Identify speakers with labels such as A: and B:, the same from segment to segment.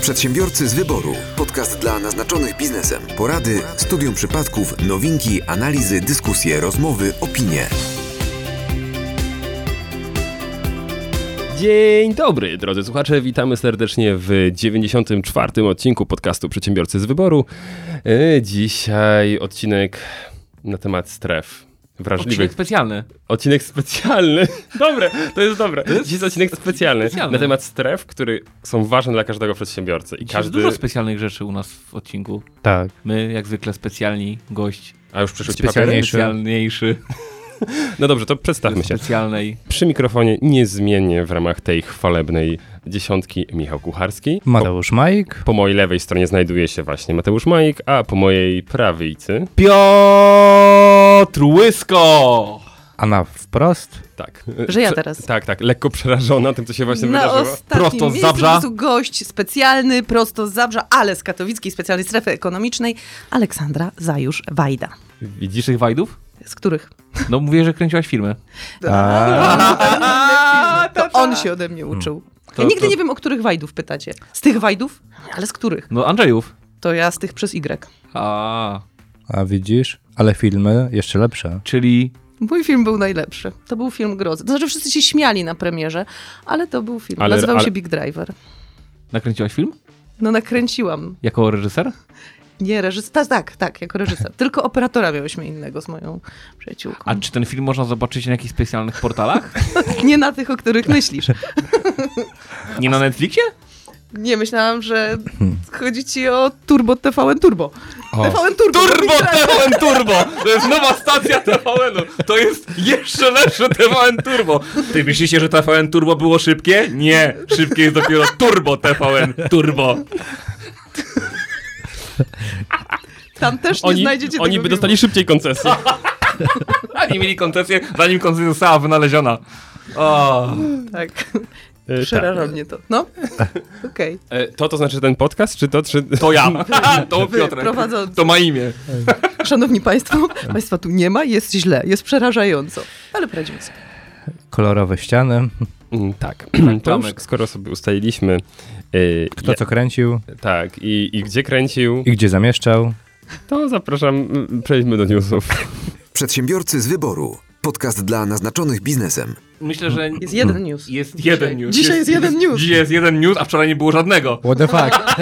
A: Przedsiębiorcy z wyboru. Podcast dla naznaczonych biznesem. Porady, studium przypadków, nowinki, analizy, dyskusje, rozmowy, opinie.
B: Dzień dobry, drodzy słuchacze. Witamy serdecznie w 94. odcinku podcastu Przedsiębiorcy z Wyboru. E, Dzisiaj odcinek na temat stref
C: Odcinek
B: wrażliwych.
C: specjalny.
B: Odcinek specjalny. Dobre, to jest dobre. Dziś jest odcinek specjalny
C: specjalny.
B: na temat stref, które są ważne dla każdego przedsiębiorcy. I
C: Każdy...
B: każdy.
C: Dużo specjalnych rzeczy u nas w odcinku.
B: Tak.
C: My, jak zwykle, specjalni gość.
B: A już przyszły ci papier.
D: Specjalniejszy.
C: Specjalniejszy.
B: No dobrze, to przedstawmy się.
C: Specjalnej.
B: Przy mikrofonie niezmiennie w ramach tej chwalebnej dziesiątki Michał Kucharski.
D: Mateusz Majk.
B: Po mojej lewej stronie znajduje się właśnie Mateusz Majk, a po mojej prawicy,
C: Piotr Łysko!
D: A na wprost?
B: tak.
E: Że ja
B: Prze-
E: teraz.
B: Tak, tak, lekko przerażona tym, co się właśnie
E: Na
B: wydarzyło.
E: ostatnim
C: Prosto z
E: miejscu
C: Zabrza.
E: był gość specjalny, prosto z Zabrza, ale z katowickiej specjalnej strefy ekonomicznej, Aleksandra Zajusz-Wajda.
C: Widzisz tych wajdów?
E: Z których
C: No mówię, że kręciłaś filmy.
E: to on się ode mnie uczył.
C: To-
E: ja nigdy
C: to-
E: nie wiem, o których Wajdów pytacie. Z tych Wajdów? Ale z których?
C: No Andrzejów.
E: To ja z tych przez Y.
C: A,
D: A widzisz? Ale filmy jeszcze lepsze.
C: czyli
E: Mój film był najlepszy. To był film grozy. To znaczy, wszyscy się śmiali na premierze, ale to był film.
B: Ale-
E: Nazywał
B: ale-
E: się Big Driver.
C: nakręciłaś film?
E: No nakręciłam.
C: Jako reżyser?
E: Nie reżyser. Tak, tak, tak, jako reżyser. Tylko operatora miałyśmy innego z moją przyjaciółką.
C: A czy ten film można zobaczyć na jakichś specjalnych portalach?
E: Nie na tych, o których myślisz.
C: Nie na Netflixie?
E: Nie, myślałam, że chodzi ci o Turbo TVN Turbo. TVN Turbo!
C: Turbo TVN Turbo! To jest nowa stacja TVN-u! To jest jeszcze lepsze TVN Turbo! Ty myślicie, że TVN Turbo było szybkie? Nie! Szybkie jest dopiero Turbo TVN Turbo!
E: Tam też nie
B: Oni,
E: znajdziecie
B: oni
E: tego
B: by
E: filmu.
B: dostali szybciej koncesję.
C: Oni mieli koncesję, zanim koncesja została wynaleziona. O.
E: Tak,
B: E,
E: przeraża mnie to. No, okej.
B: E, To to znaczy ten podcast, czy to, czy...
C: To ja. To
E: Wy,
C: Piotrek.
E: prowadzący.
C: To ma imię.
E: Szanowni Państwo, Państwa tu nie ma, jest źle, jest przerażająco. Ale poradzimy sobie.
D: Kolorowe ściany.
B: Mm, Tak. To już,
C: Tomek.
B: skoro sobie ustaliliśmy... y,
D: Kto co kręcił
B: ja- Tak, i, i gdzie kręcił,
D: i gdzie zamieszczał.
B: to zapraszam, mm, przejdźmy do newsów.
A: Przedsiębiorcy z wyboru. Podcast dla naznaczonych biznesem.
C: Myślę, że
E: Jest jeden news.
C: Hmm. jest
E: Dzisiaj-
C: jeden news.
E: Dzisiaj jest jeden news.
C: Dzisiaj jest jeden news, a wczoraj nie było żadnego.
D: What the fuck?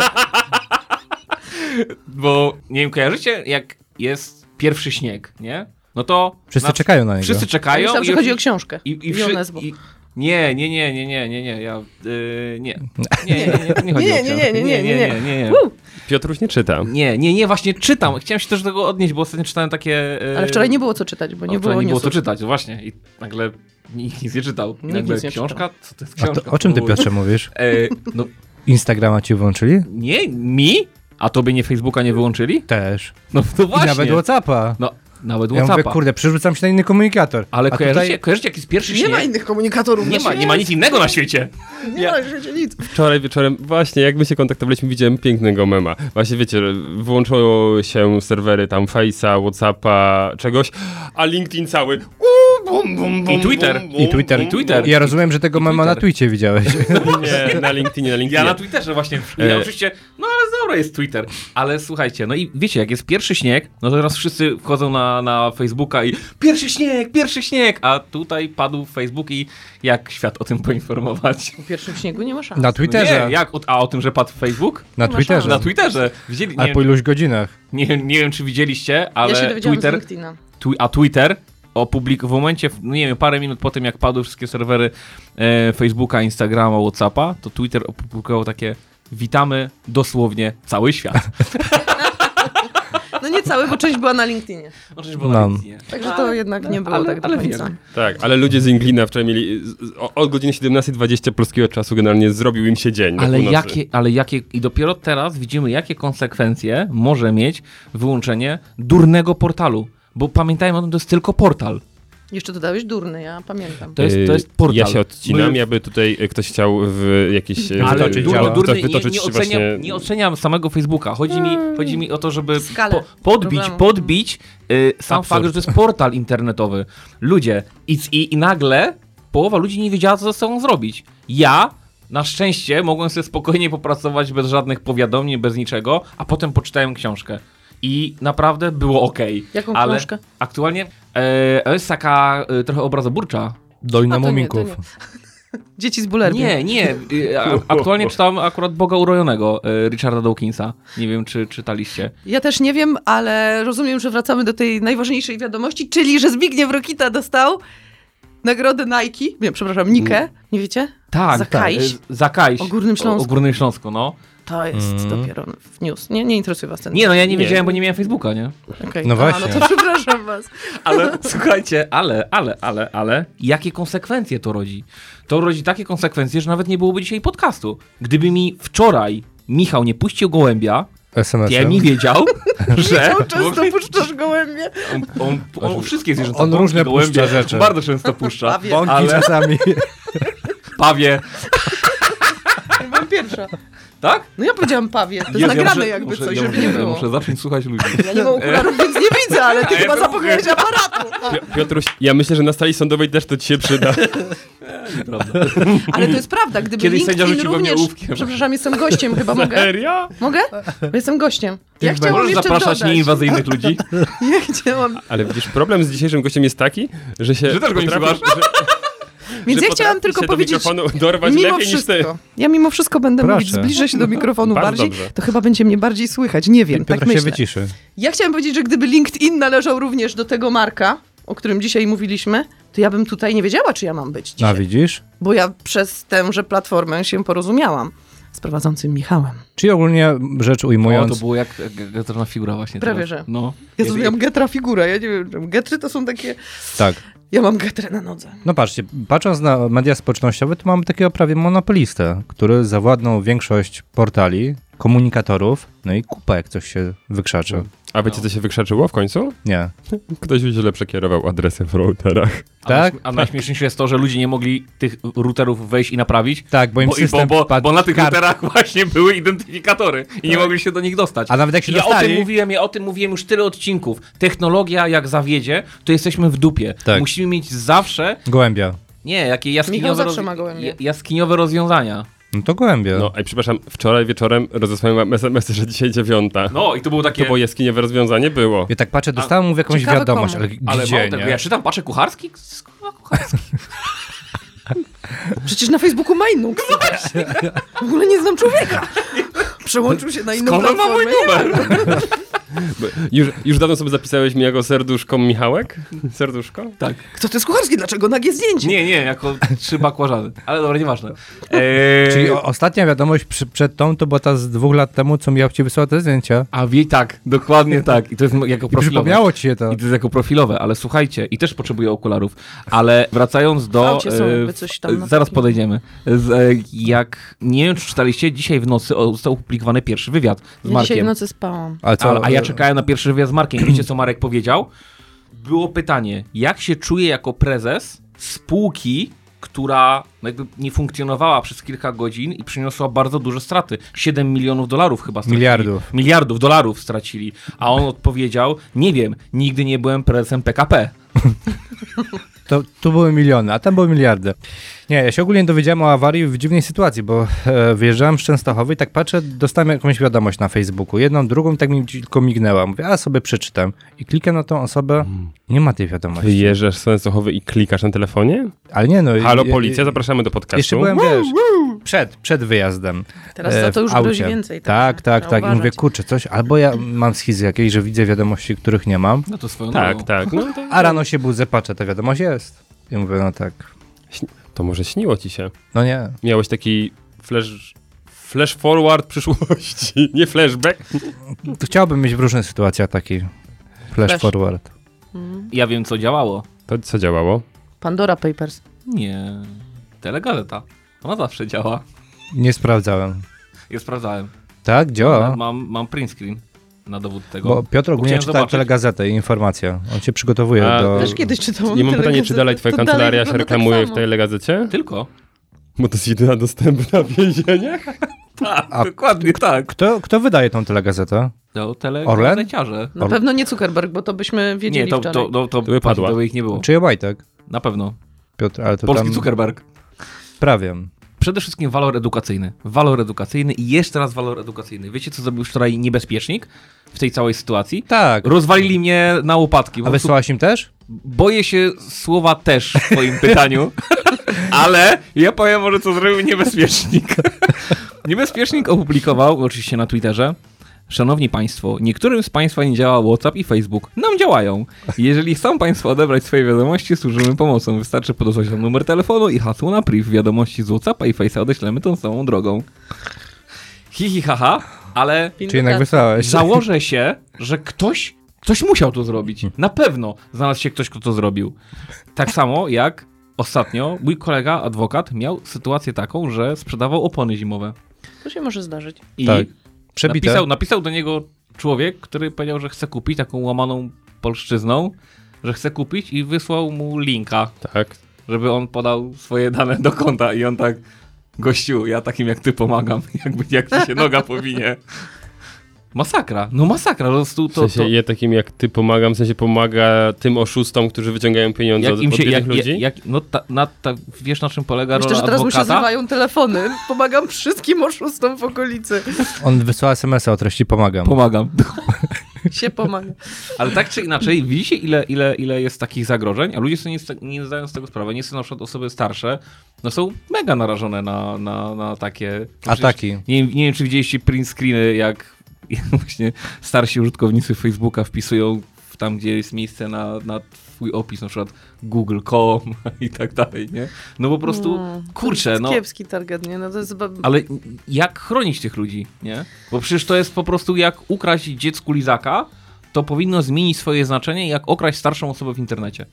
C: Bo nie wiem, kojarzycie, jak jest pierwszy śnieg, nie? No to.
D: Wszyscy
C: na-
D: czekają na niego.
C: Wszyscy
E: Ja
C: czekają.
E: Myślałam,
C: i
E: że chodzi o
C: oczy-
E: książkę
C: I, i,
E: i, o
C: wszy-
E: nazwę.
C: i Nie, nie, nie, nie, nie, nie, nie, ja. Yy, nie. Nie, nie, nie, nie, nie, chodzi
E: Nie,
C: o
E: nie,
C: książkę.
E: nie, nie, nie,
C: nie, nie,
E: nie.
C: nie, nie.
E: Woo!
B: Piotruś nie czyta.
C: Nie, nie, nie, właśnie czytam. Chciałem się też do tego odnieść, bo ostatnio czytałem takie. yy,
E: Ale wczoraj nie było co czytać, bo
C: o,
E: nie
C: wczoraj
E: było
C: nie było
E: newsów.
C: co czytać, właśnie. I nagle nikt nic nie czytał. I
E: Nikt
C: nagle
E: nic nie
C: książka? Co to jest
D: A
C: książka?
D: to, o czym ty,
C: Kurde.
D: Piotrze, mówisz?
C: Yy, no
D: Instagrama ci włączyli?
C: nie, mi? A tobie nie Facebooka nie wyłączyli?
D: Też.
C: No to
D: I
C: właśnie.
D: nawet Whatsappa.
C: No, nawet
D: Ja
C: WhatsAppa.
D: mówię, kurde, przerzucam się na inny komunikator.
C: Ale
D: A
C: kojarzycie,
D: tutaj
C: kojarzycie, jaki jest pierwszy
E: Nie
C: śnieg?
E: ma innych komunikatorów.
C: nie,
E: na
C: ma, nie ma nic innego na świecie.
E: świecie. Nie ma rzeczy, nic.
B: Wczoraj wieczorem, właśnie jak my się kontaktowaliśmy, widziałem pięknego mema. Właśnie wiecie, że wyłączyło się serwery tam Face'a, Whatsappa, czegoś, a LinkedIn cały. Uuu, bum, bum, bum,
C: I Twitter.
B: bum, bum,
D: I Twitter.
B: bum,
C: Twitter. No
D: Ja rozumiem, że tego mema na Twitcie widziałeś.
B: bum. Nie, na LinkedInie, na LinkedInie.
C: Ja na Twitterze właśnie,
B: E.
C: ja oczywiście, no ale dobra jest Twitter, ale słuchajcie, no i wiecie, jak jest pierwszy śnieg, no to teraz wszyscy wchodzą na, na Facebooka i pierwszy śnieg, pierwszy śnieg, a tutaj padł Facebook i jak świat o tym poinformować?
E: Po pierwszym śniegu nie ma szans.
D: Na
C: Nie,
D: Twitterze.
C: jak, o- a o tym, że padł Facebook?
D: Na
E: masz
D: Twitterze.
C: Na Twitterze. Widzieli,
D: Ale
C: nie,
D: po iluś godzinach.
C: nie, nie wiem, czy widzieliście, ale
E: ja się dowiedziałam z
C: Twitter,
E: LinkedIna.
C: Twi- a Twitter opublik w momencie, no nie wiem, parę minut po tym, jak padły wszystkie serwery e, Facebooka, Instagrama, Whatsappa, to Twitter opublikował takie witamy dosłownie cały świat.
E: No nie cały, bo część była na LinkedInie.
D: No.
E: Także to jednak nie było
C: ale-
E: tak do
C: ale
E: końca.
C: wiem.
B: Tak, ale ludzie z Inglina wczoraj mieli z- z- o- od godziny 17.20 polskiego czasu generalnie zrobił im się dzień. do
C: Ale
B: północy.
C: jakie, ale jakie, i dopiero teraz widzimy, jakie konsekwencje może mieć wyłączenie durnego portalu. Bo pamiętajmy o tym, to jest tylko portal.
E: Jeszcze dodałeś durny, ja pamiętam.
C: To jest, to
B: Y,
C: jest portal.
B: Ja się odcinam,
C: My-
B: jakby tutaj y, ktoś chciał w jakiś... y,
C: Ale
B: wytoczyć-
C: durny,
D: Yy, działa.
C: durny,
B: wytoczyć
C: nie, nie, oceniam,
B: właśnie-
C: nie oceniam samego Facebooka. Chodzi mi, chodzi mi o to, żeby
E: Hmm. Skalę
C: po, podbić,
E: problemu.
C: podbić y, sam
D: Absurd.
C: fakt, że to jest portal internetowy. Ludzie i, i, i nagle połowa ludzi nie wiedziała, co ze sobą zrobić. Ja Na szczęście mogłem sobie spokojnie popracować bez żadnych powiadomień, bez niczego, a potem poczytałem książkę. I naprawdę było okej.
E: Jaką
C: ale
E: książkę?
C: Aktualnie e, jest taka e, trochę obrazoburcza.
D: Dojna
E: A, to nie, to
D: Muminków.
E: nie. Dzieci z bulerbiem.
C: Nie, nie. e, a- Aktualnie czytałem akurat Boga Urojonego e, Richarda Dawkinsa. Nie wiem, czy czytaliście.
E: Ja też nie wiem, ale rozumiem, że wracamy do tej najważniejszej wiadomości, czyli że Zbigniew Rokita dostał nagrodę Nike, nie, przepraszam, Nike, nie wiecie?
C: Tak,
E: Za
C: tak.
E: Kaiś?
C: e, Za Kaiś.
E: O Górnym Śląsku.
C: O, o Górnym Śląsku, no.
E: To jest dopiero w news. Nie, nie interesuje was ten
C: Nie, no ja nie,
B: Nie.
C: wiedziałem, bo nie miałem Facebooka, nie?
E: Okej.
D: No
E: A,
D: właśnie.
E: no to przepraszam was.
C: Ale słuchajcie, ale, ale, ale, ale, jakie konsekwencje to rodzi? To rodzi takie konsekwencje, że nawet nie byłoby dzisiaj podcastu. Gdyby mi wczoraj Michał nie puścił gołębia, to ja
D: SMS-em.
C: mi wiedział, że.
E: Michał, często puszczasz gołębie.
C: On, on, on wszystkie zwierzęta.
D: On
C: bąki,
D: różne
C: gołębie,
D: puszcza rzeczy.
C: Bardzo często puszcza.
E: Pawie.
D: Bąki
C: Ale-
D: czasami.
C: Pawie.
E: Byłam pierwsza.
C: Tak?
E: No ja powiedziałem pawie, to
C: Jezu,
E: jest
C: ja
E: nagrane
C: muszę-
E: jakby
C: muszę-
E: coś,
C: ja
E: żeby
C: muszę-
E: nie było.
C: Muszę zacząć słuchać ludzi.
E: Ja nie mam okularów, więc nie widzę, ale ty
C: A ja
E: chyba
C: bym-
E: zapomniałeś aparatu.
B: Pi- Piotruś, ja myślę, że na sali sądowej też to ci się przyda.
C: Prawda.
E: Ale to jest prawda, gdyby
C: Kiedyś sędzia
E: LinkedIn
C: rzucił we mnie
E: również...
C: ołówkiem.
E: Przepraszam, jestem gościem, chyba mogę?
B: Serio?
E: Mogę? Bo jestem gościem. Ja
D: Możesz
E: chciałam
C: Możesz
E: jeszcze
C: zapraszać
E: dodać.
C: nieinwazyjnych ludzi.
E: Ja chciałam...
B: Ale widzisz, problem z dzisiejszym gościem jest taki, że się...
C: Że też go nie
B: potrafi-
C: trzymasz.
B: że-
E: Więc
B: że
E: ja chciałam
B: potrafi
E: tylko
B: się
E: powiedzieć...
B: do mikrofonu dorwać
E: Mimo
B: lepiej niż ty.
E: wszystko. Ja mimo wszystko będę
D: Proszę.
E: mówić, zbliżę się do mikrofonu
B: Bardzo
E: bardziej,
B: dobrze.
E: to chyba będzie mnie bardziej słychać. Nie wiem,
D: Piotr
E: tak
D: się
E: myślę.
D: wyciszy.
E: Ja chciałam powiedzieć, że gdyby LinkedIn należał również do tego Marka, o którym dzisiaj mówiliśmy, to ja bym tutaj nie wiedziała, czy ja mam być
D: No
E: dzisiaj.
D: widzisz?
E: Bo ja przez tęże platformę się porozumiałam z prowadzącym Michałem.
D: Czyli ogólnie rzecz
C: O,
D: ujmując,
C: to było jak gatorna figura właśnie.
E: Prawie,
C: teraz.
E: że.
C: No.
E: Ja zrobiłam getra figurę, ja nie wiem, czemu. getry to są takie...
D: tak.
E: Ja mam getrę na nodze.
D: No patrzcie, patrząc na media społecznościowe, to mamy takiego prawie monopolistę, który zawładnął większość portali, komunikatorów, no i kupa, jak coś się wykrzaczy.
C: Mm.
B: A wiecie, co się wykrzaczyło w końcu?
D: Nie.
B: Ktoś źle przekierował adresy w routerach.
C: A najśm-
D: Tak?
C: A najśmieszniejsze jest to, że ludzie nie mogli tych routerów wejść i naprawić.
D: Tak, bo im
C: bo, i-
D: system
C: bo, bo,
D: wpadł
C: bo na
D: w
C: tych
D: kart.
C: routerach właśnie były identyfikatory i nie mogli się do nich dostać.
D: A nawet jak się
C: I ja o tym
D: dostali-
C: mówiłem, ja o tym mówiłem już tyle odcinków. Technologia jak zawiedzie, to jesteśmy w dupie.
D: Tak.
C: Musimy mieć zawsze,
D: Gołębia.
C: nie, jakie
E: Michał
C: jaskiniowe,
E: zawsze ma gołębie.
C: jaskiniowe rozwiązania.
D: No to gołębia.
B: No, i przepraszam, wczoraj wieczorem rozesłałem wam SMS, że dzisiaj dziewiąta.
C: No i to było takie...
B: To było jaskiniowe rozwiązanie, było.
D: Ja tak patrzę, dostałem mu jakąś
E: Ciekawe
D: wiadomość,
E: komu.
D: ale
C: ale
D: gdzie,
C: mało tego,
D: nie?
C: ja czytam, patrzę, kucharski? Kurwa, kucharski.
E: Przecież na Facebooku ma inną ksywę. W ogóle nie znam człowieka. Przełączył się na inną
C: Skąd on ma mój
E: platformę.
C: numer?
B: Bo Już, już dawno sobie zapisałeś mi jako serduszko Michałek? Serduszko?
C: Tak.
E: Kto to jest kucharski? Dlaczego nagie zdjęcie?
C: Nie, nie, jako trzy bakłażany. Ale dobra, nieważne. Eee...
D: Czyli o, ostatnia wiadomość przy, przed tą to była ta z dwóch lat temu, co miał ci wysłać te zdjęcia.
C: A wie tak, dokładnie tak. I to jest jako
D: I no.
C: profilowe.
D: przypomniało ci się to.
C: I to jest jako profilowe, ale słuchajcie, i też potrzebuję okularów. Ale wracając
E: W
C: do.
E: aucie są
C: e,
E: jakby coś tam
C: e,
E: na
C: zaraz
E: takim-
C: podejdziemy. Z, e, jak nie wiem, czy czytaliście, dzisiaj w nocy o- został opublikowany pierwszy wywiad z
E: Ja dzisiaj w
C: Markiem.
E: nocy spałam.
D: A,
C: A, a ja czekałem na pierwszy wywiad z Markiem. Wiecie, co Marek powiedział? Było pytanie, jak się czuje jako prezes spółki, która no jakby nie funkcjonowała przez kilka godzin i przyniosła bardzo duże straty. 7 milionów dolarów chyba stracili.
D: Miliardów.
C: Miliardów dolarów stracili. A on odpowiedział, nie wiem, nigdy nie byłem prezesem PKP.
D: To, tu były miliony, a tam były miliardy. Nie, ja się ogólnie dowiedziałem o awarii w dziwnej sytuacji, bo e, wyjeżdżałem z Częstochowy i tak patrzę, dostałem jakąś wiadomość na Facebooku. Jedną, drugą, i tak mi tylko mignęła. Mówię, a sobie przeczytam. I klikam na tą osobę, nie ma tej wiadomości.
B: Wyjeżdżasz z Częstochowy i klikasz na telefonie?
D: Ale nie no. i-
B: Halo
D: i-
B: policja, zapraszamy do podcastu.
D: Jeszcze byłem, wiesz, przed, przed wyjazdem.
E: Teraz
D: e,
E: za to
D: w
E: już grozi
D: aucie.
E: więcej,
D: Tak,
E: także
D: tak,
E: trzeba
D: tak. I mówię,
E: uważać.
D: kurczę, coś, albo ja mam schizy jakiejś, że widzę wiadomości, których nie mam,
C: No to swoją
B: Tak,
C: drogą.
B: tak. No to,
D: a rano się budzę, patrzę, ta wiadomość jest. I mówię, no tak,
B: Śni- to może śniło ci się.
D: no nie.
B: Miałeś taki flash, flash forward przyszłości, nie flashback.
D: To chciałbym mieć w różnych sytuacjach taki flash,
E: Flash.
D: forward.
C: Ja wiem, co działało.
B: To co działało?
E: Pandora Papers.
C: Nie, telegazeta. Ona zawsze działa.
D: Nie sprawdzałem.
C: Ja sprawdzałem.
D: Tak, działa.
C: Mam, mam print screen na dowód tego.
D: Bo Piotr ogólnie
C: No, Chciałem
D: czyta
C: zobaczyć.
D: telegazetę i informacje. On się przygotowuje
B: A,
D: do...
E: Też kiedyś czytałam
B: Ja mam pytanie, czy
E: telegazetę.
B: dalej twoja
E: To
B: kancelaria się
E: wygląda tak
B: reklamuje w
E: samo.
B: telegazecie?
C: Tylko.
B: Bo to jest jedyna dostępna w więzieniach?
C: Tak, dokładnie tak.
D: Kto, kto wydaje tą telegazetę?
C: To No, tele
D: Orlen? No,
C: Leciarze.
E: Na pewno nie Zuckerberg, bo to byśmy wiedzieli
C: Nie, to, to,
E: wczoraj.
C: to, to,
B: by padła.
C: to by ich nie było.
D: Czy Obajtek?
C: Na pewno.
D: Piotr, ale to
C: Polski
D: tam...
C: Zuckerberg.
D: Prawie.
C: przede wszystkim walor edukacyjny. Walor edukacyjny i jeszcze raz walor edukacyjny. Wiecie, co zrobił wczoraj niebezpiecznik w tej całej sytuacji?
D: Tak.
C: Rozwalili mnie na łopatki.
D: A
C: Po prostu
D: wysłałaś im też?
C: Boję się słowa też w twoim pytaniu, ale ja powiem może, co zrobił niebezpiecznik. niebezpiecznik opublikował, oczywiście na Twitterze, Szanowni Państwo, niektórym z Państwa nie działa WhatsApp i Facebook. Nam działają. Jeżeli chcą Państwo odebrać swoje wiadomości, służymy pomocą. Wystarczy podosłać nam numer telefonu i hasło na priv. Wiadomości z WhatsAppa i Face'a odeślemy tą samą drogą. Hi, hi, ha, ha, ale
D: Czy
E: tak.
D: jednak wysłałeś?
C: Założę się, że ktoś, ktoś musiał to zrobić. Na pewno znalazł się ktoś, kto to zrobił. Tak samo jak ostatnio mój kolega, adwokat, miał sytuację taką, że sprzedawał opony zimowe.
E: To się może zdarzyć.
C: I
D: Tak. Przebite.
C: napisał, napisał do niego człowiek, który powiedział, że chce kupić taką łamaną polszczyzną, że chce kupić i wysłał mu linka,
B: Tak.
C: żeby on podał swoje dane do konta i on tak, gościu, ja takim jak ty pomagam, jakby jak ci się noga powinie. Masakra, no masakra, po prostu
B: W
C: to...
B: sensie
C: to...
B: ja takim jak ty pomagam, w sensie pomaga tym oszustom, którzy wyciągają pieniądze
C: jak
B: od
C: im się,
B: biednych
C: jak,
B: ludzi.
C: jak, jak, no ta, na, ta, wiesz na czym polega
E: Myślę,
C: rola
E: że teraz mu się
C: adwokata?
E: zrywają telefony. Pomagam wszystkim oszustom w okolicy.
D: On wysłał SMS-a o treści pomagam.
C: Pomagam.
E: Się pomaga.
C: Ale tak czy inaczej, widzicie ile, ile, ile jest takich zagrożeń, a ludzie sobie nie, sta- nie zdają z tego sprawy. Nie są na przykład osoby starsze, no są mega narażone na, na, na takie... no przecież
D: Ataki.
C: Nie, nie wiem, czy widzieliście print screeny, jak właśnie starsi użytkownicy Facebooka wpisują w tam, gdzie jest miejsce na, na twój opis, na przykład google.com i tak dalej, nie? No po prostu, kurczę,
E: jest
C: no...
E: Hmm. Kiepski target, nie? No to jest ba-
C: Ale jak chronić tych ludzi, nie? Bo przecież to jest po prostu jak ukraść dziecku lizaka, to powinno zmienić swoje znaczenie jak okraść starszą osobę w internecie.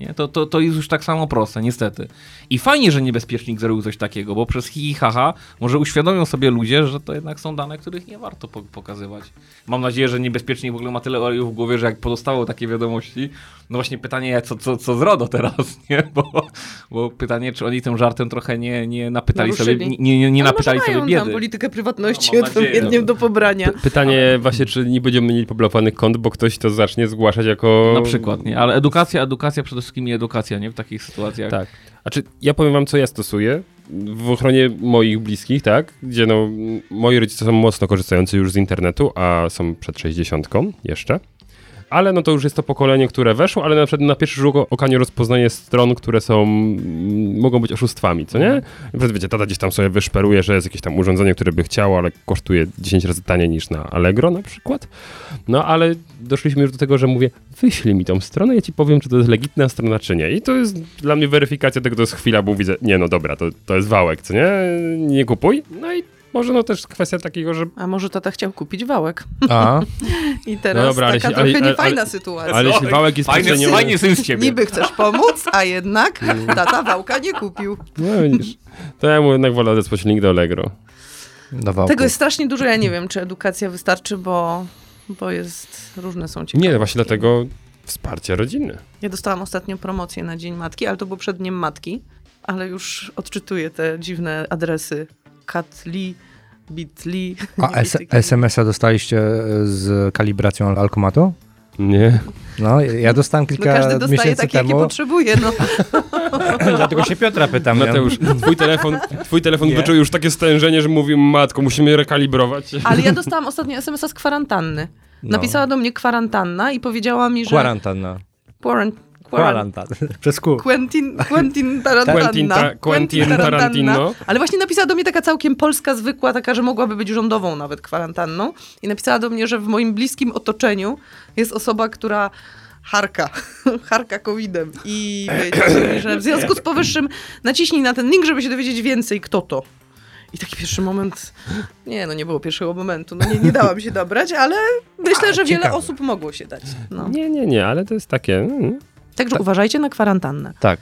C: Nie? To, to, to jest już tak samo proste, niestety. I fajnie, że niebezpiecznik zrobił coś takiego, bo przez hi i haha może uświadomią sobie ludzie, że to jednak są dane, których nie warto po- pokazywać. Mam nadzieję, że niebezpiecznik w ogóle ma tyle oleju w głowie, że jak pozostało takie wiadomości, no właśnie pytanie, co, co, co z RODO teraz, nie? Bo, bo pytanie, czy oni tym żartem trochę nie, nie napytali sobie,
E: Naruszyli.
C: nie, nie, nie
E: Ale
C: napytali
E: może
C: sobie
E: mają tam
C: biedy.
E: politykę prywatności
C: No, mam nadzieję.
E: odpowiednią do pobrania.
B: P- Pytanie właśnie, czy nie będziemy mieli poblokowanych kont, bo ktoś to zacznie zgłaszać jako...
C: Na przykład, nie? Ale edukacja, edukacja, przede wszystkim i edukacja, nie? W takich sytuacjach.
B: Tak. A czy ja powiem wam, co ja stosuję w ochronie moich bliskich, tak? Gdzie no, m- moi rodzice są mocno korzystający już z internetu, a są przed 60 jeszcze. Ale no to już jest to pokolenie, które weszło, ale na przykład na pierwszy rzut okanie rozpoznaje stron, które są, m, mogą być oszustwami, co nie? Na przykład wiecie, tata gdzieś tam sobie wyszperuje, że jest jakieś tam urządzenie, które by chciało, ale kosztuje 10 razy taniej niż na Allegro na przykład. No ale doszliśmy już do tego, że mówię, wyślij mi tą stronę, ja ci powiem, czy to jest legitna strona, czy nie. I to jest dla mnie weryfikacja tego, to jest chwila, bo widzę, nie no dobra, to, to jest wałek, co nie? Nie kupuj. No i może no też kwestia takiego, że
E: A może tata chciał kupić wałek.
D: A,
E: I teraz
B: No dobra, ale
E: taka
B: się-
E: trochę
B: ale- ale-
E: niefajna
B: ale-
E: sytuacja.
B: ale jeśli wałek jest
C: Fajny,
B: przeceniony-
C: fajny syn z ciebie.
E: Niby chcesz pomóc, a jednak
B: Mm.
E: tata wałka nie kupił.
B: No widzisz, to ja mu jednak wolę odesłać link do Allegro.
D: dawał.
E: Tego jest strasznie dużo. Ja nie wiem, czy edukacja wystarczy, bo, bo jest, różne są ciekawe.
B: Nie, właśnie dlatego wsparcie rodziny.
E: Ja dostałam ostatnio promocję na Dzień Matki, ale to było przed Dniem Matki, ale już odczytuję te dziwne adresy. Katli, Bitli.
D: A S- SMS-a dostaliście e, z kalibracją alkomatu?
B: Nie.
D: No, ja dostałem
E: No
D: kilka
E: każdy dostaje
D: miesięcy
E: takie,
D: temu.
E: jakie potrzebuje. No.
D: Dlatego się Piotra
C: No
D: pytam.
B: Mateusz, twój telefon, twój telefon wyczuł już takie stężenie, że mówi, matko, musimy rekalibrować.
E: Ale ja dostałam ostatnio SMS-a z kwarantanny.
D: No.
E: Napisała do mnie kwarantanna i powiedziała mi, że...
D: Kwarantanna.
E: Quarant- quarant-
D: Kwarantan. Przez kół.
E: Quentin, Quentin Tarantino.
B: Quentin Ta- Quentin Tarantino.
E: Ale właśnie napisała do mnie taka całkiem polska zwykła, taka, że mogłaby być rządową nawet kwarantanną. I napisała do mnie, że w moim bliskim otoczeniu jest osoba, która harka, harka covidem. I wiecie, mi, że w związku z powyższym naciśnij na ten link, żeby się dowiedzieć więcej, kto to. I taki pierwszy moment, nie no nie było pierwszego momentu, no nie, nie dałam się dobrać, ale myślę, że wiele
D: ciekawe.
E: osób mogło się dać. No.
B: Nie, nie, nie, ale to jest takie... mm.
E: Także uważajcie na kwarantannę.
D: Tak.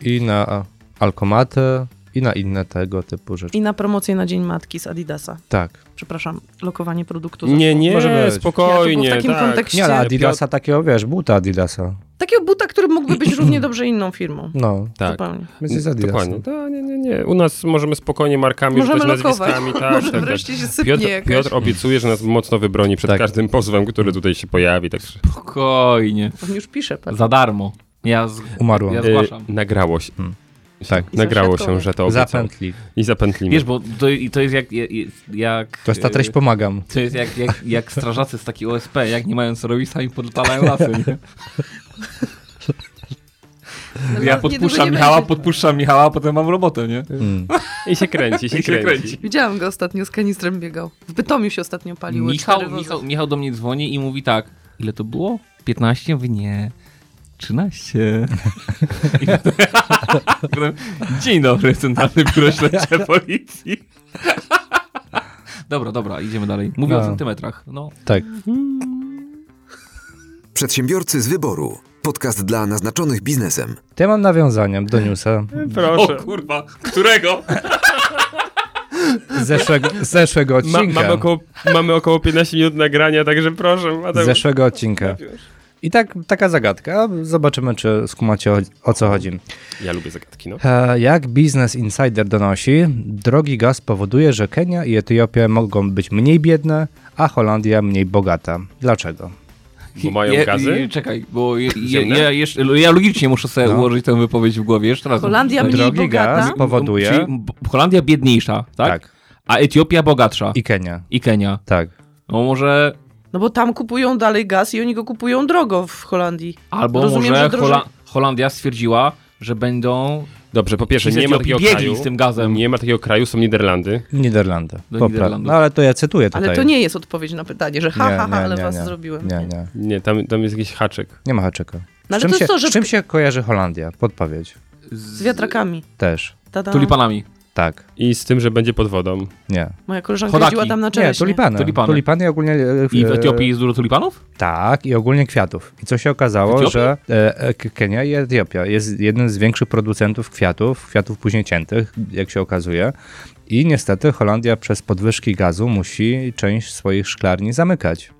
D: I na alkomatę, i na inne tego typu rzeczy.
E: I na promocję na Dzień Matki z Adidasa.
D: Tak.
E: Przepraszam, lokowanie produktu.
B: Nie, nie,
D: Może być.
B: spokojnie.
E: Ja to był w takim
B: tak.
E: kontekście-
D: Nie, no, ale
E: Piotr-
D: Adidasa takiego, wiesz, buta Adidasa.
E: Takiego buta, który mógłby być równie dobrze inną firmą.
D: No,
B: Tak.
E: Zupełnie.
D: więc jest
C: no.
D: Adidasa.
B: Dokładnie. To, nie, nie, nie. U nas możemy spokojnie markami
E: Możemy
B: rzucać
E: lokować.
B: nazwiskami. Tak,
E: Może
B: tak, tak.
E: wreszcie się sypnie
B: Piotr,
E: jakaś.
B: Piotr obiecuje, że nas mocno wybroni przed
D: Tak.
B: każdym pozwem, który tutaj się pojawi. Także
C: Spokojnie.
E: On już pisze. Pan.
C: Za darmo. Ja, z...
D: Umarło.
C: ja
B: Y,
C: zgłaszam.
B: nagrało się.
D: Tak.
E: I
B: Nagrało się,
E: sąsiadkowie.
B: że to obiecał.
D: Zapętli.
B: I zapętlimy.
C: Wiesz, bo to, i to jest jak, je- je- jak...
D: To jest ta treść
C: y,
D: pomagam.
C: To jest jak, jak, jak strażacy z takiej OSP, jak nie mają co robić, sami podpalają lasy. Nie? Ja
E: No, niedługo
C: podpuszczam
E: nie
C: Michała,
E: będzie.
C: podpuszczam Michała, a potem mam robotę, nie?
D: Mm.
B: I się kręci, się,
C: I się kręci.
B: kręci.
E: Widziałam go ostatnio, z kanistrem biegał. W Bytomiu się ostatnio paliły
C: Michał,
E: cztery wozy.
C: Michał, Michał do mnie dzwoni i mówi tak, ile to było? 15? Ja Mówię, nie, 13. I potem, potem, Dzień dobry, Centralne Biuro Śledcze Policji. Dobra, dobra, idziemy dalej. Mówię o
D: No.
C: centymetrach. No,
D: Tak.
A: Przedsiębiorcy z wyboru. Podcast dla naznaczonych biznesem.
D: To ja mam nawiązania do newsa
C: o
B: Proszę.
C: kurwa, którego?
D: z zeszłego, z zeszłego
B: Ma,
D: odcinka.
B: mamy, około, mamy około 15 minut nagrania, także proszę.
D: Z
B: Mateusz.
D: zeszłego odcinka. I tak, taka zagadka. Zobaczymy, czy skumacie o, o co chodzi.
B: Ja lubię zagadki, no.
D: E, Jak Business Insider donosi, drogi gaz powoduje, że Kenia i Etiopia mogą być mniej biedne, a Holandia mniej bogata. Dlaczego?
B: Bo mają
C: Je-
B: gazy?
C: je- Czekaj, bo je, je,
B: Ziemne?
C: ja, jeszcze, ja logicznie muszę sobie
D: No.
C: ułożyć tę wypowiedź w głowie. Jeszcze raz.
E: Holandia
C: Tak.
E: mniej
D: Drogi
E: bogata.
D: gaz powoduje.
C: Czyli b- Holandia biedniejsza, tak? A Etiopia bogatsza. I,
D: I Kenia.
C: Kenia.
D: Tak.
C: No może...
E: No bo tam kupują dalej gaz i oni go kupują drogo w Holandii.
C: Albo
E: Rozumiem,
C: może
E: że drożej-
C: Hola- Holandia stwierdziła, że będą...
B: Dobrze, po pierwsze,
C: Wszyscy
B: nie ma
C: taki
B: takiego
C: biegli
B: kraju.
C: z tym gazem.
B: Nie ma takiego kraju, są Niderlandy.
D: Niderlandy.
C: Do
D: Popra-
C: Niderlandów.
D: No ale to ja cytuję tutaj.
E: Ale to nie jest odpowiedź na pytanie, że ha,
D: Nie,
E: ha, ha,
D: nie,
E: ale
D: nie,
E: was
D: nie.
E: zrobiłem.
D: Nie, nie.
B: Nie, tam, tam jest jakiś haczyk.
D: Nie ma haczyka.
E: No ale
D: z, czym
E: to jest
D: się,
E: to, że-
D: z czym się kojarzy Holandia? Podpowiedź.
E: Z wiatrakami.
D: Też.
E: Tada.
C: Tulipanami.
D: Tak.
B: I z tym, że będzie pod wodą.
D: Nie.
E: Moja koleżanka
C: Chodaki.
E: jeździła tam na
D: Nie,
E: czereśnie.
D: tulipany.
C: Tulipany.
D: Tulipany ogólnie... e,
C: I w
D: e,
C: Etiopii jest dużo tulipanów?
D: Tak, i ogólnie kwiatów. I co się
C: W
D: okazało,
C: Etiopii?
D: że e, e, K- Kenia i Etiopia jest jednym z większych producentów kwiatów, kwiatów później ciętych, jak się okazuje. I niestety Holandia przez podwyżki gazu musi część swoich szklarni zamykać,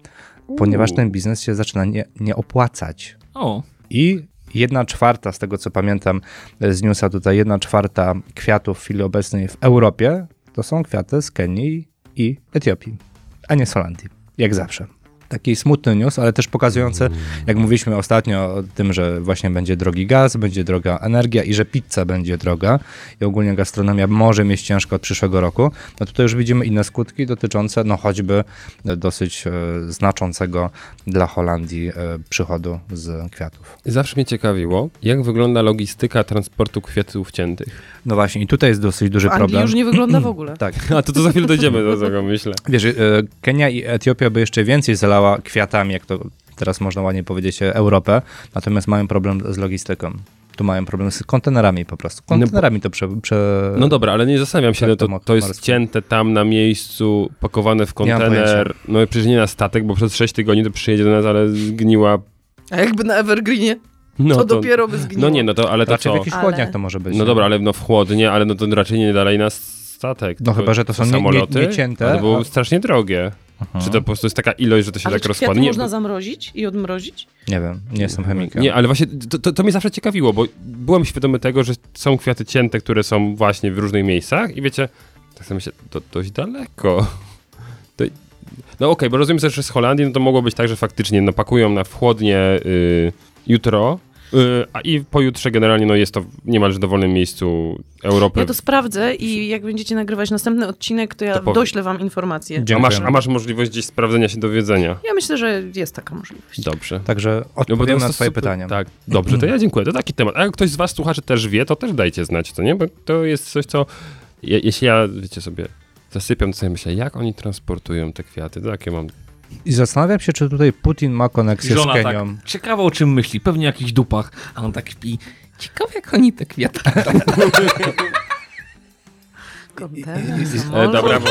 D: ponieważ ten biznes się zaczyna nie, nie opłacać.
C: O,
D: I jedna czwarta, z tego co pamiętam e, z newsa tutaj, jedna czwarta kwiatów w chwili obecnej w Europie to są kwiaty z Kenii i Etiopii, a nie z Holandii, jak zawsze. Taki smutny news, ale też pokazujący, jak mówiliśmy ostatnio o tym, że właśnie będzie drogi gaz, będzie droga energia i że pizza będzie droga i ogólnie gastronomia może mieć ciężko od przyszłego roku, no tutaj już widzimy inne skutki dotyczące no choćby e, dosyć e, znaczącego dla Holandii e, przychodu z kwiatów.
B: Zawsze mnie ciekawiło, jak wygląda logistyka transportu kwiatów ciętych.
D: No właśnie, i tutaj jest dosyć duży
E: W Anglii
D: problem.
E: już nie wygląda w ogóle.
D: Tak.
B: A to, to za chwilę dojdziemy do tego, myślę.
D: Wiesz, e, Kenia i Etiopia by jeszcze więcej zalała kwiatami, jak to teraz można ładnie powiedzieć, e, Europę, natomiast mają problem z logistyką. Tu mają problem z kontenerami po prostu.
B: No bo-
D: Kontenerami to prze... prze...
B: No dobra, ale nie zastanawiam się,
D: Tak,
B: no to,
D: to ma-
B: to jest
D: Marcin.
B: cięte tam na miejscu, pakowane w
D: mam
B: kontener. No przecież nie na statek, bo przez 6 tygodni to przyjedzie do nas, ale zgniła.
E: A jakby na Evergreenie,
B: No
E: No to, dopiero by zgniło.
B: No nie, no to, ale to
D: Raczej znaczy w
B: co?
D: jakichś
E: Ale-
D: chłodniach to może być.
B: No
D: nie?
B: dobra, ale no w chłodnie, ale no to raczej nie dalej na statek.
D: No
B: tylko
D: chyba, że to są nie- nie-
B: samoloty.
D: niecięte,
B: a To było
D: a-
B: strasznie drogie. Czy to po prostu jest taka ilość, że to się
E: Ale
B: tak
E: czy kwiaty
B: rozkładnie? Nie,
E: można zamrozić i odmrozić?
D: Nie wiem, nie jestem chemikiem.
B: Nie, ale właśnie to, to, to mnie zawsze ciekawiło, bo byłem świadomy tego, że są kwiaty cięte, które są właśnie w różnych miejscach i wiecie, tak sobie myślę, to dość daleko. To, no okej, bo rozumiem też, że z Holandii no to mogło być tak, że faktycznie no, pakują na wchłodnie y, jutro, y, a i pojutrze generalnie no, jest to w niemalże dowolnym miejscu Europy.
E: Ja to sprawdzę i jak będziecie nagrywać następny odcinek, to ja
B: To powie-
E: doślę wam informację.
B: a, masz,
D: Dziękujemy.
B: a masz możliwość gdzieś sprawdzenia się, dowiedzenia.
E: Ja myślę, że jest taka możliwość.
B: Dobrze.
D: Także
B: No bo to
D: odpowiemy
B: jest
D: na
B: to
D: twoje
B: super-
D: Mhm. pytania.
B: Tak, dobrze, to ja dziękuję. To taki temat. A jak ktoś z was słuchaczy też wie, to też dajcie znać, to nie? Bo to jest coś, co je, jeśli ja, wiecie sobie, zasypiam, to sobie myślę, jak oni transportują te kwiaty, to takie mam... E,
D: I zastanawiam się, czy tutaj Putin ma
C: I
D: koneksję z
C: żona tak,
D: Kenią.
C: ciekawa o czym myśli, pewnie o jakichś dupach. A on tak śpi, ciekawe jak oni te kwiatki tam...
E: Kontener,
B: E,
E: samolot.
B: dobra, bo...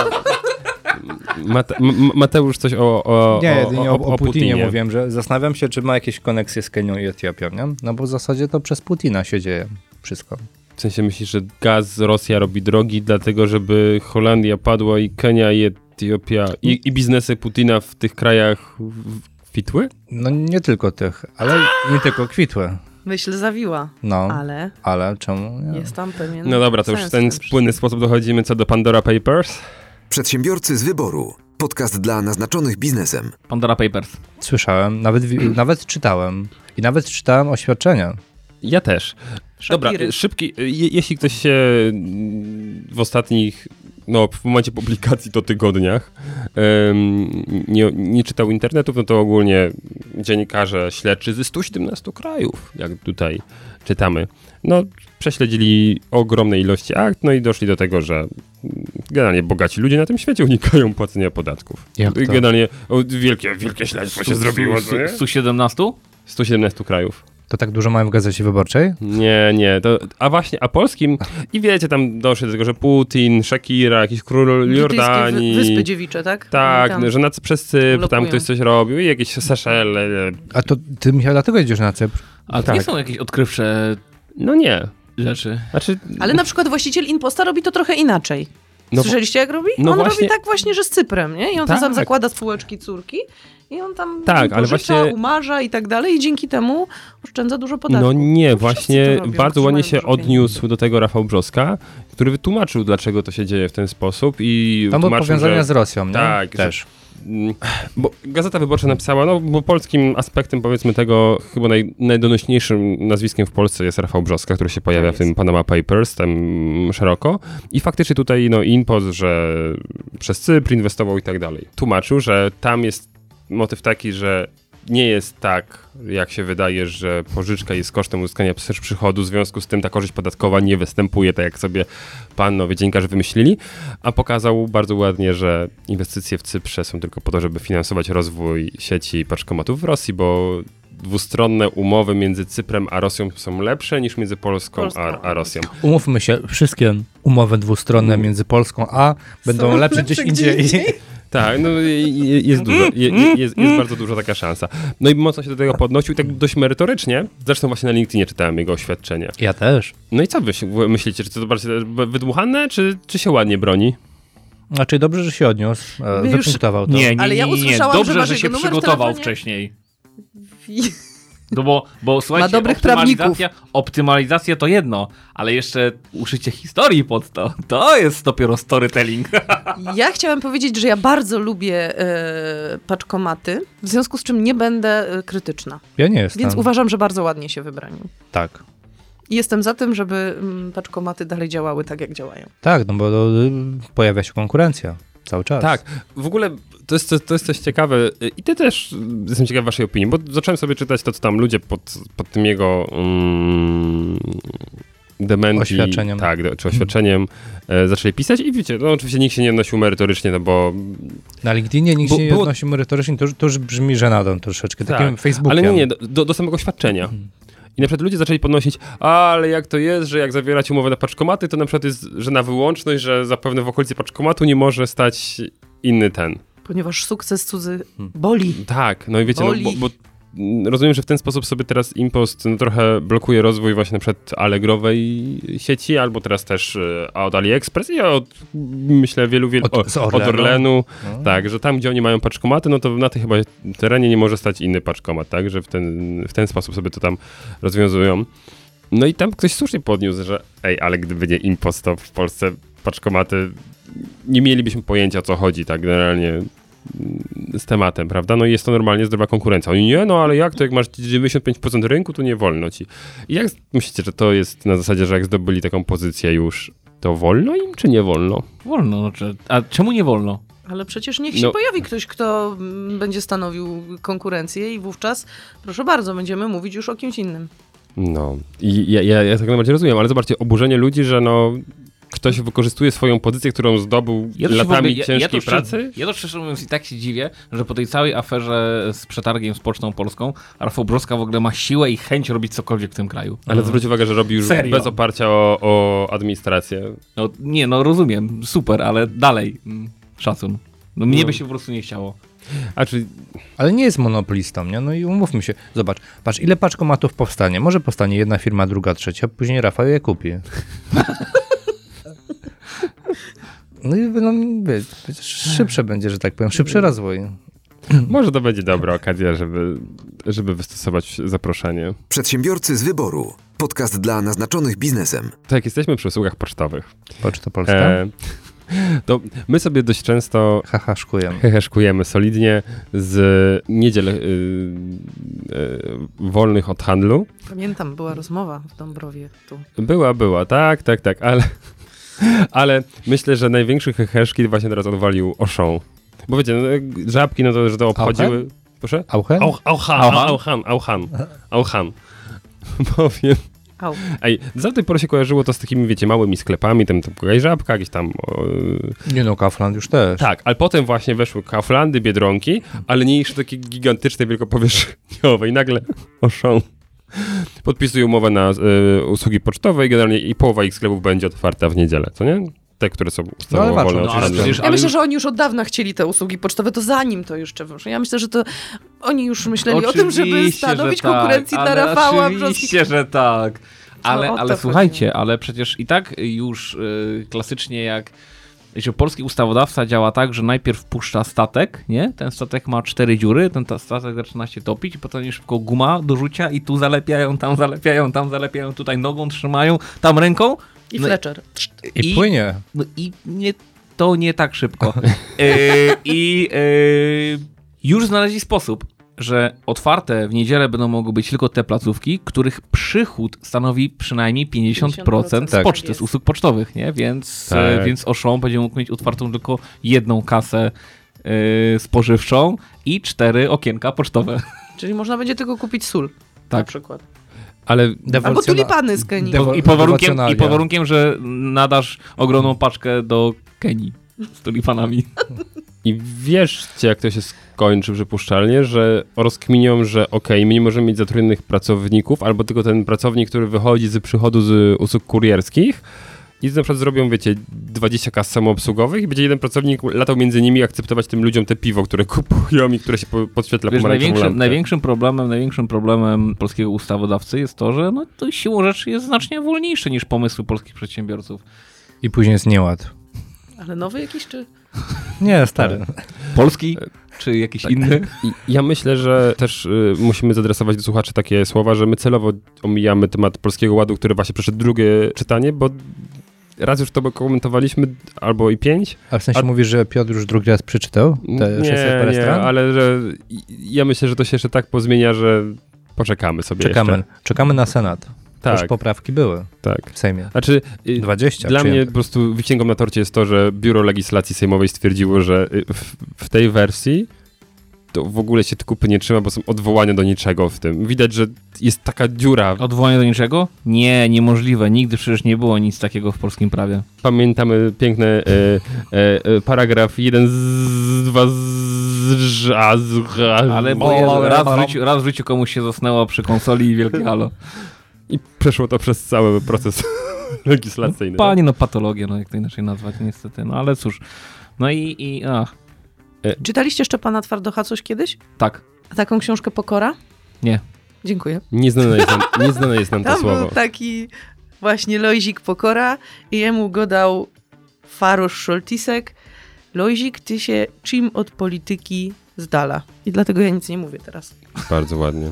B: Mate, M- Mateusz coś o, o,
D: Nie,
B: o,
D: jedynie o, o, Putinie, mówiłem, że zastanawiam się, czy ma jakieś koneksje z Kenią i Etiopią, nie? No bo w zasadzie to przez Putina się dzieje wszystko.
B: W sensie myślisz, że gaz Rosja robi drogi dlatego, żeby Holandia padła i Kenia i Etiopia i, i biznesy Putina w tych krajach w- w- kwitły?
D: No nie tylko tych, ale nie tylko kwitły.
E: Myśl zawiła,
D: No, ale,
E: ale
D: czemu nie?
E: jest tam pewien
B: No dobra, to już w
E: sens
B: ten
E: tym
B: płynny sposób dochodzimy co do Pandora Papers.
A: Przedsiębiorcy z wyboru. Podcast dla naznaczonych biznesem.
C: Pandora Papers.
D: Słyszałem, nawet, wi- nawet czytałem i nawet czytałem oświadczenia
B: Ja też. Dobra, y,
E: Szafiry.
B: szybki. je- Jeśli ktoś się mm, w ostatnich, no w momencie publikacji to tygodniach em, nie, nie czytał internetów, no to ogólnie dziennikarze śledczy ze 117 krajów, jak tutaj czytamy, no prześledzili ogromne ilości akt, no i doszli do tego, że mm, generalnie bogaci ludzie na tym świecie unikają płacenia podatków.
D: Jak to?
B: Generalnie o, wielkie, wielkie śledztwo się zrobiło.
C: Su-
B: no nie?
C: su- 117?
B: 117 krajów.
D: To tak dużo mamy w Gazecie Wyborczej?
B: Nie, nie. To, a właśnie, a polskim. I wiecie, tam doszli do tego, że Putin, Shakira, jakiś król
E: Brytyjskie
B: Jordanii.
E: wy- Wyspy Dziewicze, tak?
B: tak,
E: Tam.
B: że na c- przez Cypr tam
E: Blokują.
B: ktoś coś robił i jakieś e, Seszele.
D: A to ty, Michał, dlatego jedziesz na Cypr?
C: A to
B: Tak.
C: nie są jakieś odkrywcze
B: No nie.
C: rzeczy.
B: Znaczy,
E: Ale na przykład właściciel Imposta robi to trochę inaczej.
B: no,
E: Słyszeliście, jak robi?
B: no
E: on
B: właśnie-
E: robi tak właśnie, że z Cyprem, nie? I on
B: Tak.
E: to sam zakłada spółeczki córki i on tam
B: Tak, ale
E: pożycza,
B: właśnie-
E: umarza i tak dalej i dzięki temu oszczędza dużo podatków.
B: no nie,
E: Wszyscy to
B: właśnie
E: robią,
B: bardzo ładnie się
E: trzymają dużo pieniędzy.
B: odniósł do tego Rafał Brzoska, który wytłumaczył, dlaczego to się dzieje w ten sposób i
D: Tam były
B: tłumaczył,
D: powiązania
B: że...
D: z Rosją, nie?
B: Tak, że-
D: też.
B: Mm, Bo Gazeta Wyborcza napisała, no bo polskim aspektem powiedzmy tego, chyba naj, najdonośniejszym nazwiskiem w Polsce jest Rafał Brzoska, który się pojawia w tym Panama Papers, tam mm, szeroko. I faktycznie tutaj no Inpos, że przez Cypr inwestował i tak dalej. Tłumaczył, że tam jest motyw taki, że nie jest tak, jak się wydaje, że pożyczka jest kosztem uzyskania przy- przychodu, w związku z tym ta korzyść podatkowa nie występuje, tak jak sobie panowie dziennikarze wymyślili, a pokazał bardzo ładnie, że inwestycje w Cyprze są tylko po to, żeby finansować rozwój sieci paczkomatów w Rosji, bo dwustronne umowy między Cyprem a Rosją są lepsze niż między Polską,
E: Polską.
B: A, a Rosją.
D: Umówmy się, wszystkie umowy dwustronne między Polską a będą
E: Są
D: lepsze
E: lepsze
D: gdzieś
E: gdzie
D: indziej.
E: indziej.
B: Tak, no i- i- jest dużo, je- je- jest, jest bardzo dużo taka szansa. No i mocno się do tego podnosił, i tak dość merytorycznie. Zresztą właśnie na LinkedInie czytałem jego oświadczenie.
D: Ja też.
B: No i co wy się- wy myślicie, czy to bardziej wydmuchane, czy, czy się ładnie broni?
D: Znaczy dobrze, że się odniósł, e,
E: My już-
D: wypunktował to.
E: Ale ja usłyszałam, że
C: Dobrze,
E: masz
C: się
E: jego numer
C: przygotował
E: telefonie.
C: wcześniej.
E: I-
C: No bo, bo słuchajcie,
E: dobrych
C: optymalizacja, optymalizacja to jedno, ale jeszcze uszycie historii pod to. To jest dopiero storytelling.
E: Ja chciałam powiedzieć, że ja bardzo lubię e, paczkomaty, w związku z czym nie będę e, krytyczna.
D: Ja nie jestem.
E: Więc
B: Tak.
E: uważam, że bardzo ładnie się wybranił.
D: Tak.
E: I jestem za tym, żeby mm, paczkomaty dalej działały tak, jak działają.
D: Tak, no bo y, pojawia się konkurencja cały czas.
B: Tak, w ogóle to jest, to, to jest coś ciekawe y, i ty też y, jestem ciekaw waszej opinii, bo zacząłem sobie czytać to, co tam ludzie pod, pod tym jego mm, dementi,
D: Oświadczeniem.
B: Tak, do- czy oświadczeniem e, zaczęli pisać i wiecie, no oczywiście nikt się nie odnosił merytorycznie, no bo
D: Na LinkedInie nikt
B: Bo-
D: się nie
B: było-
D: odnosi merytorycznie, to, już- to już brzmi żenadą troszeczkę,
B: Tak,
D: takim Facebookiem.
B: Ale nie, nie, do, do, do samego świadczenia. I na przykład ludzie zaczęli podnosić, "A, ale jak to jest, że jak zawierać umowę na paczkomaty, to na przykład jest, że na wyłączność, że zapewne w okolicy paczkomatu nie może stać inny ten.
E: Ponieważ sukces cudzy
B: Hmm.
E: boli.
B: Tak, no i wiecie, no,
E: Boli.
B: bo, bo mm, rozumiem, że w ten sposób sobie teraz Impost no, trochę blokuje rozwój właśnie na przykład Allegrowej sieci, albo teraz też e, od AliExpress i od, myślę, wielu, wielu,
D: Od- z
B: o-
D: Orlenu. No.
B: od Orlenu. Tak, że tam, gdzie oni mają paczkomaty, no to na tej chyba terenie nie może stać inny paczkomat, tak, że w ten, w ten sposób sobie to tam rozwiązują. No i tam ktoś słusznie podniósł, że ej, ale gdyby nie Impost, to w Polsce paczkomaty nie mielibyśmy pojęcia, o co chodzi tak generalnie mm, z tematem, prawda? No i jest to normalnie zdrowa konkurencja. Oni nie, no ale jak to, jak masz 95% rynku, to nie wolno ci. I jak myślicie, że to jest na zasadzie, że jak zdobyli taką pozycję już, to wolno im, czy nie wolno?
C: Wolno, no czy- a czemu nie wolno?
E: Ale przecież niech się
B: No.
E: pojawi ktoś, kto mm, będzie stanowił konkurencję i wówczas, proszę bardzo, będziemy mówić już o kimś innym.
B: No. I ja, ja, ja tak najbardziej rozumiem, ale zobaczcie, oburzenie ludzi, że no ktoś wykorzystuje swoją pozycję, którą zdobył
C: Ja to się w
B: latami
C: ogóle- ja- ja
B: ciężkiej
C: to szczer-
B: pracy.
C: Ja to szczerze mówiąc i tak się dziwię, że po tej całej aferze z przetargiem z Pocztą Polską Rafał Broska w ogóle ma siłę i chęć robić cokolwiek w tym kraju. Mhm.
B: Ale zwróć uwagę, że robi już
C: No. Serio?
B: bez oparcia o, o administrację.
C: No nie, no rozumiem, super, ale dalej. mm, Szacun. No mnie by się po prostu nie chciało.
B: A czy
D: Ale nie jest monopolistą, nie? No i umówmy się. Zobacz, patrz, ile paczkomatów powstanie. Może powstanie jedna firma, druga, trzecia, później Rafał je kupi. No i no, wie- przecież szybsze będzie, że tak powiem, szybszy rozwój.
B: może to będzie dobra okazja, żeby, żeby wystosować zaproszenie?
A: Przedsiębiorcy z wyboru. Podcast dla naznaczonych biznesem.
B: Tak, jesteśmy przy usługach pocztowych.
D: Poczta Polska.
B: E, To my sobie dość często
D: Haha, szkuję.
B: heheszkujemy solidnie z niedziel y, y, wolnych od handlu.
E: Pamiętam, była rozmowa w Dąbrowie tu.
B: Była, była, tak, tak, tak, ale, ale myślę, że największy heheszki właśnie teraz odwalił Oszą. Bo wiecie, no, żabki, no to, że to obchodziły... Proszę?
D: Auchen?
B: Au- Auchan,
D: Auchan?
B: Auchan, Auchan, Auchan. Powiem.
E: Au.
B: Ej, za tej pory się kojarzyło to z takimi, wiecie, małymi sklepami, tam, tam jakaś żabka, jakieś tam... e,
D: Nie no, Kaufland już też.
B: tak, ale potem właśnie weszły Kauflandy, Biedronki, ale nie jeszcze takie gigantyczne, wielkopowierzchniowe i nagle oszą. Podpisują umowę na e, usługi pocztowe i generalnie i połowa ich sklepów będzie otwarta w niedzielę, co nie? Te, które są ustawowo
D: walczą,
B: wolne
D: no,
B: od
D: ale
B: handlu.
C: przecież-
E: Ja myślę,
C: już-
E: że oni już od dawna chcieli te usługi pocztowe, to zanim to jeszcze wyszło. Ja myślę, że to oni już myśleli o tym, żeby
C: Oczywiście,
E: stanowić
C: że tak,
E: konkurencję
C: ale
E: dla Rafała Brzozkiego.
C: Oczywiście, że tak. Ale,
E: No, o to
C: ale
E: chodzi.
C: słuchajcie, ale przecież i tak już y, klasycznie jak że polski ustawodawca działa tak, że najpierw puszcza statek, nie? Ten statek ma cztery dziury, ten ta statek zaczyna się topić, i potem już tylko guma do rzucia i tu zalepiają, tam zalepiają, tam zalepiają, tutaj nogą trzymają, tam ręką.
E: I
C: No
E: Fletcher.
D: I, płynie.
C: no i nie, to nie tak szybko. E, I e, już znaleźli sposób, że otwarte w niedzielę będą mogły być tylko te placówki, których przychód stanowi przynajmniej 50%,
E: 50%
C: z
E: tak
C: poczty,
E: jest.
C: z usług pocztowych, nie? Więc,
B: Tak.
C: e, więc Auchan będzie mógł mieć otwartą tylko jedną kasę e, spożywczą i cztery okienka pocztowe.
E: Czyli można będzie tylko kupić sól. Na
C: Tak.
E: przykład.
B: Ale
E: Albo
D: Ewolucjona-
E: tulipany z Kenii.
D: Dewo-
C: I pod, warunkiem, I
D: Rewolucjonaria.
C: pod warunkiem, że nadasz ogromną paczkę do Kenii z tulipanami.
B: I wierzcie, jak to się skończy przypuszczalnie, że rozkminią, że okej, my nie możemy mieć zatrudnionych pracowników, albo tylko ten pracownik, który wychodzi z przychodu z usług kurierskich i na przykład zrobią, wiecie, 20 kas samoobsługowych i będzie jeden pracownik latał między nimi i akceptować tym ludziom te piwo, które kupują i które się po- podświetla
C: Wiesz,
B: pomarańczową
C: największym,
B: lampką.
C: największym problemem, największym problemem polskiego ustawodawcy jest to, że no, to siłą rzeczy jest znacznie wolniejsze niż pomysły polskich przedsiębiorców.
D: I później jest nieład.
E: Ale nowy jakiś czy...
D: Nie, stary.
C: Polski E, czy jakiś inny?
B: I ja myślę, że też y, musimy zadresować do słuchaczy takie słowa, że my celowo omijamy temat Polskiego Ładu, który właśnie przeszedł drugie czytanie, bo raz już to komentowaliśmy, albo i pięć.
D: A w sensie
B: A-
D: mówisz, że Piotr już drugi raz przeczytał? Te
B: nie,
D: 600 parę
B: nie,
D: stron?
B: ale że i- ja myślę, że to się jeszcze tak pozmienia, że poczekamy sobie
D: Czekamy.
B: jeszcze.
D: Czekamy na Senat.
B: Tak,
D: Już poprawki były
B: tak.
D: w Sejmie.
B: Znaczy, y,
D: 20
B: dla mnie
D: przyjęte.
B: po prostu wisienką na torcie jest to, że Biuro Legislacji Sejmowej stwierdziło, że y, w, w tej wersji to w ogóle się kupy nie trzyma, bo są odwołania do niczego w tym. Widać, że jest taka dziura.
C: Odwołanie do niczego? Nie, niemożliwe. Nigdy przecież nie było nic takiego w polskim prawie.
B: Pamiętamy piękny e, e, e, paragraf 1 z 2 z ża- z ża-
C: Ale bo
D: Bo-
C: raz, w życiu, raz w życiu komuś się zasnęło przy konsoli i wielkie halo.
B: I przeszło to przez cały proces legislacyjny.
C: Panie, no patologię, no jak to inaczej nazwać niestety. No ale cóż. No i, i ach,
E: Czytaliście Szczepana Twardocha coś kiedyś?
C: tak.
E: Taką książkę Pokora?
C: Nie.
E: Dziękuję.
B: Nieznane jest nam, nieznane jest nam to
E: Tam był tak.
B: słowo.
E: taki właśnie Lojzik Pokora i jemu go dał Farosz Szoltisek. Lojzik, ty się czym od polityki z dala. I dlatego ja nic nie mówię teraz.
B: Bardzo ładnie.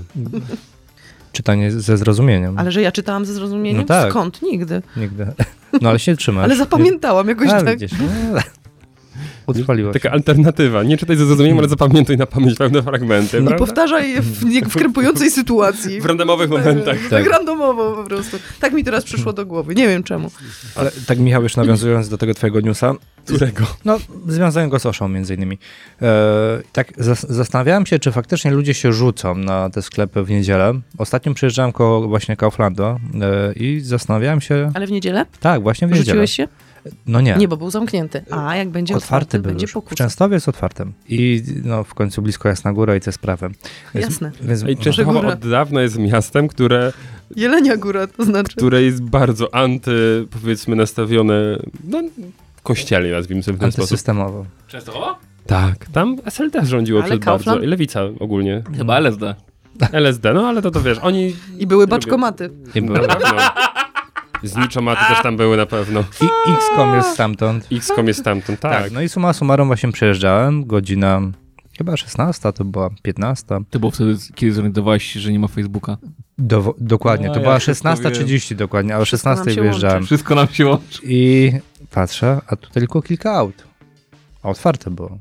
D: Czytanie ze zrozumieniem.
E: Ale że ja czytałam ze zrozumieniem?
D: No tak.
E: Skąd? Nigdy.
D: Nigdy. No ale się trzymasz.
E: Ale zapamiętałam jakoś
D: A,
E: tak.
D: widzisz, no. Utrwaliłeś.
B: Taka alternatywa. Nie czytaj ze zrozumieniem, ale zapamiętaj na pamięć pewne fragmenty,
E: I
B: prawda?
E: powtarzaj je w, nie- w krępującej sytuacji.
B: W randomowych momentach.
E: Tak randomowo po prostu. Tak mi teraz przyszło do głowy. Nie wiem czemu.
D: Ale tak Michał, już nawiązując do tego twojego newsa,
B: Którego?
D: no związałem go z Oszą między innymi. E, tak zas- zastanawiałem się, czy faktycznie ludzie się rzucą na te sklepy w niedzielę. Ostatnio przejeżdżałem koło właśnie Kauflanda e, i zastanawiałem się,
E: Ale w niedzielę?
D: tak właśnie w niedzielę.
E: Rzuciłeś się?
D: No nie.
E: Nie, bo był zamknięty. A jak będzie otwarty,
D: Otwarty był
E: będzie
D: już. W
E: pokusa.
D: Częstowie jest otwartym. I no, w końcu blisko Jasna Góra i te sprawy. Więc-
E: Jasne.
D: Więc,
B: Ej,
D: no,
B: Częstochowa
E: Szczególne.
B: od dawna jest miastem, które,
E: Jelenia Góra to znaczy.
B: które jest bardzo anty, powiedzmy, nastawione, no, kościelnie nazwijmy sobie w ten sposób.
D: antysystemowo.
C: Przez to?
B: Tak, tam SLD rządziło
E: Ale
B: przed
E: Kaufland?
B: bardzo. I lewica ogólnie.
C: Chyba LSD.
B: LSD, no ale to to wiesz, oni...
E: I były baczkomaty.
D: I,
B: Na pewno. Zniczomaty też tam były na pewno.
D: I XCOM jest stamtąd.
B: X-kom jest stamtąd,
D: Tak.
B: tak.
D: no i suma summarum właśnie przejeżdżałem, godzina chyba 16, to była 15.
C: Ty było wtedy, kiedy zorientowałeś się, że nie ma Facebooka.
D: Do, dokładnie,
C: A,
D: to
C: No ja
D: była
C: wszystko
D: 16.30 dokładnie, a o
E: Wszystko nam
D: 16
E: się
D: wyjeżdżałem.
C: Wszystko nam się łączy.
D: I Patrzę, a tu tylko kilka aut. A otwarte było.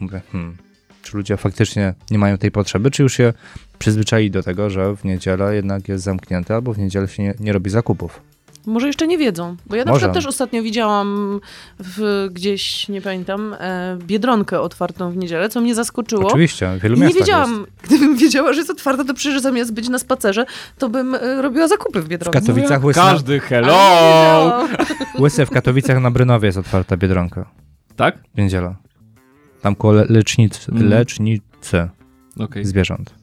D: Mówię, hmm, czy ludzie faktycznie nie mają tej potrzeby, czy już się przyzwyczaili do tego, że w niedzielę jednak jest zamknięte, albo w niedzielę się nie, nie robi zakupów.
E: Może jeszcze nie wiedzą, bo ja na
D: Może.
E: przykład też ostatnio widziałam w, gdzieś, nie pamiętam, e, Biedronkę otwartą w niedzielę, co mnie zaskoczyło.
D: Oczywiście, w wielu
E: I nie
D: miastach
E: wiedziałam,
D: jest.
E: gdybym wiedziała, że jest otwarta, to przecież zamiast być na spacerze, to bym e, robiła zakupy w
D: W
E: Biedronce. No.
D: Katowicach, łysy,
C: Każdy,
E: Ale
C: hello!
E: nie wiedziałam.
D: łysy w Katowicach na Brynowie jest otwarta Biedronka
C: Tak?
D: w niedzielę. Tam koło le- lecznicy,
B: Mm.
C: Mhm.
D: lecznicy
C: Okej.
D: zwierząt.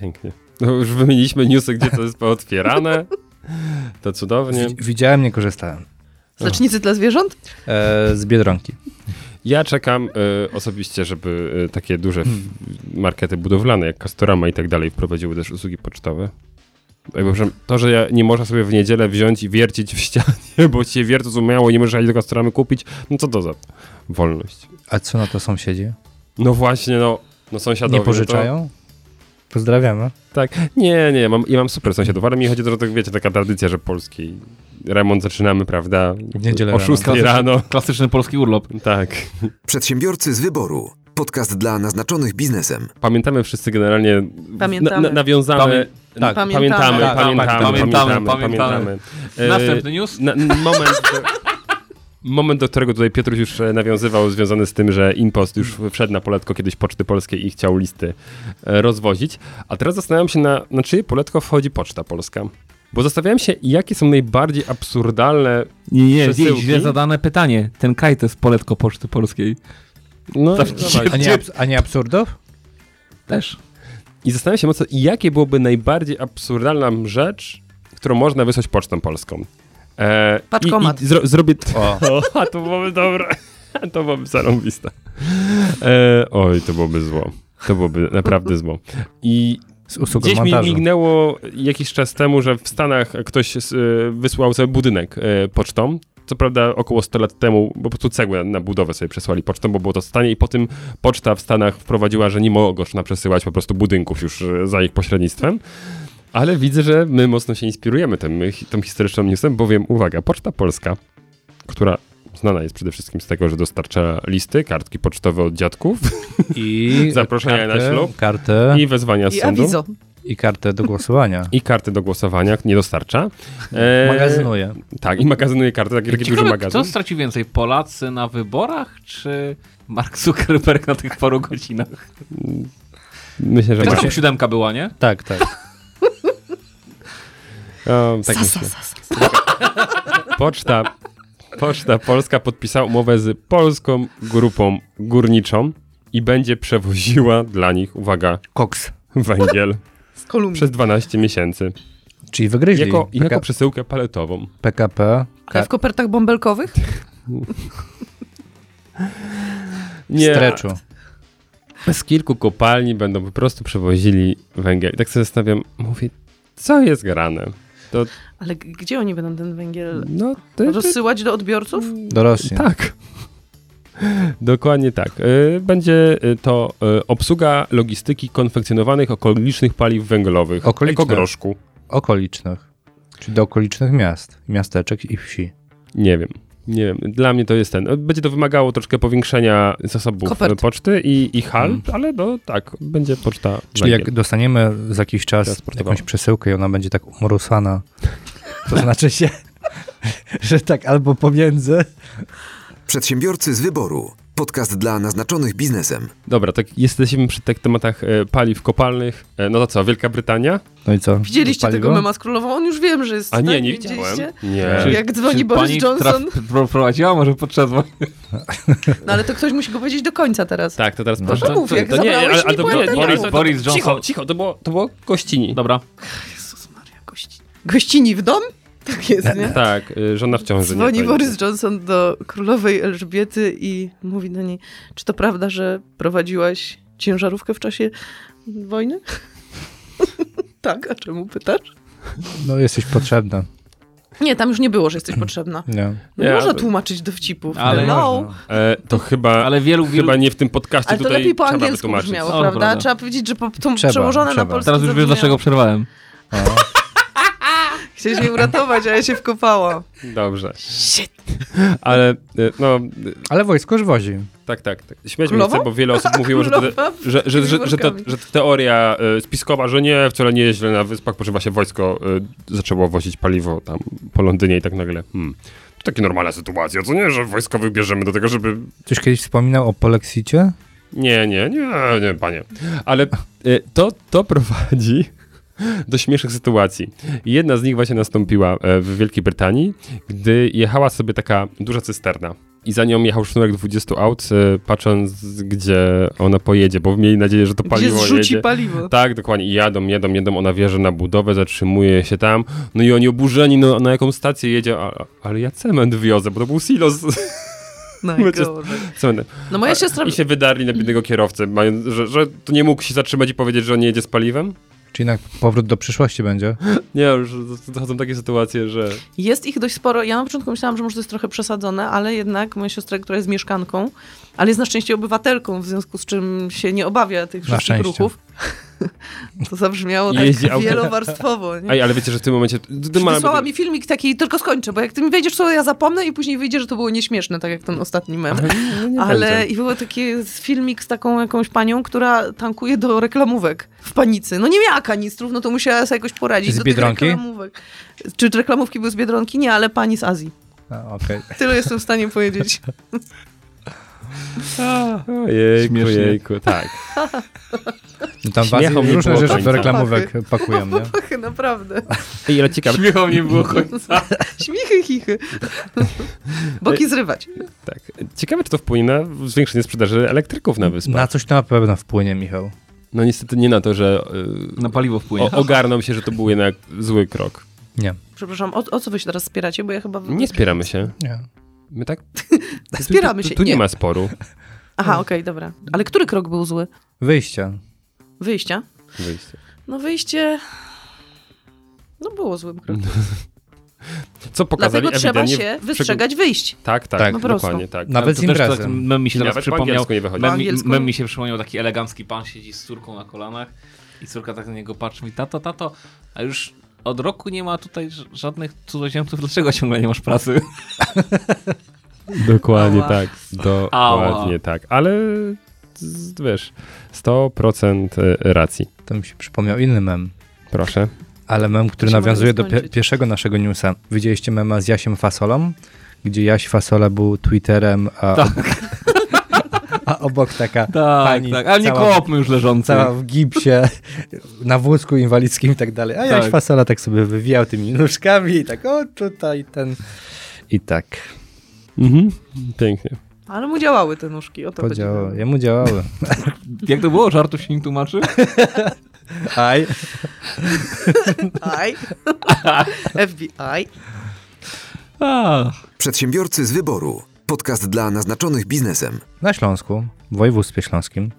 B: Pięknie. No już wymieniliśmy newsy, gdzie to jest pootwierane. To cudownie.
D: Wi- Widziałem, nie korzystałem.
E: Znacznicy dla zwierząt?
D: E, z Biedronki.
B: Ja czekam y, osobiście, żeby y, takie duże f-
D: Hmm.
B: markety budowlane, jak Castorama i tak dalej, wprowadziły też usługi pocztowe. Jakby, przepraszam, to, że ja nie można sobie w niedzielę wziąć i wiercić w ścianie, bo ci się wiertu zumiało i nie możesz ani do Castoramy kupić, no co to za wolność?
D: A co na to sąsiedzi?
B: No właśnie, no, no sąsiadowie.
D: Nie
B: no
D: pożyczają? Pozdrawiamy.
B: To, tak. Nie, nie, mam, ja mam super sąsiadów, ale mi chodzi o to, że tak, wiecie, taka tradycja, że polski remont zaczynamy, prawda?
D: W niedzielę
B: o
D: rano.
B: 6 rano.
C: Klasyczny polski urlop.
B: Tak.
A: Przedsiębiorcy z wyboru. Podcast dla naznaczonych biznesem.
B: Pamiętamy wszyscy generalnie.
E: Pamiętamy.
B: Na, na, nawiązamy.
C: Pamię-
B: na-
D: tak.
B: Pamiętamy, pamiętamy,
C: Tak, tak,
B: pamiętamy,
C: pamiętamy,
B: pamiętamy,
C: pamiętamy.
B: E,
C: Następny news?
B: na- n- moment. Moment, do którego tutaj Piotruś już e, nawiązywał, związany z tym, że Impost już wszedł na poletko kiedyś Poczty Polskiej i chciał listy e, rozwozić. A teraz zastanawiam się, na, na czyje poletko wchodzi Poczta Polska. Bo zastanawiam się, jakie są najbardziej absurdalne.
C: Nie, nie,
B: Przesyłki?
C: źle zadane pytanie. Ten kraj to jest poletko Poczty Polskiej.
B: No,
C: Zawsze-
D: A nie, abs- a nie absurdów?
C: Też.
B: I zastanawiam się mocno, jakie byłoby najbardziej absurdalna rzecz, którą można wysłać pocztą polską. E,
E: Paczkomat.
B: I, i zro, zrobię...
D: O.
B: O, a to byłoby dobre. To byłoby zarąbiste. E, oj, to byłoby zło. To byłoby naprawdę zło. I
D: Z usługą
B: Gdzieś mi
D: montażu.
B: mignęło jakiś czas temu, że w Stanach ktoś s- y, wysłał sobie budynek y, pocztą. Co prawda około 100 lat temu po prostu cegłę na budowę sobie przesłali pocztą, bo było to w stanie i po tym poczta w Stanach wprowadziła, że nie można przesyłać po prostu budynków już y, za ich pośrednictwem. Ale widzę, że my mocno się inspirujemy tym, y, tą historyczną newsem, bowiem, uwaga, Poczta Polska, która znana jest przede wszystkim z tego, że dostarcza listy, kartki pocztowe od dziadków
D: I
B: Zaproszenia na
D: karty,
B: ślub.
D: Kartę i,
B: i wezwania z
E: I
B: sądu.
E: awizo.
D: kartę do głosowania.
B: i karty do głosowania nie dostarcza. E,
D: Magazynuje.
B: Tak, i magazynuje karty, taki, taki duży
C: Ciekawe,
B: magazyn.
C: kto straci więcej? Polacy na wyborach, czy Mark Zuckerberg na tych paru godzinach?
B: Myślę, że
C: Też
B: Marcin.
C: tam siódemka była, nie?
D: Tak, tak.
B: Um, tak
E: Sa, sa,
B: myślę.
E: sa, sa.
B: Poczta, Poczta Polska podpisała umowę z polską grupą górniczą i będzie przewoziła dla nich, uwaga,
D: Koks.
B: węgiel
E: Z Kolumbii.
B: przez 12 miesięcy.
D: Czyli wygryźli.
B: Jako,
D: PK,
B: jako przesyłkę paletową.
D: PKP.
E: Ale w kopertach bąbelkowych?
D: Nie. Streczu.
B: z kilku kopalni będą po prostu przewozili węgiel. I tak sobie zastanawiam, mówię, co jest grane? To,
E: Ale g- gdzie oni będą ten węgiel
B: no, to, to,
E: rozsyłać do odbiorców?
D: Do Rosji.
B: Tak. Dokładnie tak. Y, Będzie y, to y, obsługa logistyki konfekcjonowanych okolicznych paliw węglowych.
D: Okoliczne.
B: Ekogroszku.
D: Okolicznych. Czyli do okolicznych miast, miasteczek i wsi.
B: Nie wiem. Nie wiem. Dla mnie to jest ten. Będzie to wymagało troszkę powiększenia zasobów
E: Kopert.
B: y, poczty i, i hal, ale no tak, będzie poczta
D: Czyli jak
B: węgiel.
D: dostaniemy za jakiś czas
B: Transportowa.
D: jakąś przesyłkę i ona będzie tak umrusana, to znaczy się, że tak albo pomiędzy.
A: Przedsiębiorcy z wyboru. Podcast dla naznaczonych biznesem.
B: Dobra, tak jesteśmy przy tych tematach y, paliw kopalnych. E, No to co, Wielka Brytania?
D: No i co?
E: Widzieliście
D: Paliwo?
E: tego mema z królową? On już wiem, że jest.
B: A nie,
E: tak?
B: nie widziałem. Tak,
E: widzieliście?
B: Nie.
E: Czy- Jak dzwoni Boris
C: pani
E: Johnson?
C: traf- pro- Prowadziła może podczas wojny.
E: No ale to ktoś musi go powiedzieć do końca teraz.
B: Tak, to teraz
D: No.
B: proszę.
E: No to mów, jak zabrałeś mi
B: to,
E: puentę,
B: Boris-
E: to mów.
C: Boris
B: Cicho,
C: Johnson.
B: cicho, to było, to było gościni.
C: Dobra.
E: Jezus Maria, gościni. Gościni w dom? Tak jest, nie?
B: Tak, y, żona w ciąży. nie, to
E: Dzwoni
B: nie.
E: Boris Johnson do królowej Elżbiety i mówi do niej, czy to prawda, że prowadziłaś ciężarówkę w czasie wojny? tak, a czemu pytasz?
D: No jesteś potrzebna.
E: Nie, tam już nie było, że jesteś potrzebna.
D: Nie.
E: No,
B: Nie,
E: można
B: ale-
E: tłumaczyć dowcipów.
C: Ale-
E: no.
B: E, to chyba,
C: Ale wielu, wielu...
B: chyba nie w tym podcaście
E: Ale to
B: tutaj
E: lepiej po
B: trzeba
E: angielsku
B: wytłumaczyć.
E: brzmiało,
C: No,
E: prawda?
C: prawda.
E: Trzeba powiedzieć, że po, to
D: Trzeba,
E: przełożone
D: trzeba.
E: na polski
C: Teraz już wiesz,
E: zabrzmiało.
C: dlaczego przerwałem.
D: O.
E: Chciałeś mnie uratować, a ja się wkopałam.
B: Dobrze. Ale e, no, e,
D: Ale wojsko już wozi.
B: tak, tak. tak. Śmiać mnie
E: Królową?
B: chce, bo wiele osób mówiło, że, te,
E: Królowa
B: że, że, że, że, to,
E: workami.
B: że teoria e, spiskowa, że nie, wcale nie źle na wyspach, po czym właśnie wojsko e, zaczęło wozić paliwo tam po Londynie i tak nagle. Hmm. To Taka normalna sytuacja, co nie, że wojskowych bierzemy do tego, żeby
D: Ktoś kiedyś wspominał o polexicie?
B: Nie, nie, nie, nie, panie. Ale y, to, to prowadzi do śmiesznych sytuacji. Jedna z nich właśnie nastąpiła e, w Wielkiej Brytanii, gdy jechała sobie taka duża cysterna. I za nią jechał sznurek 20 aut, e, patrząc, gdzie ona pojedzie, bo mieli nadzieję, że to
E: Gdzie
B: paliwo
E: zrzuci
B: jedzie.
E: paliwo.
B: Tak, dokładnie. I jadą, jadą, jadą, ona wjeżdża na budowę, zatrzymuje się tam. No i oni oburzeni, no na jaką stację jedzie, a, a- ale ja cement wiozę, bo to był silos z
E: Najgorzej.
B: cementem.
E: No moja siostra...
B: I się wydarli na biednego kierowcę, mając, że, że to nie mógł się zatrzymać i powiedzieć, że on nie jedzie z paliwem?
D: Czy jednak powrót do przyszłości będzie?
B: Nie, już zachodzą takie sytuacje, że...
E: Jest ich dość sporo. Ja na początku myślałam, że może to jest trochę przesadzone, ale jednak moja siostra, która jest mieszkanką, ale jest na szczęście obywatelką, w związku z czym się nie obawia tych wszystkich
D: szczęście.
E: ruchów. to zabrzmiało tak
B: Jeździ autem.
E: wielowarstwowo. Nie?
B: Ej, ale wiecie, że w tym momencie... d- d-
E: Przysłała
B: mamy-
E: mi filmik taki, tylko skończę, bo jak ty mi wejdziesz, to ja zapomnę i później wyjdzie, że to było nieśmieszne, tak jak ten ostatni mem.
B: No nie
E: Ale
B: będzie.
E: i było taki filmik z taką jakąś panią, która tankuje do reklamówek w panicy. No nie miała kanistrów, no to musiała sobie jakoś poradzić
D: Z
E: do
D: Biedronki?
E: tych reklamówek. Czy reklamówki były z Biedronki? Nie, ale pani z Azji.
D: A, Okej.
E: Tyle jestem w stanie powiedzieć.
B: Ojejku,
D: Śmiesznie.
B: jejku, tak.
D: No Tam was
B: Śmiechom nie
D: różne
B: było
D: rzeczy
B: końca.
D: do reklamówek
E: Tak.
D: pakują, nie?
E: Chłopaki, naprawdę.
B: Ej, ale ciekawe...
C: Śmiechom nie było końca.
E: Śmichy, chichy. Boki zrywać.
B: Tak. Ciekawe, czy to wpłynie na zwiększenie sprzedaży elektryków na wyspach.
D: Na coś to na pewno wpłynie, Michał.
B: No niestety nie na to, że
C: Na paliwo
B: y,
C: wpłynie.
B: o, ogarną się, że to był jednak zły krok.
D: Nie.
E: Przepraszam, o, o co wy się teraz spieracie? Bo ja chyba...
B: Nie spieramy się.
D: Nie.
B: My tak... Tu-
E: Spieramy
B: tu,
E: się,
B: tu, tu nie
E: nie.
B: ma sporu.
E: Aha, okej, dobra. Ale który krok był zły?
D: Wyjście.
E: Wyjścia?
B: Wyjście.
E: No wyjście... No było złym krokiem.
B: Co pokazali
E: Dlatego trzeba
B: ewidentnie w
E: się
B: przegu-
E: wystrzegać wyjść.
B: Tak, tak,
D: Tak.
E: Po prostu.
B: dokładnie tak.
D: Nawet z
C: To też
D: imprezy.
C: tak Mem mi się teraz
B: Nawet po
C: przypomniał.
B: angielsku nie wychodzi.
E: Po
C: Mem, mi-
E: angielsku?
C: mem mi się przypomniał taki elegancki pan siedzi z córką na kolanach i córka tak na niego patrzy i tato, tato, a już od roku nie ma tutaj ż- żadnych cudzoziemców, dlaczego ciągle nie masz pracy?
B: Dokładnie
E: Ała.
B: tak. Dokładnie tak. Ale z- wiesz, 100% racji.
D: To mi się przypomniał inny mem.
B: Proszę.
D: Ale mem, który
E: Musimy
D: nawiązuje
E: to
D: do pie-
E: skończyć.
D: pierwszego naszego newsa. Widzieliście mema z Jasiem Fasolą, gdzie Jaś Fasola był Twitterem, a, a obok taka
C: Tak.
D: pani
C: ale nie
D: Tak, cała,
C: kopmy już leżący.
D: cała w gipsie, na wózku inwalidzkim i tak dalej. A Jaś
C: Tak.
D: Fasola tak sobie wywijał tymi nóżkami i tak o tutaj ten... I tak
B: Mhm. Pięknie.
E: Ale mu działały te nóżki, o to chodzi.
D: podziałało. Jemu działały.
C: Jak to było? Żartów się nie tłumaczy?
D: Aj.
E: Aj. FBI.
A: Przedsiębiorcy z wyboru. Podcast dla naznaczonych biznesem.
D: Na Śląsku, w województwie śląskim,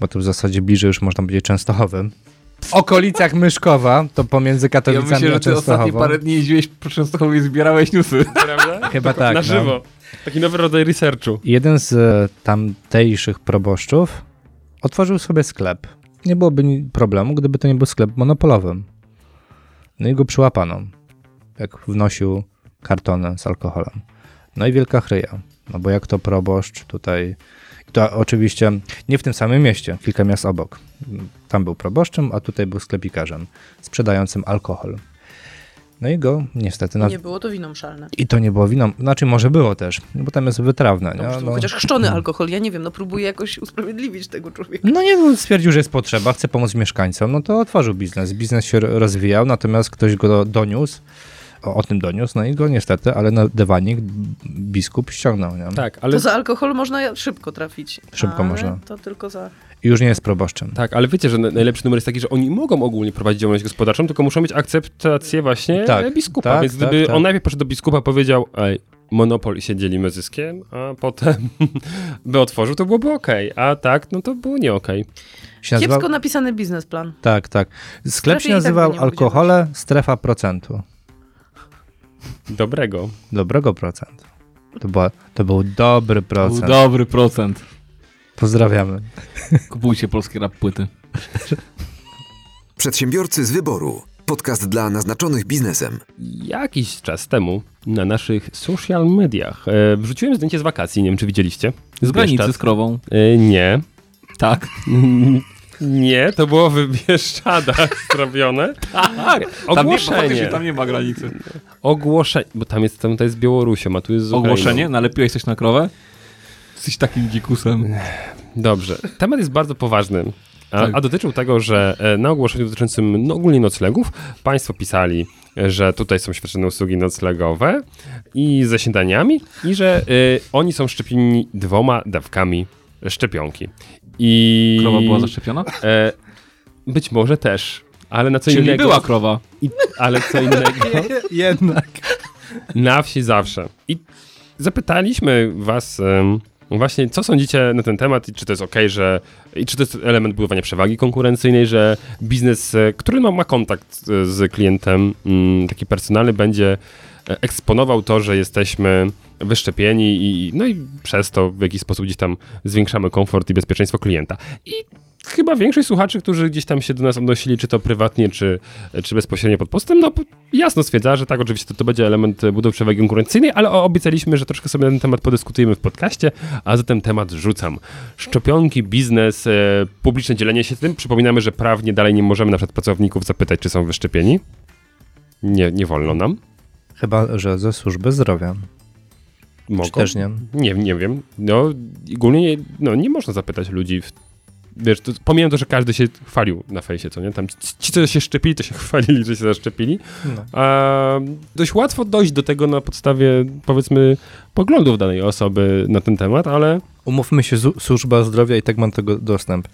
D: bo to w zasadzie bliżej już można powiedzieć Częstochowy. W okolicach Myszkowa, to pomiędzy
C: ja
D: Katowicami
C: myślę,
D: a
C: że ty ostatnie
D: Częstochową.
C: parę dni jeździłeś po Częstochowie i zbierałeś newsy.
B: Prawda?
D: Chyba tak.
B: Na
D: no.
B: żywo. Taki nowy rodzaj researchu.
D: Jeden z e, tamtejszych proboszczów otworzył sobie sklep. Nie byłoby ni- problemu, gdyby to nie był sklep monopolowy. No i go przyłapano, jak wnosił kartony z alkoholem. No i wielka chryja, no bo jak to proboszcz tutaj... To oczywiście nie w tym samym mieście, kilka miast obok. Tam był proboszczem, a tutaj był sklepikarzem sprzedającym alkohol. No i go niestety... Na...
E: Nie było to wino mszalne.
D: I to nie było wino, znaczy może było też, bo tam jest wytrawne.
E: No,
D: nie?
E: może to był
D: No.
E: chociaż chrzczony alkohol, ja nie wiem, no próbuję jakoś usprawiedliwić tego człowieka.
D: No nie, no, stwierdził, że jest potrzeba, chce pomóc mieszkańcom, no to otworzył biznes. Biznes się ro- rozwijał, natomiast ktoś go do- doniósł, o, o tym doniósł, no i go niestety, ale na dywanik biskup ściągnął, nie?
B: Tak, ale,
E: To za alkohol można szybko trafić.
D: Szybko
E: ale
D: można.
E: To tylko za...
D: I już nie jest proboszczem.
B: tak, ale wiecie, że na- najlepszy numer jest taki, że oni mogą ogólnie prowadzić działalność gospodarczą, tylko muszą mieć akceptację właśnie
D: Tak,
B: e, biskupa.
D: tak,
B: Więc
D: tak,
B: gdyby
D: tak.
B: on najpierw poszedł do biskupa powiedział, ej, monopol i się dzielimy zyskiem, a potem by otworzył, to byłoby okej. A tak, no to było nie okej.
D: Się nazywał...
E: Kiepsko napisany biznesplan.
D: Tak, tak. Sklep
E: Strefie
D: się
E: i tak
D: nazywał
E: by nie
D: Alkohole Strefa Procentu.
B: Dobrego.
D: Dobrego procentu. To, była, to był dobry procent.
C: Dobry procent.
D: Pozdrawiamy.
C: Kupujcie polskie rap płyty.
A: Przedsiębiorcy z wyboru. Podcast dla naznaczonych biznesem.
B: Jakiś czas temu na naszych social mediach e, wrzuciłem zdjęcie z wakacji, nie wiem czy widzieliście.
C: Z granicy
B: Bieszczad.
C: z krową.
B: E, nie.
C: Tak.
B: Nie, to było w Bieszczadach zrobione.
C: Tak. Tam nie,
B: Ogłoszenie.
C: bo tam nie ma granicy.
B: Ogłoszenie, bo tam jest, tam to jest z Białorusią, a tu jest z Ukrainą.
C: Ogłoszenie? Nalepiłeś coś na krowę? Jesteś takim dzikusem.
B: Dobrze. Temat jest bardzo poważny. A,
C: Tak.
B: a dotyczył tego, że e, na ogłoszeniu dotyczącym no, ogólnie noclegów państwo pisali, e, że tutaj są świadczone usługi noclegowe i ze śniadaniami i że e, oni są szczepieni dwoma dawkami szczepionki. I
C: Krowa była zaszczepiona?
B: e, Być może też, ale na co
C: Czyli
B: innego.
C: była krowa.
B: i, ale co innego.
D: Jednak.
B: Na wsi zawsze. I zapytaliśmy was em, właśnie, co sądzicie na ten temat i czy to jest okej, że i czy to jest element budowania przewagi konkurencyjnej, że biznes, e, który ma, ma kontakt e, z klientem mm, taki personalny, będzie e, eksponował to, że jesteśmy wyszczepieni i no i przez to w jakiś sposób gdzieś tam zwiększamy komfort i bezpieczeństwo klienta. I chyba większość słuchaczy, którzy gdzieś tam się do nas odnosili, czy to prywatnie, czy, czy bezpośrednio pod postem, no jasno stwierdza, że tak, oczywiście to, to będzie element e, budowy przewagi konkurencyjnej, ale o- obiecaliśmy, że troszkę sobie na ten temat podyskutujemy w podcaście, a zatem temat rzucam. Szczepionki, biznes, e, publiczne dzielenie się tym. Przypominamy, że prawnie dalej nie możemy na przykład pracowników zapytać, czy są wyszczepieni. Nie, nie wolno nam.
D: Chyba, że ze służby zdrowia.
B: Mogą.
D: Czy też nie?
B: Nie, nie wiem. No, ogólnie nie- no, nie można zapytać ludzi. W, wiesz, to, pomijam to, że każdy się chwalił na fejsie, co nie? Tam ci, ci, co się szczepili, to się chwalili, że się zaszczepili.
D: No.
B: A, dość łatwo dojść do tego na podstawie, powiedzmy, poglądów danej osoby na ten temat, ale
D: Umówmy się, zu- służba zdrowia i tak ma do tego dostęp,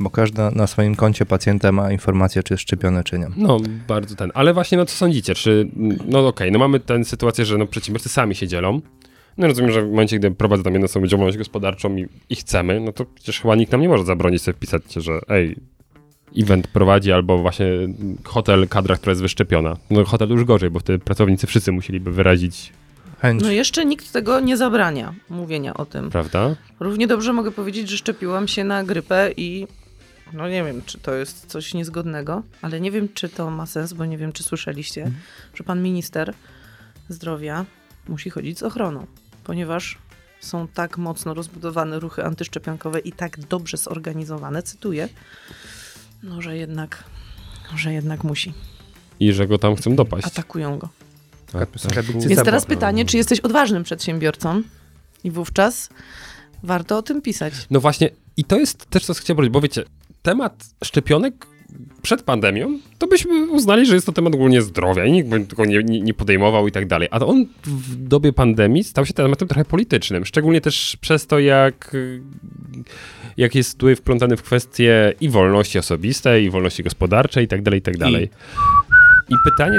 D: bo każda na swoim koncie pacjenta ma informację, czy jest szczepiony, czy nie.
B: no, bardzo ten. Ale właśnie, no, co sądzicie? Czy, no, okej, no mamy tę sytuację, że no, przedsiębiorcy sami się dzielą. No, rozumiem, że w momencie, gdy prowadzę tam jedną samą działalność gospodarczą i, i chcemy, no to przecież chyba nikt nam nie może zabronić sobie wpisać, że ej, event prowadzi albo właśnie hotel kadra, która jest wyszczepiona. No, hotel już gorzej, bo wtedy pracownicy wszyscy musieliby wyrazić,
D: Chęć.
E: No jeszcze nikt tego nie zabrania mówienia o tym.
B: prawda?
E: Równie dobrze mogę powiedzieć, że szczepiłam się na grypę i no nie wiem, czy to jest coś niezgodnego, ale nie wiem, czy to ma sens, bo nie wiem, czy słyszeliście, że pan minister zdrowia musi chodzić z ochroną, ponieważ są tak mocno rozbudowane ruchy antyszczepionkowe i tak dobrze zorganizowane, cytuję, no że jednak, że jednak musi.
B: I że go tam chcą dopaść.
E: Atakują go.
B: A, tak.
D: Skarbnicy
E: tak, Więc
D: Jest
E: teraz
B: no.
D: zabawa.
E: pytanie, czy jesteś odważnym przedsiębiorcą i wówczas warto o tym pisać.
B: No właśnie, i to jest też to, co chciałem powiedzieć, bo wiecie, temat szczepionek przed pandemią, to byśmy uznali, że jest to temat ogólnie zdrowia i nikt by tego nie, nie nie podejmował i tak dalej. A on w dobie pandemii stał się tematem trochę politycznym, szczególnie też przez to, jak, y, jak jest tutaj wplątany w kwestie i wolności osobistej, i wolności gospodarczej i tak dalej, i tak dalej. I pytanie...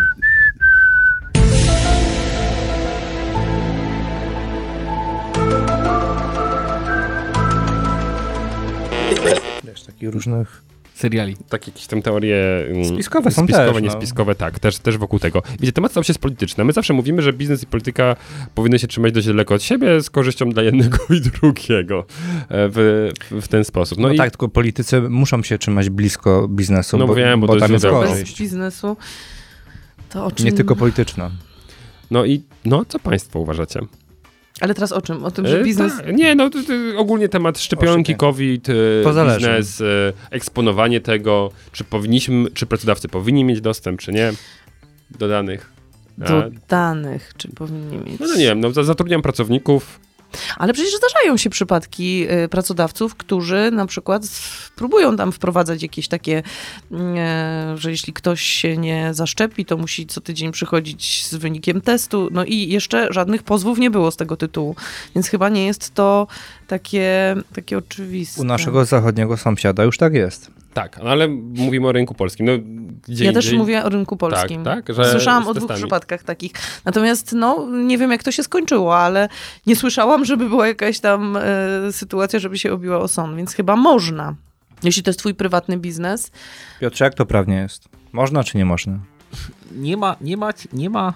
D: Wiesz, takich różnych...
C: Seriali.
B: tak jakieś tam teorie... mm,
D: Spiskowe są
B: Spiskowe,
D: też, no.
B: niespiskowe, tak, też, też wokół tego. Wiecie, temat stał się polityczny. My zawsze mówimy, że biznes i polityka powinny się trzymać dość daleko od siebie, z korzyścią dla jednego i drugiego e, w, w ten sposób. No,
D: No
B: i
D: tak, tylko politycy muszą się trzymać blisko biznesu,
B: No
D: bo,
B: wiem, bo to
D: tam
B: jest
D: jest
B: źródełko.
E: bez
D: korzyść.
E: biznesu, to o czym...
D: Nie tylko polityczna.
B: no i no, co państwo uważacie?
E: Ale teraz o czym? O tym, że
B: E,
E: biznes...
B: tak, nie, no to, to, ogólnie temat szczepionki,
D: Oszczepionki.
B: COVID, e,
D: To zależy.
B: biznes, e, eksponowanie tego, czy powinniśmy, czy pracodawcy powinni mieć dostęp, czy nie, do danych. E,
E: Do danych, czy powinni mieć.
B: no, no nie wiem, no, za- zatrudniam pracowników,
E: Ale przecież zdarzają się przypadki y, pracodawców, którzy na przykład w- próbują tam wprowadzać jakieś takie, mm, że jeśli ktoś się nie zaszczepi, to musi co tydzień przychodzić z wynikiem testu. No i jeszcze żadnych pozwów nie było z tego tytułu, więc chyba nie jest to takie, takie oczywiste.
D: U naszego zachodniego sąsiada już tak jest.
B: tak, no, ale mówimy o rynku polskim. No, gdzie
E: ja też
B: indziej-
E: mówię o rynku polskim.
B: Tak, tak, że
E: Słyszałam
B: z
E: o dwóch
B: testami.
E: przypadkach takich. Natomiast, no, nie wiem jak to się skończyło, ale nie słyszałam, żeby była jakaś tam e, sytuacja, żeby się obiła o sąd, więc chyba można. Jeśli to jest twój prywatny biznes,
D: Piotrze, jak to prawnie jest? Można czy nie można?
C: Nie ma, nie ma, nie ma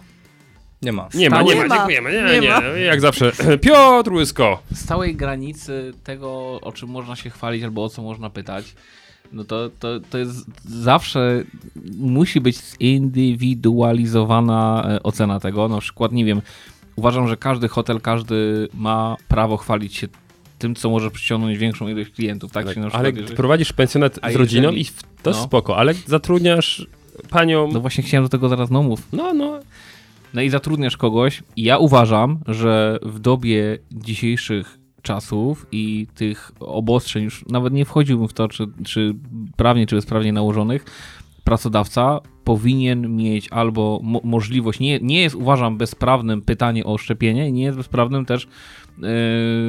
D: Nie ma.
B: Nie ma, nie ma,
E: Stało? Nie ma.
B: dziękujemy. Nie, nie,
E: Nie ma.
B: jak zawsze. Piotr Łysko.
C: stałej granicy tego, o czym można się chwalić albo o co można pytać. No to, to, to jest zawsze musi być zindywidualizowana e, ocena tego. Na przykład, nie wiem, uważam, że każdy hotel, każdy ma prawo chwalić się tym, co może przyciągnąć większą ilość klientów. Tak, się na przykład,
B: ale
C: jeżeli-
B: gdy prowadzisz pensjonat
C: A
B: z rodziną
C: jeżeli-
B: i w, to
C: no.
B: spoko, ale zatrudniasz panią.
C: No właśnie chciałem do tego zaraz, no mów.
B: No, no.
C: No i zatrudniasz kogoś. I ja uważam, że w dobie dzisiejszych czasów i tych obostrzeń, już nawet nie wchodziłbym w to, czy, czy prawnie, czy bezprawnie nałożonych, pracodawca powinien mieć albo mo możliwość, nie, nie jest uważam bezprawnym pytanie o szczepienie, nie jest bezprawnym też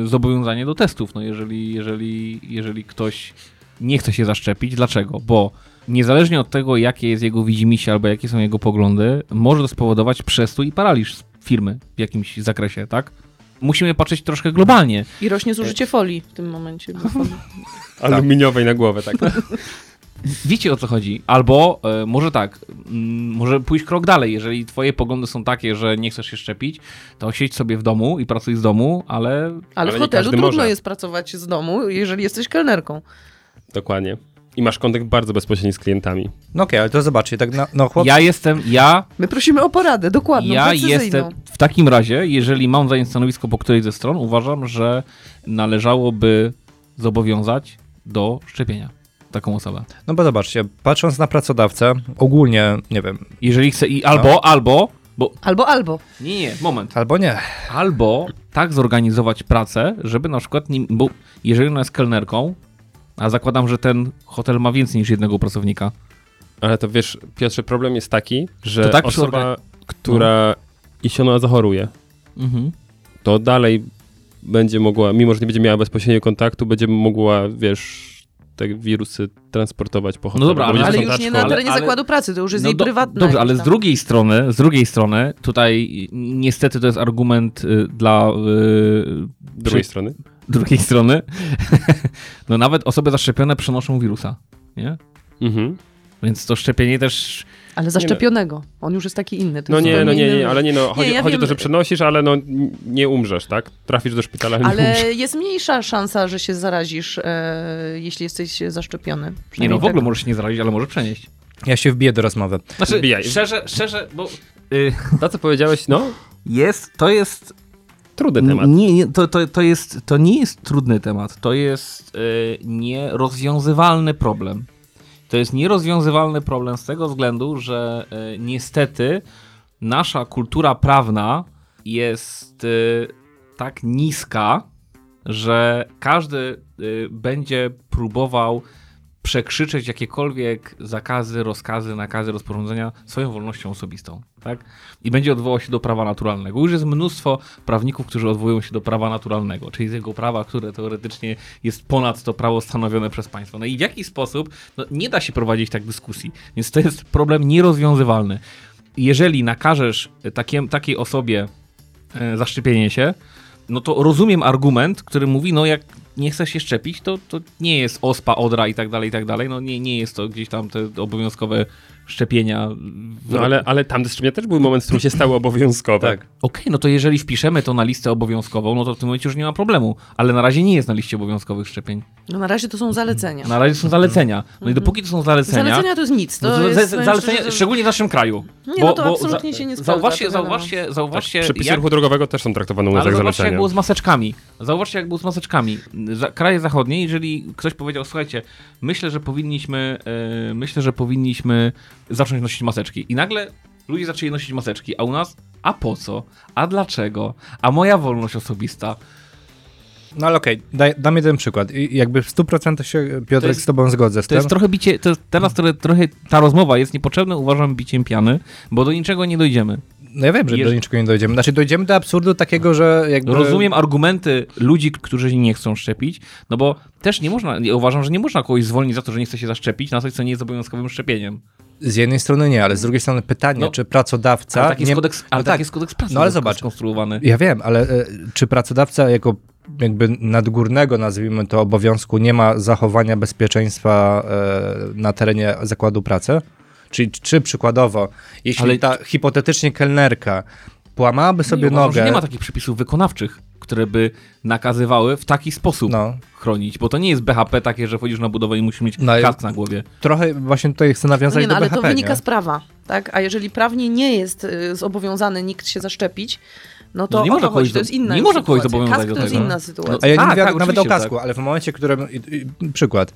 C: yy, zobowiązanie do testów, no jeżeli, jeżeli, jeżeli ktoś nie chce się zaszczepić, dlaczego? Bo niezależnie od tego, jakie jest jego widzimisię albo jakie są jego poglądy, może to spowodować przestój i paraliż firmy w jakimś zakresie, tak? Musimy patrzeć troszkę globalnie.
E: I rośnie
B: E.
E: zużycie folii w tym momencie. bo folii-
B: Aluminiowej na głowę, tak.
C: Wiecie o co chodzi? Albo e, może tak, mm, może pójść krok dalej. Jeżeli twoje poglądy są takie, że nie chcesz się szczepić, to siedź sobie w domu i pracuj z domu, ale
E: Ale
B: Ale
E: w
B: nie
E: hotelu
B: każdy
E: trudno
B: może.
E: jest pracować z domu, jeżeli jesteś kelnerką.
B: Dokładnie. I masz kontakt bardzo bezpośredni z klientami.
D: No okej, ale to zobaczcie, tak na, no chłop...
C: ja jestem, ja
E: My prosimy o poradę, dokładną,
C: Ja
E: precyzyjną.
C: jestem w takim razie, jeżeli mam zająć stanowisko po której ze stron, uważam, że należałoby zobowiązać do szczepienia taką osobę.
D: No bo zobaczcie, patrząc na pracodawcę, ogólnie, nie wiem,
C: Jeżeli chce i albo, albo, bo
E: Albo, albo.
C: nie, nie, moment,
D: albo nie.
C: albo tak zorganizować pracę, żeby na przykład, nim, bo jeżeli ona jest kelnerką, a zakładam, że ten hotel ma więcej niż jednego pracownika,
B: Ale to wiesz, Piotrze, problem jest taki, że
C: To tak przy No.
B: osoba, która jeśli ona zachoruje,
C: Mhm.
B: to dalej będzie mogła, mimo że nie będzie miała bezpośredniego kontaktu, będzie mogła, wiesz, te wirusy transportować po hotelu.
C: dobra,
B: bo będzie
E: Ale już
B: sprzątaczką.
E: nie na
C: ale-
E: terenie
C: ale-
E: zakładu pracy, to już jest
C: No
E: jej
C: do-
E: prywatne.
C: Dobrze, ale
E: jakieś
C: z
E: tam.
C: drugiej strony, z drugiej strony, tutaj niestety to jest argument y, dla y,
B: Z drugiej strony.
C: drugiej strony, no nawet osoby zaszczepione przenoszą wirusa, nie?
B: Mhm.
C: Więc to szczepienie też... no,
E: Ale zaszczepionego. On już jest taki inny. to
B: No
E: jest
B: nie, no
E: zupełnie
B: nie,
E: inny
B: nie, ale nie, no, chodzi,
E: ja
B: chodzi o to,
E: wiem.
B: że przenosisz, ale no n- nie umrzesz, tak? Trafisz do szpitala, nie umrzesz.
E: Ale jest mniejsza szansa, że się zarazisz, e, jeśli jesteś zaszczepiony.
C: Nie no,
E: Przynajmniej
C: w ogóle
E: tak.
C: możesz się nie zarazić, ale może przenieść.
D: Ja się wbiję do rozmowy.
C: Znaczy,
B: Wbijaj.
C: szczerze, szczerze, bo...
B: To, co powiedziałeś, no,
C: Jest, to jest
B: trudny
C: N-
B: temat.
C: Nie, nie, to, to, to, jest, to nie jest trudny temat, to jest y, nierozwiązywalny problem. To jest nierozwiązywalny problem z tego względu, że y, niestety nasza kultura prawna jest y, tak niska, że każdy y, będzie próbował przekrzyczeć jakiekolwiek zakazy, rozkazy, nakazy, rozporządzenia swoją wolnością osobistą, tak? I będzie odwołał się do prawa naturalnego. Już jest mnóstwo prawników, którzy odwołują się do prawa naturalnego, czyli tego prawa, które teoretycznie jest ponad to prawo stanowione przez państwo. No i w jaki sposób? No, nie da się prowadzić tak dyskusji, więc to jest problem nierozwiązywalny. Jeżeli nakażesz takiem, takiej osobie e, zaszczepienie się, no to rozumiem argument, który mówi, no jak nie chcesz się szczepić, to, to nie jest ospa, odra i tak dalej, i tak dalej. No nie, nie jest to gdzieś tam te obowiązkowe szczepienia. w-
B: No ale, ale tam do szczepienia też był moment, w którym się stały obowiązkowe.
D: Tak.
C: Okej, no to jeżeli wpiszemy to na listę obowiązkową, no to w tym momencie już nie ma problemu. Ale na razie nie jest na liście obowiązkowych szczepień.
E: No na razie to są zalecenia.
C: Na razie są zalecenia. No i dopóki to są zalecenia...
E: Mhm. Zalecenia to jest nic. To
C: no to
E: jest,
C: za- za-
E: powiem
C: zalecenia,
E: szczerze, że- No
C: szczególnie w naszym kraju.
E: Nie, no to absolutnie się nie sprawdza,
C: Zauważcie,
E: to wiadomo.
C: zauważcie, zauważcie
B: Tak, Przepisy
C: jak
B: ruchu drogowego też są traktowane u nas
C: Ale
B: jak
C: zobaczcie, jak
B: zalecenia.
C: było z maseczkami. Zobaczcie, jak było z maseczkami. Za, kraje zachodnie, jeżeli ktoś powiedział, słuchajcie, myślę, że powinniśmy, e, myślę, że powinniśmy zacząć nosić maseczki. I nagle ludzie zaczęli nosić maseczki, a u nas, a po co? A dlaczego? A moja wolność osobista.
D: No ale okej, daj, dam jeden przykład. I jakby w 100% się, Piotrek,
C: jest-
D: z tobą zgodzę z
C: To
D: tym.
C: jest trochę bicie, to jest teraz trochę, trochę ta rozmowa jest niepotrzebna, uważam biciem piany, bo do niczego nie dojdziemy.
D: No ja wiem, że do
C: Jeż-
D: niczego nie dojdziemy. Znaczy dojdziemy do absurdu takiego, że jakby...
C: Rozumiem argumenty ludzi, którzy się nie chcą szczepić, no bo też nie można, ja uważam, że nie można kogoś zwolnić za to, że nie chce się zaszczepić na coś, co nie jest obowiązkowym szczepieniem.
D: Z jednej strony nie, ale z drugiej strony pytanie,
C: No.
D: czy pracodawca...
C: Ale tak jest,
D: nie...
C: kodeks, ale
D: No
C: tak.
D: tak.
C: jest kodeks pracy
D: No ale
C: sk-
D: zobacz.
C: skonstruowany.
D: Ja wiem, ale e, czy pracodawca jako jakby nadgórnego, nazwijmy to, obowiązku nie ma zachowania bezpieczeństwa e, na terenie zakładu pracy? Czyli czy przykładowo, jeśli
C: Ale-
D: ta hipotetycznie kelnerka Połamałaby sobie
C: uważam,
D: nogę.
C: że nie ma tak- takich przepisów wykonawczych, które by nakazywały w taki sposób
D: No.
C: chronić, bo to nie jest BHP takie, że wchodzisz na budowę i musisz mieć
D: No i-
C: kask na głowie.
D: Trochę właśnie tutaj chcę
E: No
D: nawiązać
E: nie, no,
D: do
E: ale
D: BHP,
E: to wynika
D: nie?
E: z prawa, tak? A jeżeli prawnie nie jest y, zobowiązany nikt się zaszczepić, no to
C: No nie
E: o
C: można
E: to chodzi,
C: kogoś
E: to jest
C: do-
E: inna
C: nie można kogoś
E: sytuacja.
C: zobowiązać
E: Kask
C: do
E: to jest
C: tego.
E: inna
C: No.
E: sytuacja.
D: A ja nie
C: Tak,
D: mówię
C: tak,
D: nawet o
C: oczywiście,
D: kasku, ale w momencie, w którym. i- i- Przykład.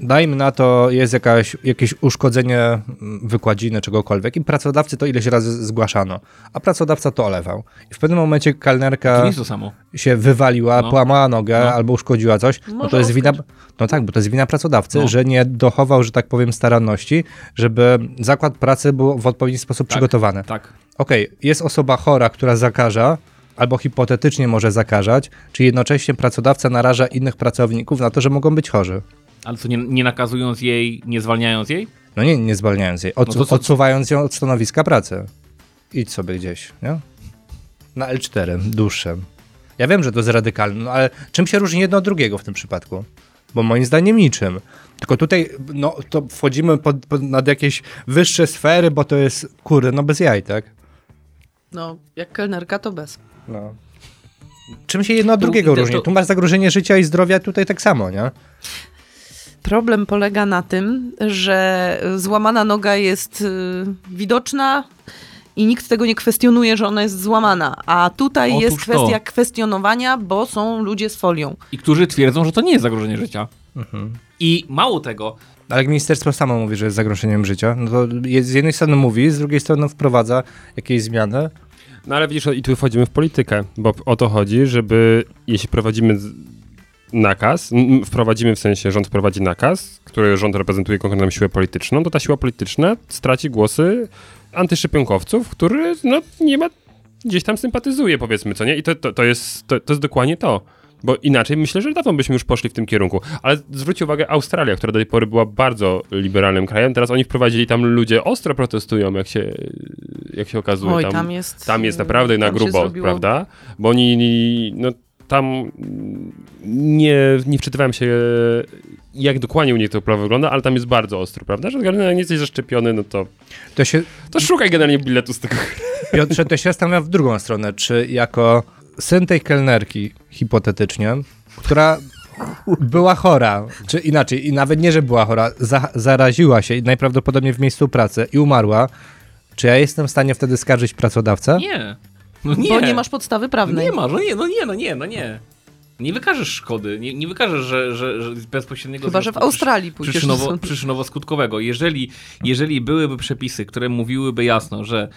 D: Dajmy na to, jest jakaś, jakieś uszkodzenie mm, wykładziny, czegokolwiek, i pracodawcy to ileś razy zgłaszano, a pracodawca to olewał. I w pewnym momencie
C: To
D: kelnerka
C: nie jest to samo.
D: się wywaliła,
C: No.
D: połamała nogę
C: No.
D: albo uszkodziła coś, no
E: Może
D: to jest wina.
E: Oskar.
D: No tak, bo to jest wina pracodawcy,
C: No.
D: że nie dochował, że tak powiem, staranności, żeby zakład pracy był w odpowiedni sposób przygotowany.
C: Tak.
D: Okej, jest osoba chora, która zakaża, albo hipotetycznie może zakażać, czy jednocześnie pracodawca naraża innych pracowników na to, że mogą być chorzy.
C: Ale co, nie, nie nakazując jej, nie zwalniając jej?
D: No nie, nie zwalniając jej, odsu-
C: No to co-
D: odsuwając ją od stanowiska pracy. Idź sobie gdzieś, nie? Na L4, dłuższym. Ja wiem, że to jest radykalne, no ale czym się różni jedno od drugiego w tym przypadku? Bo moim zdaniem niczym. Tylko tutaj, no, to wchodzimy pod, pod, nad jakieś wyższe sfery, bo to jest, kurde, no bez jaj, tak?
E: No, jak kelnerka to bez.
D: No. Czym się jedno od
C: Tu-
D: drugiego
C: to-
D: różni?
C: to-
D: Tu masz zagrożenie życia i zdrowia, tutaj tak samo, nie?
E: Problem polega na tym, że y, złamana noga jest y, widoczna i nikt tego nie kwestionuje, że ona jest złamana. A tutaj
C: Otóż
E: jest
C: to.
E: kwestia kwestionowania, bo są ludzie z folią.
C: I którzy twierdzą, że to nie jest zagrożenie życia.
D: Mhm.
C: I mało tego,
D: Ale jak ministerstwo samo mówi, że jest zagrożeniem życia, no to je- z jednej strony mówi, z drugiej strony wprowadza jakieś zmiany.
B: No ale widzisz, i tu wchodzimy w politykę, bo o to chodzi, żeby jeśli prowadzimy z- nakaz, m, m, wprowadzimy w sensie rząd wprowadzi nakaz, który rząd reprezentuje konkretną siłę polityczną, to ta siła polityczna straci głosy antyszypionkowców, który no nie ma, gdzieś tam sympatyzuje powiedzmy, co nie? I to, to, to, jest, to, to jest dokładnie to. Bo inaczej myślę, że dawno byśmy już poszli w tym kierunku. Ale zwróć uwagę, Australia, która do tej pory była bardzo liberalnym krajem, teraz oni wprowadzili tam ludzie ostro protestują, jak się, jak się okazuje.
E: Oj, tam jest,
B: Tam jest
E: y,
B: naprawdę na
E: tam się
B: grubo,
E: zrobiło-
B: prawda? Bo oni, no tam mm, nie, nie wczytywałem się, jak dokładnie u nich to prawo wygląda, ale tam jest bardzo ostro, prawda? Że generalnie jak nie jesteś zaszczepiony, no to,
D: To się,
B: to szukaj generalnie biletu z tego.
D: Piotrze, to się zastanawiam w drugą stronę, czy jako syn tej kelnerki, hipotetycznie, która była chora, czy inaczej, i nawet nie, że była chora, za, zaraziła się i najprawdopodobniej w miejscu pracy i umarła, czy ja jestem w stanie wtedy skarżyć pracodawcę?
C: nie. No nie.
E: Bo nie masz podstawy
C: No
E: prawnej.
C: nie masz, no nie, no nie, no nie, no nie. Nie wykażesz szkody, nie, nie wykażesz, że, że, że z bezpośredniego
E: Chyba, że w
C: związku przysz-
E: Australii pójdziesz do
C: przyczynowo,
E: sądu.
C: przyczynowo-skutkowego. Jeżeli, jeżeli byłyby przepisy, które mówiłyby jasno, że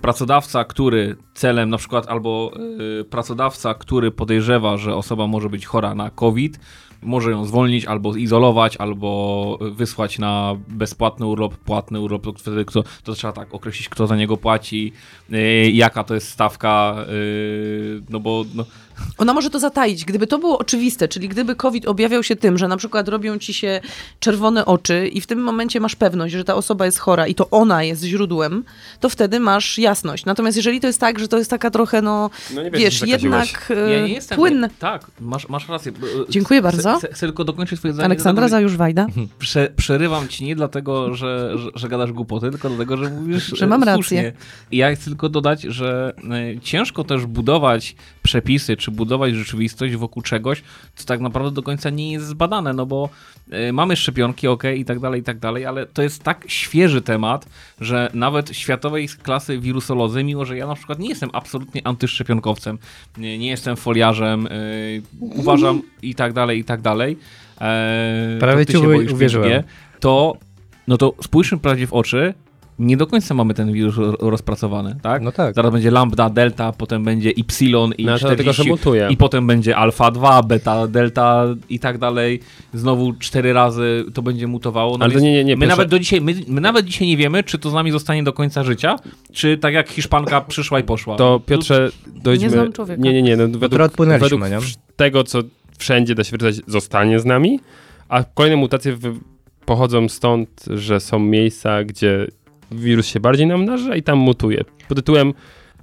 C: pracodawca, który celem na przykład albo y, pracodawca, który podejrzewa, że osoba może być chora na COVID, może ją zwolnić albo izolować, albo y, wysłać na bezpłatny urlop, płatny urlop, to, wtedy kto, to trzeba tak określić, kto za niego płaci, y, jaka to jest stawka, y, no bo no,
E: Ona może to zataić. Gdyby to było oczywiste, czyli gdyby COVID objawiał się tym, że na przykład robią ci się czerwone oczy i w tym momencie masz pewność, że ta osoba jest chora i to ona jest źródłem, to wtedy masz jasność. Natomiast jeżeli to jest tak, że to jest taka trochę, no,
B: No nie wiem,
E: wiesz,
B: czy zakaziłeś.
E: jednak
C: Ja
E: e,
C: nie jestem.
E: płynne.
C: Tak, masz, masz rację. bo, e,
E: Dziękuję
C: chcę-
E: bardzo.
C: Chcę, chcę tylko dokończyć swoje zdanie.
E: Aleksandra
C: dlatego,
E: Zajurzwajda.
C: że Prze, przerywam ci nie dlatego, że, że, że gadasz głupoty, tylko dlatego, że mówisz.
E: Że
C: e,
E: mam
C: słusznie.
E: rację.
C: I Ja chcę tylko dodać, że e, ciężko też budować przepisy, czy budować rzeczywistość wokół czegoś, co tak naprawdę do końca nie jest zbadane, no bo e, mamy szczepionki, ok, i tak dalej, i tak dalej, ale to jest tak świeży temat, że nawet światowej klasy wirusolodzy, mimo że ja na przykład nie jestem absolutnie antyszczepionkowcem, nie, nie jestem foliarzem, e, uważam i tak dalej, i tak dalej. e,
D: Prawie
C: to
D: ci
C: ty się
D: uwi-
C: boisz,
D: uwierzyłem.
C: Piotr, nie? To, no to spójrzmy prawdzie w oczy, nie do końca mamy ten wirus ro- rozpracowany, tak?
D: No tak.
C: Zaraz będzie lambda, delta, potem będzie y i
B: No, to
C: 40,
B: dlatego, że mutuje.
C: i potem będzie alfa 2, beta, delta i tak dalej. Znowu cztery razy to będzie mutowało. No
B: Ale to
C: więc
B: nie, nie, nie,
C: My
B: proszę.
C: nawet, do dzisiaj, my, my nawet dzisiaj nie wiemy, czy to z nami zostanie do końca życia, czy tak jak Hiszpanka przyszła i poszła.
B: To Piotrze, dojdźmy...
E: Nie znam człowieka.
B: Nie, nie, nie. No, według,
D: trochę odpłynęliśmy,
B: według
D: nie?
B: wsz- tego, co wszędzie da się wyczytać, zostanie z nami, a kolejne mutacje wy- pochodzą stąd, że są miejsca, gdzie wirus się bardziej namnaża i tam mutuje. Pod tytułem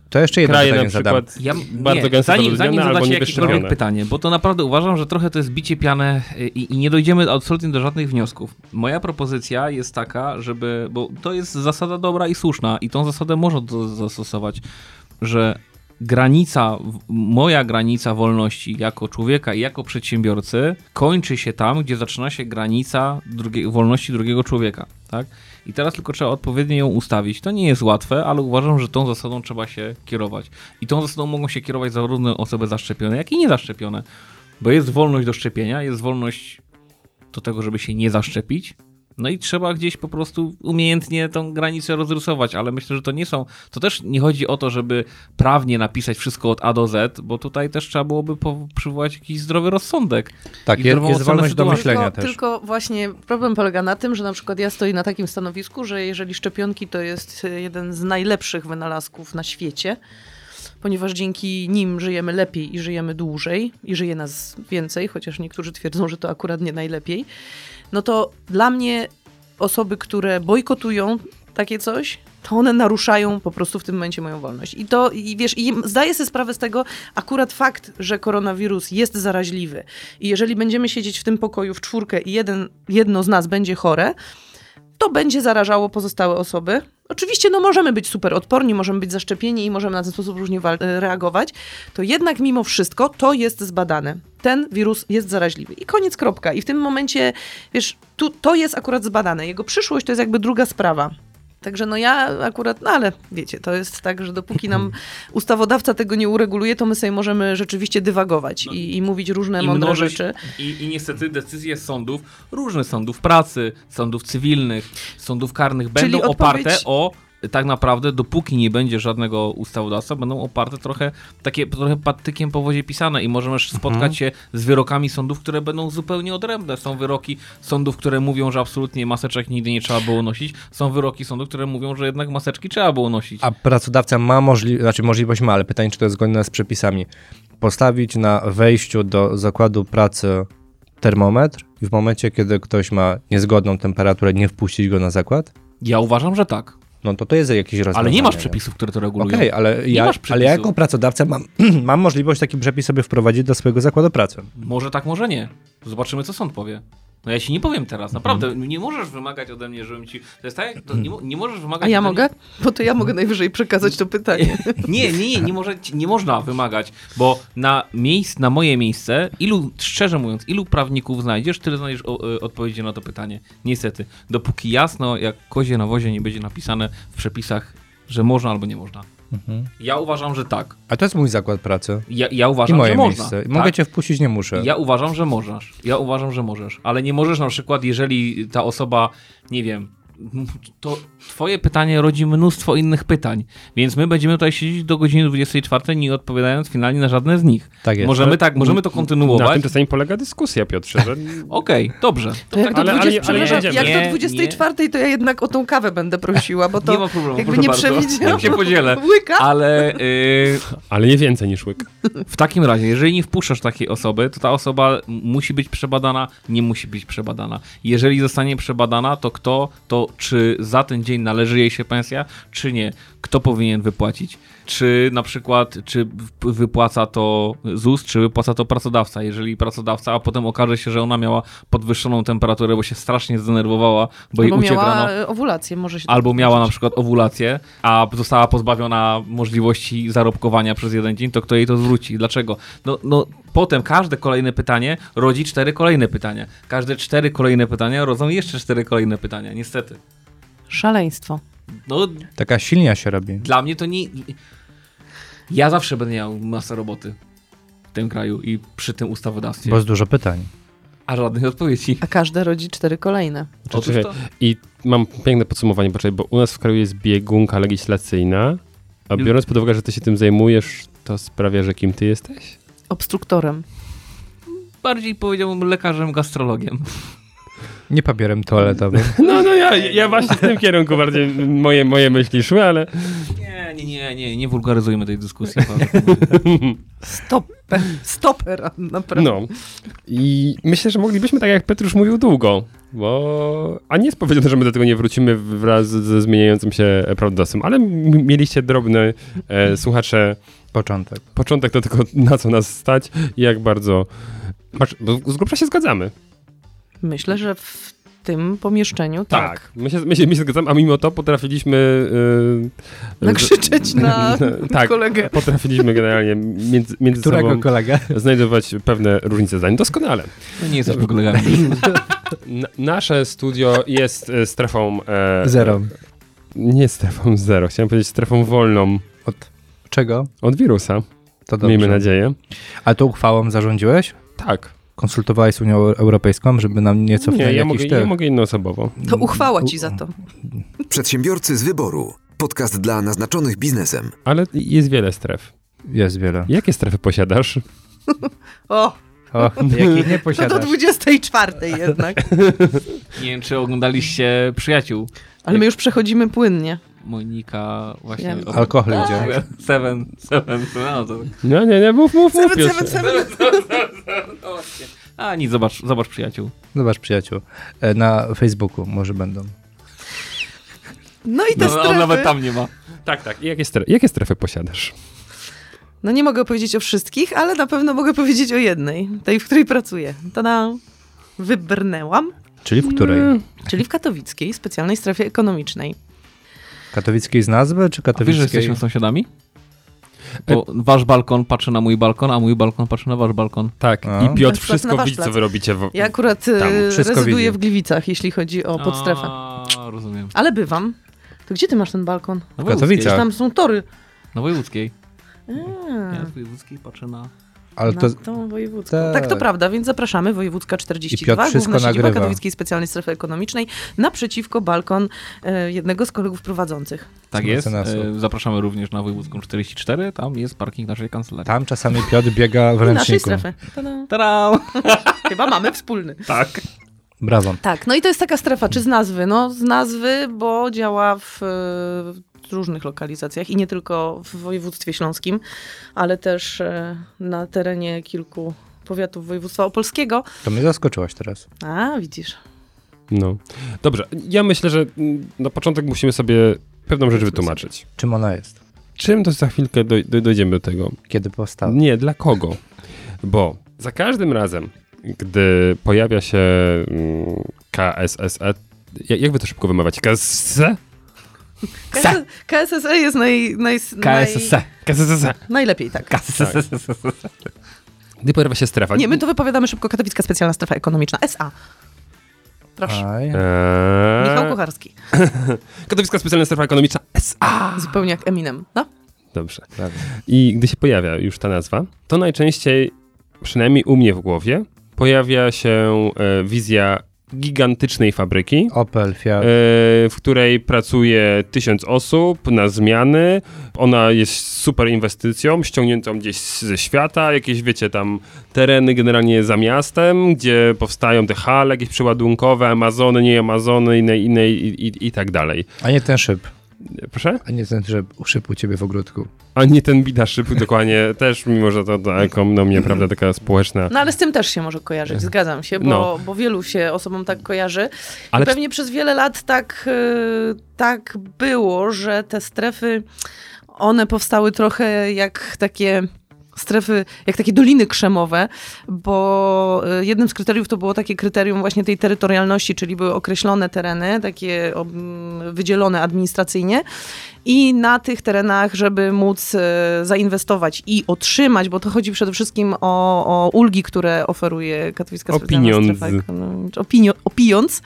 D: To jeszcze jedno
B: kraje na
D: pytanie
B: przykład...
D: zadam.
C: Ja,
B: bardzo
C: nie,
B: gęsto
C: zanim,
B: zaludnione
C: zanim
B: albo
C: zadacie jakiekolwiek
B: niewyszczepione.
C: pytanie, bo to naprawdę uważam, że trochę to jest bicie pianę i, i nie dojdziemy absolutnie do żadnych wniosków. Moja propozycja jest taka, żeby, bo to jest zasada dobra i słuszna i tą zasadę można do, zastosować, że granica, w- moja granica wolności jako człowieka i jako przedsiębiorcy kończy się tam, gdzie zaczyna się granica drugie, wolności drugiego człowieka, tak? I teraz tylko trzeba odpowiednio ją ustawić. To nie jest łatwe, ale uważam, że tą zasadą trzeba się kierować. I tą zasadą mogą się kierować zarówno osoby zaszczepione, jak i niezaszczepione. Bo jest wolność do szczepienia, jest wolność do tego, żeby się nie zaszczepić. No i trzeba gdzieś po prostu umiejętnie tą granicę rozrysować, ale myślę, że to nie są. To też nie chodzi o to, żeby prawnie napisać wszystko od A do Z, bo tutaj też trzeba byłoby po- przywołać jakiś zdrowy rozsądek.
D: Tak,
C: I
D: jest,
C: zdrową
D: jest
C: ocenę
D: wolność do
C: sytuacji. No,
D: myślenia
E: tylko,
D: też.
E: Tylko właśnie problem polega na tym, że na przykład ja stoję na takim stanowisku, że jeżeli szczepionki to jest e, jeden z najlepszych wynalazków na świecie, ponieważ dzięki nim żyjemy lepiej i żyjemy dłużej i żyje nas więcej, chociaż niektórzy twierdzą, że to akurat nie najlepiej, no to dla mnie osoby, które bojkotują takie coś, to one naruszają po prostu w tym momencie moją wolność. I to, i wiesz, i zdaję sobie sprawę z tego, akurat fakt, że koronawirus jest zaraźliwy i jeżeli będziemy siedzieć w tym pokoju w czwórkę i jeden, jedno z nas będzie chore, to będzie zarażało pozostałe osoby. Oczywiście, no możemy być super odporni, możemy być zaszczepieni i możemy na ten sposób różnie wal- e, reagować, to jednak mimo wszystko to jest zbadane. Ten wirus jest zaraźliwy. I koniec, kropka. I w tym momencie, wiesz, tu, to jest akurat zbadane. Jego przyszłość to jest jakby druga sprawa. Także no ja akurat, no ale wiecie, to jest tak, że dopóki nam ustawodawca tego nie ureguluje, to my sobie możemy rzeczywiście dywagować i, i mówić różne
C: No I,
E: mądre
C: mnożyć-
E: rzeczy.
C: i, I niestety decyzje sądów, różnych sądów pracy, sądów cywilnych, sądów karnych,
E: Czyli
C: będą
E: odpowiedź-
C: oparte o tak naprawdę, dopóki nie będzie żadnego ustawodawstwa, będą oparte trochę takie trochę patykiem po wodzie pisane i możemy spotkać
E: Mhm.
C: się z wyrokami sądów, które będą zupełnie odrębne. Są wyroki sądów, które mówią, że absolutnie maseczek nigdy nie trzeba było nosić. Są wyroki sądów, które mówią, że jednak maseczki trzeba było nosić.
D: A pracodawca ma możli- znaczy możliwość, ma, ale pytanie, czy to jest zgodne z przepisami. Postawić na wejściu do zakładu pracy termometr i w momencie, kiedy ktoś ma niezgodną temperaturę, nie wpuścić go na zakład,
C: Ja uważam, że tak.
D: no to to jest jakieś rozwiązanie.
C: Ale nie masz
D: nie?
C: przepisów, które to regulują.
D: Okej, ale, ja,
C: masz
D: ale ja
C: przepisu.
D: jako pracodawca mam, mam możliwość taki przepis sobie wprowadzić do swojego zakładu pracy.
C: Może tak, może nie. Zobaczymy, co sąd powie. No ja ci nie powiem
D: Mhm.
C: teraz, naprawdę. No Nie możesz wymagać ode mnie, żebym ci. To jest tak, jak- to nie, mo- nie możesz wymagać.
E: A ja
C: ode
E: mogę? Bo to ja mogę najwyżej przekazać to pytanie.
C: Mnie... Nie, nie, nie, nie, może, ci- nie można wymagać, bo na, miejsc, na moje miejsce, ilu, szczerze mówiąc, ilu prawników znajdziesz, tyle znajdziesz o, y, odpowiedzi na to pytanie. Niestety. Dopóki jasno, jak kozie na wozie, nie będzie napisane w przepisach, że można albo nie można.
D: Mhm.
C: Ja uważam, że tak.
D: A to jest mój zakład pracy
C: Ja, ja
D: i
C: uważam,
D: moje
C: że można.
D: miejsce.
C: Tak?
D: Mogę cię wpuścić, nie muszę.
C: Ja uważam, że możesz. Ja uważam, że możesz. Ale nie możesz na przykład, jeżeli ta osoba, nie wiem, to twoje pytanie rodzi mnóstwo innych pytań, więc my będziemy tutaj siedzieć do godziny 24, nie odpowiadając finalnie na żadne z nich.
D: Tak jest.
C: Możemy tak, możemy to
B: Na tym
C: kontynuować.
B: czasami polega dyskusja, Piotrze, że
C: Okej, dobrze.
E: To jak do,
B: Ale- ale-
E: 20,
B: ale
E: przepraszam,
B: jedziemy.
E: jak do
C: Nie,
E: 24, to ja jednak o tą kawę będę prosiła, bo to
C: Nie ma problemu,
E: jakby
C: proszę
E: nie
C: bardzo.
E: przewidziałam.
C: Ja się podzielę.
E: Łyka?
C: Ale y,
B: Ale nie więcej niż łyk.
C: W takim razie, jeżeli nie wpuszczasz takiej osoby, to ta osoba m- musi być przebadana, nie musi być przebadana. Jeżeli zostanie przebadana, to kto, to czy za ten dzień należy jej się pensja, czy nie? Kto powinien wypłacić? Czy na przykład, czy w- wypłaca to ZUS, czy wypłaca to pracodawca? Jeżeli pracodawca, a potem okaże się, że ona miała podwyższoną temperaturę, bo się strasznie zdenerwowała, bo jej
E: Albo
C: uciekł
E: miała
C: rano.
E: e, owulację, może się
C: Albo miała na przykład owulację, a została pozbawiona możliwości zarobkowania przez jeden dzień, to kto jej to zwróci? Dlaczego? No, no potem każde kolejne pytanie rodzi cztery kolejne pytania. Każde cztery kolejne pytania rodzą jeszcze cztery kolejne pytania, niestety.
E: Szaleństwo.
C: No
D: Taka silnia się robi.
C: dla mnie to nie... Ja zawsze będę miał masę roboty w tym kraju i przy tym ustawodawstwie,
D: Bo jest dużo pytań.
C: a żadnych odpowiedzi.
E: A każda rodzi cztery kolejne.
C: Otóż
B: Czekaj,
C: to...
B: I mam piękne podsumowanie, poczekaj, bo u nas w kraju jest biegunka legislacyjna, a biorąc pod uwagę, że ty się tym zajmujesz, to sprawia, że kim ty jesteś?
E: Obstruktorem.
C: Bardziej powiedziałbym lekarzem, gastrologiem.
D: Nie papierem toaletowym.
B: No, no ja, ja właśnie w tym kierunku bardziej moje, moje myśli szły, ale
C: Nie, nie, nie, nie, nie wulgaryzujmy tej dyskusji. Paweł.
E: Stoper. Stoper, naprawdę.
B: no. I myślę, że moglibyśmy, tak jak Petrusz mówił, długo, bo... A nie jest powiedziane, że my do tego nie wrócimy wraz ze zmieniającym się prawodawstwem, ale m- mieliście drobne e, słuchacze
D: Początek.
B: początek do tego, na co nas stać i jak bardzo... Patrz, bo z grubsza się zgadzamy.
E: Myślę, że w tym pomieszczeniu, tak.
B: Tak, my się, my, się, my się zgadzamy, a mimo to potrafiliśmy... Yy,
E: Nakrzyczeć na
B: tak,
E: kolegę.
B: potrafiliśmy generalnie między, między
D: Którego
B: sobą
D: kolega?
B: znajdować pewne różnice zdań. Doskonale.
C: No nie jesteśmy kolegami.
B: N- nasze studio jest e, strefą... E,
D: Zero.
B: Nie strefą zero, chciałem powiedzieć strefą wolną
D: Od czego?
B: od wirusa,
D: To dobrze.
B: miejmy nadzieję.
D: A tą uchwałą zarządziłeś?
B: Tak,
D: Konsultowałeś z Unią Europejską, żeby nam nie
B: nie,
D: cofnęli
B: ja
D: jakichś
B: mogę,
D: te...
B: ja mogę innoosobowo.
E: To uchwała ci za to.
A: Przedsiębiorcy z wyboru. Podcast dla naznaczonych biznesem.
B: Ale jest wiele stref.
D: Jest wiele.
B: Jakie strefy posiadasz?
E: O,
D: O, jakich nie
E: no do
D: posiadasz.
E: 24 jednak.
C: Nie wiem, czy oglądaliście Przyjaciół.
E: Ale my już przechodzimy płynnie.
C: Monika właśnie...
E: Ja-
C: o-
D: Alkohol idzie.
B: Tak.
C: Seven, seven, no to...
B: No nie, nie, mów, mów, mów.
E: Seven,
B: Piotrze.
E: seven, seven.
C: A nic, zobacz, zobacz przyjaciół.
D: Zobacz przyjaciół. E, Na Facebooku może będą.
E: No i te
C: No, on
E: strefy.
C: nawet tam nie ma.
B: Tak, tak. Jakie, strefy, jakie strefy posiadasz?
E: No nie mogę powiedzieć o wszystkich, ale na pewno mogę powiedzieć o jednej, tej, w której pracuję. To na wybrnęłam,
D: Czyli w
B: Mm.
D: której?
E: czyli w katowickiej specjalnej strefie ekonomicznej.
D: Katowickiej z nazwy, czy
C: A wiesz, że
D: katowickiej?
C: jesteśmy sąsiadami? Bo wasz balkon patrzy na mój balkon, a mój balkon patrzy na wasz balkon.
B: Tak,
D: A?
B: i Piotr
E: Plac
B: wszystko
E: No. na
B: widzi,
E: wasz
B: co wy robicie. W...
E: Ja akurat
D: Tam
E: e,
D: wszystko
E: rezyduję
D: widzi.
E: w Gliwicach, jeśli chodzi o podstrefę.
C: A, rozumiem.
E: Ale bywam. To gdzie ty masz ten balkon?
C: Na
D: W Katowicach.
E: Tam są tory.
C: Na wojewódzkiej.
E: A,
C: Ja z wojewódzkiej patrzę na...
D: Ale to,
E: na tą wojewódzką.
D: tak.
E: Tak. to prawda, więc zapraszamy. Wojewódzka
D: I Piotr
E: 42,
D: wszystko
E: główna siedziba
D: nagrywa.
E: Katowickiej Specjalnej Strefy Ekonomicznej, naprzeciwko balkon e, jednego z kolegów prowadzących.
C: Tak
D: Mecenasu.
C: jest. E, Zapraszamy również na wojewódzką 44, tam jest parking naszej kancelarii.
D: tam czasami Piotr biega w
E: I naszej
D: ręczniku.
E: strefy. Ta-da.
C: Tadam!
E: Chyba mamy wspólny.
C: Tak.
D: Brawo.
E: Tak, no i to jest taka strefa, czy z nazwy? No, z nazwy, bo działa w, e, w różnych lokalizacjach i nie tylko w województwie śląskim, ale też e, na terenie kilku powiatów województwa opolskiego.
D: To mnie zaskoczyłaś teraz.
E: A, widzisz.
B: No. Dobrze, ja myślę, że mm, na początek musimy sobie pewną rzecz wytłumaczyć.
D: Czym ona jest?
B: Czym to za chwilkę doj, doj, dojdziemy do tego?
D: Kiedy
E: Tak.
D: powstała?
B: Nie, dla kogo? Bo za każdym razem, gdy pojawia się mm, KSSE, E, ja- jak wy to szybko wymawiacie? KSSE?
E: KS- KSSE E jest naj, naj, naj,
C: KSSC.
B: KSSE.
E: najlepiej, tak.
C: KSSC.
B: Gdy pojawia się strefa.
E: Nie, my to wypowiadamy szybko. Katowicka Specjalna Strefa Ekonomiczna, SA. Proszę.
D: Aj.
B: Eee,
E: Michał Kucharski.
B: Katowicka Specjalna Strefa Ekonomiczna SA.
E: Zupełnie jak Eminem. No?
B: Dobrze.
D: Brawo.
B: I gdy się pojawia już ta nazwa, to najczęściej, przynajmniej u mnie w głowie, pojawia się e, wizja gigantycznej fabryki,
D: Opel,
B: e,
D: Fiat.
B: w której pracuje tysiąc osób na zmiany. Ona jest super inwestycją, ściągniętą gdzieś ze świata, jakieś wiecie tam tereny generalnie za miastem, gdzie powstają te hale jakieś przeładunkowe, Amazony, nie Amazony, inne, inne i, i, i tak dalej.
D: A nie ten szyb.
B: Proszę?
D: A nie ten szyb, szyb u ciebie w ogródku.
B: A nie ten bida szyb, dokładnie też, mimo że to, to ekonomia, prawda, taka społeczna.
E: no ale z tym też się może kojarzyć, zgadzam się, bo,
B: No.
E: bo wielu się osobom tak kojarzy.
B: Ale
E: I pewnie przez wiele lat tak, y, tak było, że te strefy, one powstały trochę jak takie strefy, jak takie doliny krzemowe, bo y, jednym z kryteriów to było takie kryterium właśnie tej terytorialności, czyli były określone tereny, takie mm, wydzielone administracyjnie i na tych terenach, żeby móc y, zainwestować i otrzymać, bo to chodzi przede wszystkim o, o ulgi, które oferuje Katowicka Specjalna
B: Opiniądz.
E: Strefa Ekonomiczna. no, Opinio, opijąc.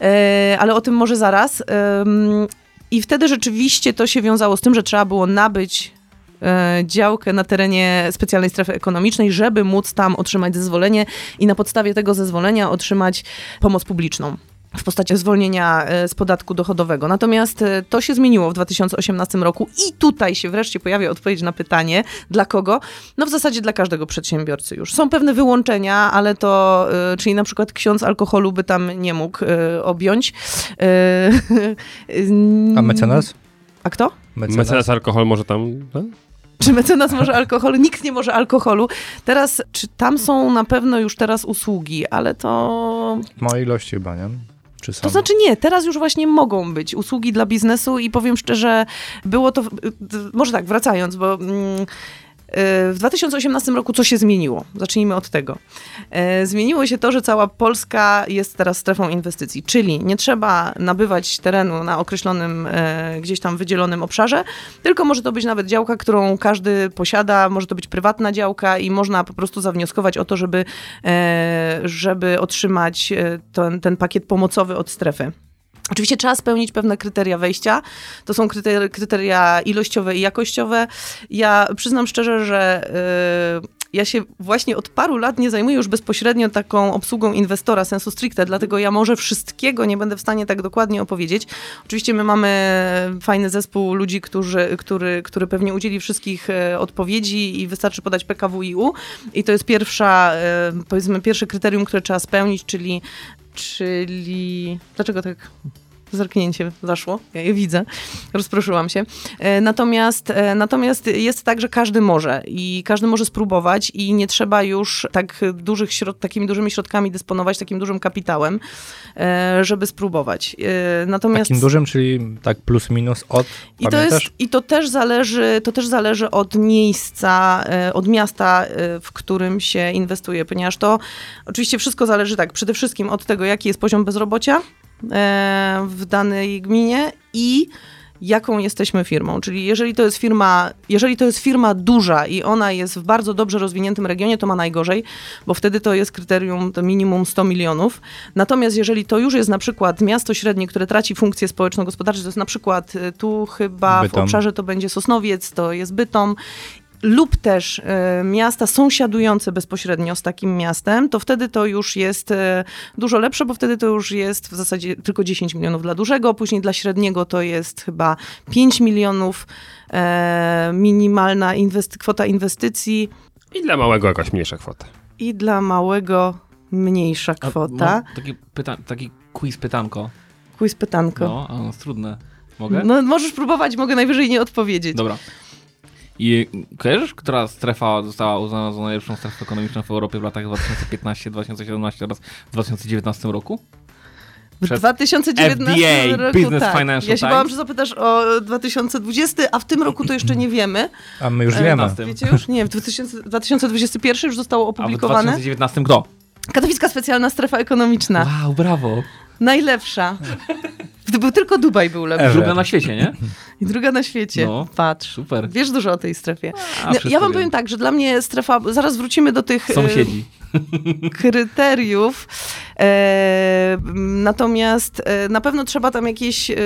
E: E, ale o tym może zaraz. Em, I wtedy rzeczywiście to się wiązało z tym, że trzeba było nabyć e, działkę na terenie specjalnej strefy ekonomicznej, żeby móc tam otrzymać zezwolenie i na podstawie tego zezwolenia otrzymać pomoc publiczną. W postaci zwolnienia e, z podatku dochodowego. Natomiast e, to się zmieniło w 2018 roku, i tutaj się wreszcie pojawia odpowiedź na pytanie, dla kogo? No w zasadzie dla każdego przedsiębiorcy już. Są pewne wyłączenia, ale to, y, czyli na przykład ksiądz alkoholu by tam nie mógł y, objąć. Y,
D: A mecenas?
E: A kto?
B: Mecenas alkohol może tam... no?
E: Czy mecenas może alkohol? Nikt nie może alkoholu. Teraz, czy tam są na pewno już teraz usługi, ale to...
D: Małej ilości chyba, nie? Czy sam?
E: To znaczy nie, teraz już właśnie mogą być usługi dla biznesu i powiem szczerze, było to... w- y, y, Może tak, wracając, bo... mm, E, W 2018 roku co się zmieniło? Zacznijmy od tego. E, Zmieniło się to, że cała Polska jest teraz strefą inwestycji, czyli nie trzeba nabywać terenu na określonym e, gdzieś tam wydzielonym obszarze, tylko może to być nawet działka, którą każdy posiada, może to być prywatna działka i można po prostu zawnioskować o to, żeby, e, żeby otrzymać e, ten, ten pakiet pomocowy od strefy. Oczywiście trzeba spełnić pewne kryteria wejścia. To są kryter- kryteria ilościowe i jakościowe. Ja przyznam szczerze, że y, ja się właśnie od paru lat nie zajmuję już bezpośrednio taką obsługą inwestora sensu stricte, dlatego ja może wszystkiego nie będę w stanie tak dokładnie opowiedzieć. Oczywiście my mamy fajny zespół ludzi, którzy, który, który pewnie udzieli wszystkich e, odpowiedzi i wystarczy podać PKWiU i to jest pierwsza, e, powiedzmy pierwsze kryterium, które trzeba spełnić, czyli czyli... Dlaczego tak zerknięcie zaszło? Ja je widzę. Rozproszyłam się. E, Natomiast, e, natomiast jest tak, że każdy może i każdy może spróbować i nie trzeba już tak dużych środ, takimi dużymi środkami dysponować, takim dużym kapitałem, e, żeby spróbować. E, Natomiast...
D: Takim dużym, czyli tak plus minus od,
E: I to,
D: pamiętasz?
E: jest, I to też zależy, to też zależy od miejsca, e, od miasta, e, w którym się inwestuje, ponieważ to oczywiście wszystko zależy tak, przede wszystkim od tego, jaki jest poziom bezrobocia e, w danej gminie i jaką jesteśmy firmą. Czyli jeżeli to jest firma, jeżeli to jest firma duża i ona jest w bardzo dobrze rozwiniętym regionie, to ma najgorzej, bo wtedy to jest kryterium to minimum 100 milionów. Natomiast jeżeli to już jest na przykład miasto średnie, które traci funkcję społeczno-gospodarczą, to jest na przykład y, tu chyba w
D: Bytom.
E: obszarze to będzie Sosnowiec, to jest Bytom, lub też e, miasta sąsiadujące bezpośrednio z takim miastem, to wtedy to już jest e, dużo lepsze, bo wtedy to już jest w zasadzie tylko 10 milionów dla dużego, później dla średniego to jest chyba 5 milionów e, minimalna inwest- kwota inwestycji
B: I dla małego jakaś mniejsza kwota.
E: i dla małego mniejsza
C: A
E: kwota.
C: mam No, Taki, pyta- taki quiz pytanko.
E: Quiz pytanko.
C: No, a ono jest trudne. Mogę?
E: No, możesz próbować, mogę najwyżej nie odpowiedzieć.
C: Dobra. I kojarzysz, która strefa została uznana za najlepszą strefę ekonomiczną w Europie w latach 2015, 2017 oraz 2019 roku?
E: W
C: Przez
E: 2019
C: FDA,
E: roku
C: Business
E: tak.
C: Financial
E: Ja się
C: Times.
E: bałam, że zapytasz o 2020, a w tym roku to jeszcze nie wiemy.
D: A my już
E: E,
D: wiemy.
C: 15.
E: Wiecie już? Nie, w 2000, 2021 już zostało
C: A w
E: opublikowane.
C: 2019 kto?
E: Katowicka specjalna strefa ekonomiczna.
C: Wow, brawo.
E: Najlepsza. Gdyby tylko Dubaj był lepszy.
D: Ewe.
C: Druga na świecie, nie?
E: I druga na świecie.
C: No.
E: Patrz.
C: Super.
E: Wiesz dużo o tej strefie.
C: A,
E: No, ja
C: wszystko
E: wam
C: wiem.
E: powiem tak, że dla mnie strefa, zaraz wrócimy do tych e,
C: Sąsiedzi.
E: kryteriów. E, m, natomiast e, na pewno trzeba tam jakieś, e,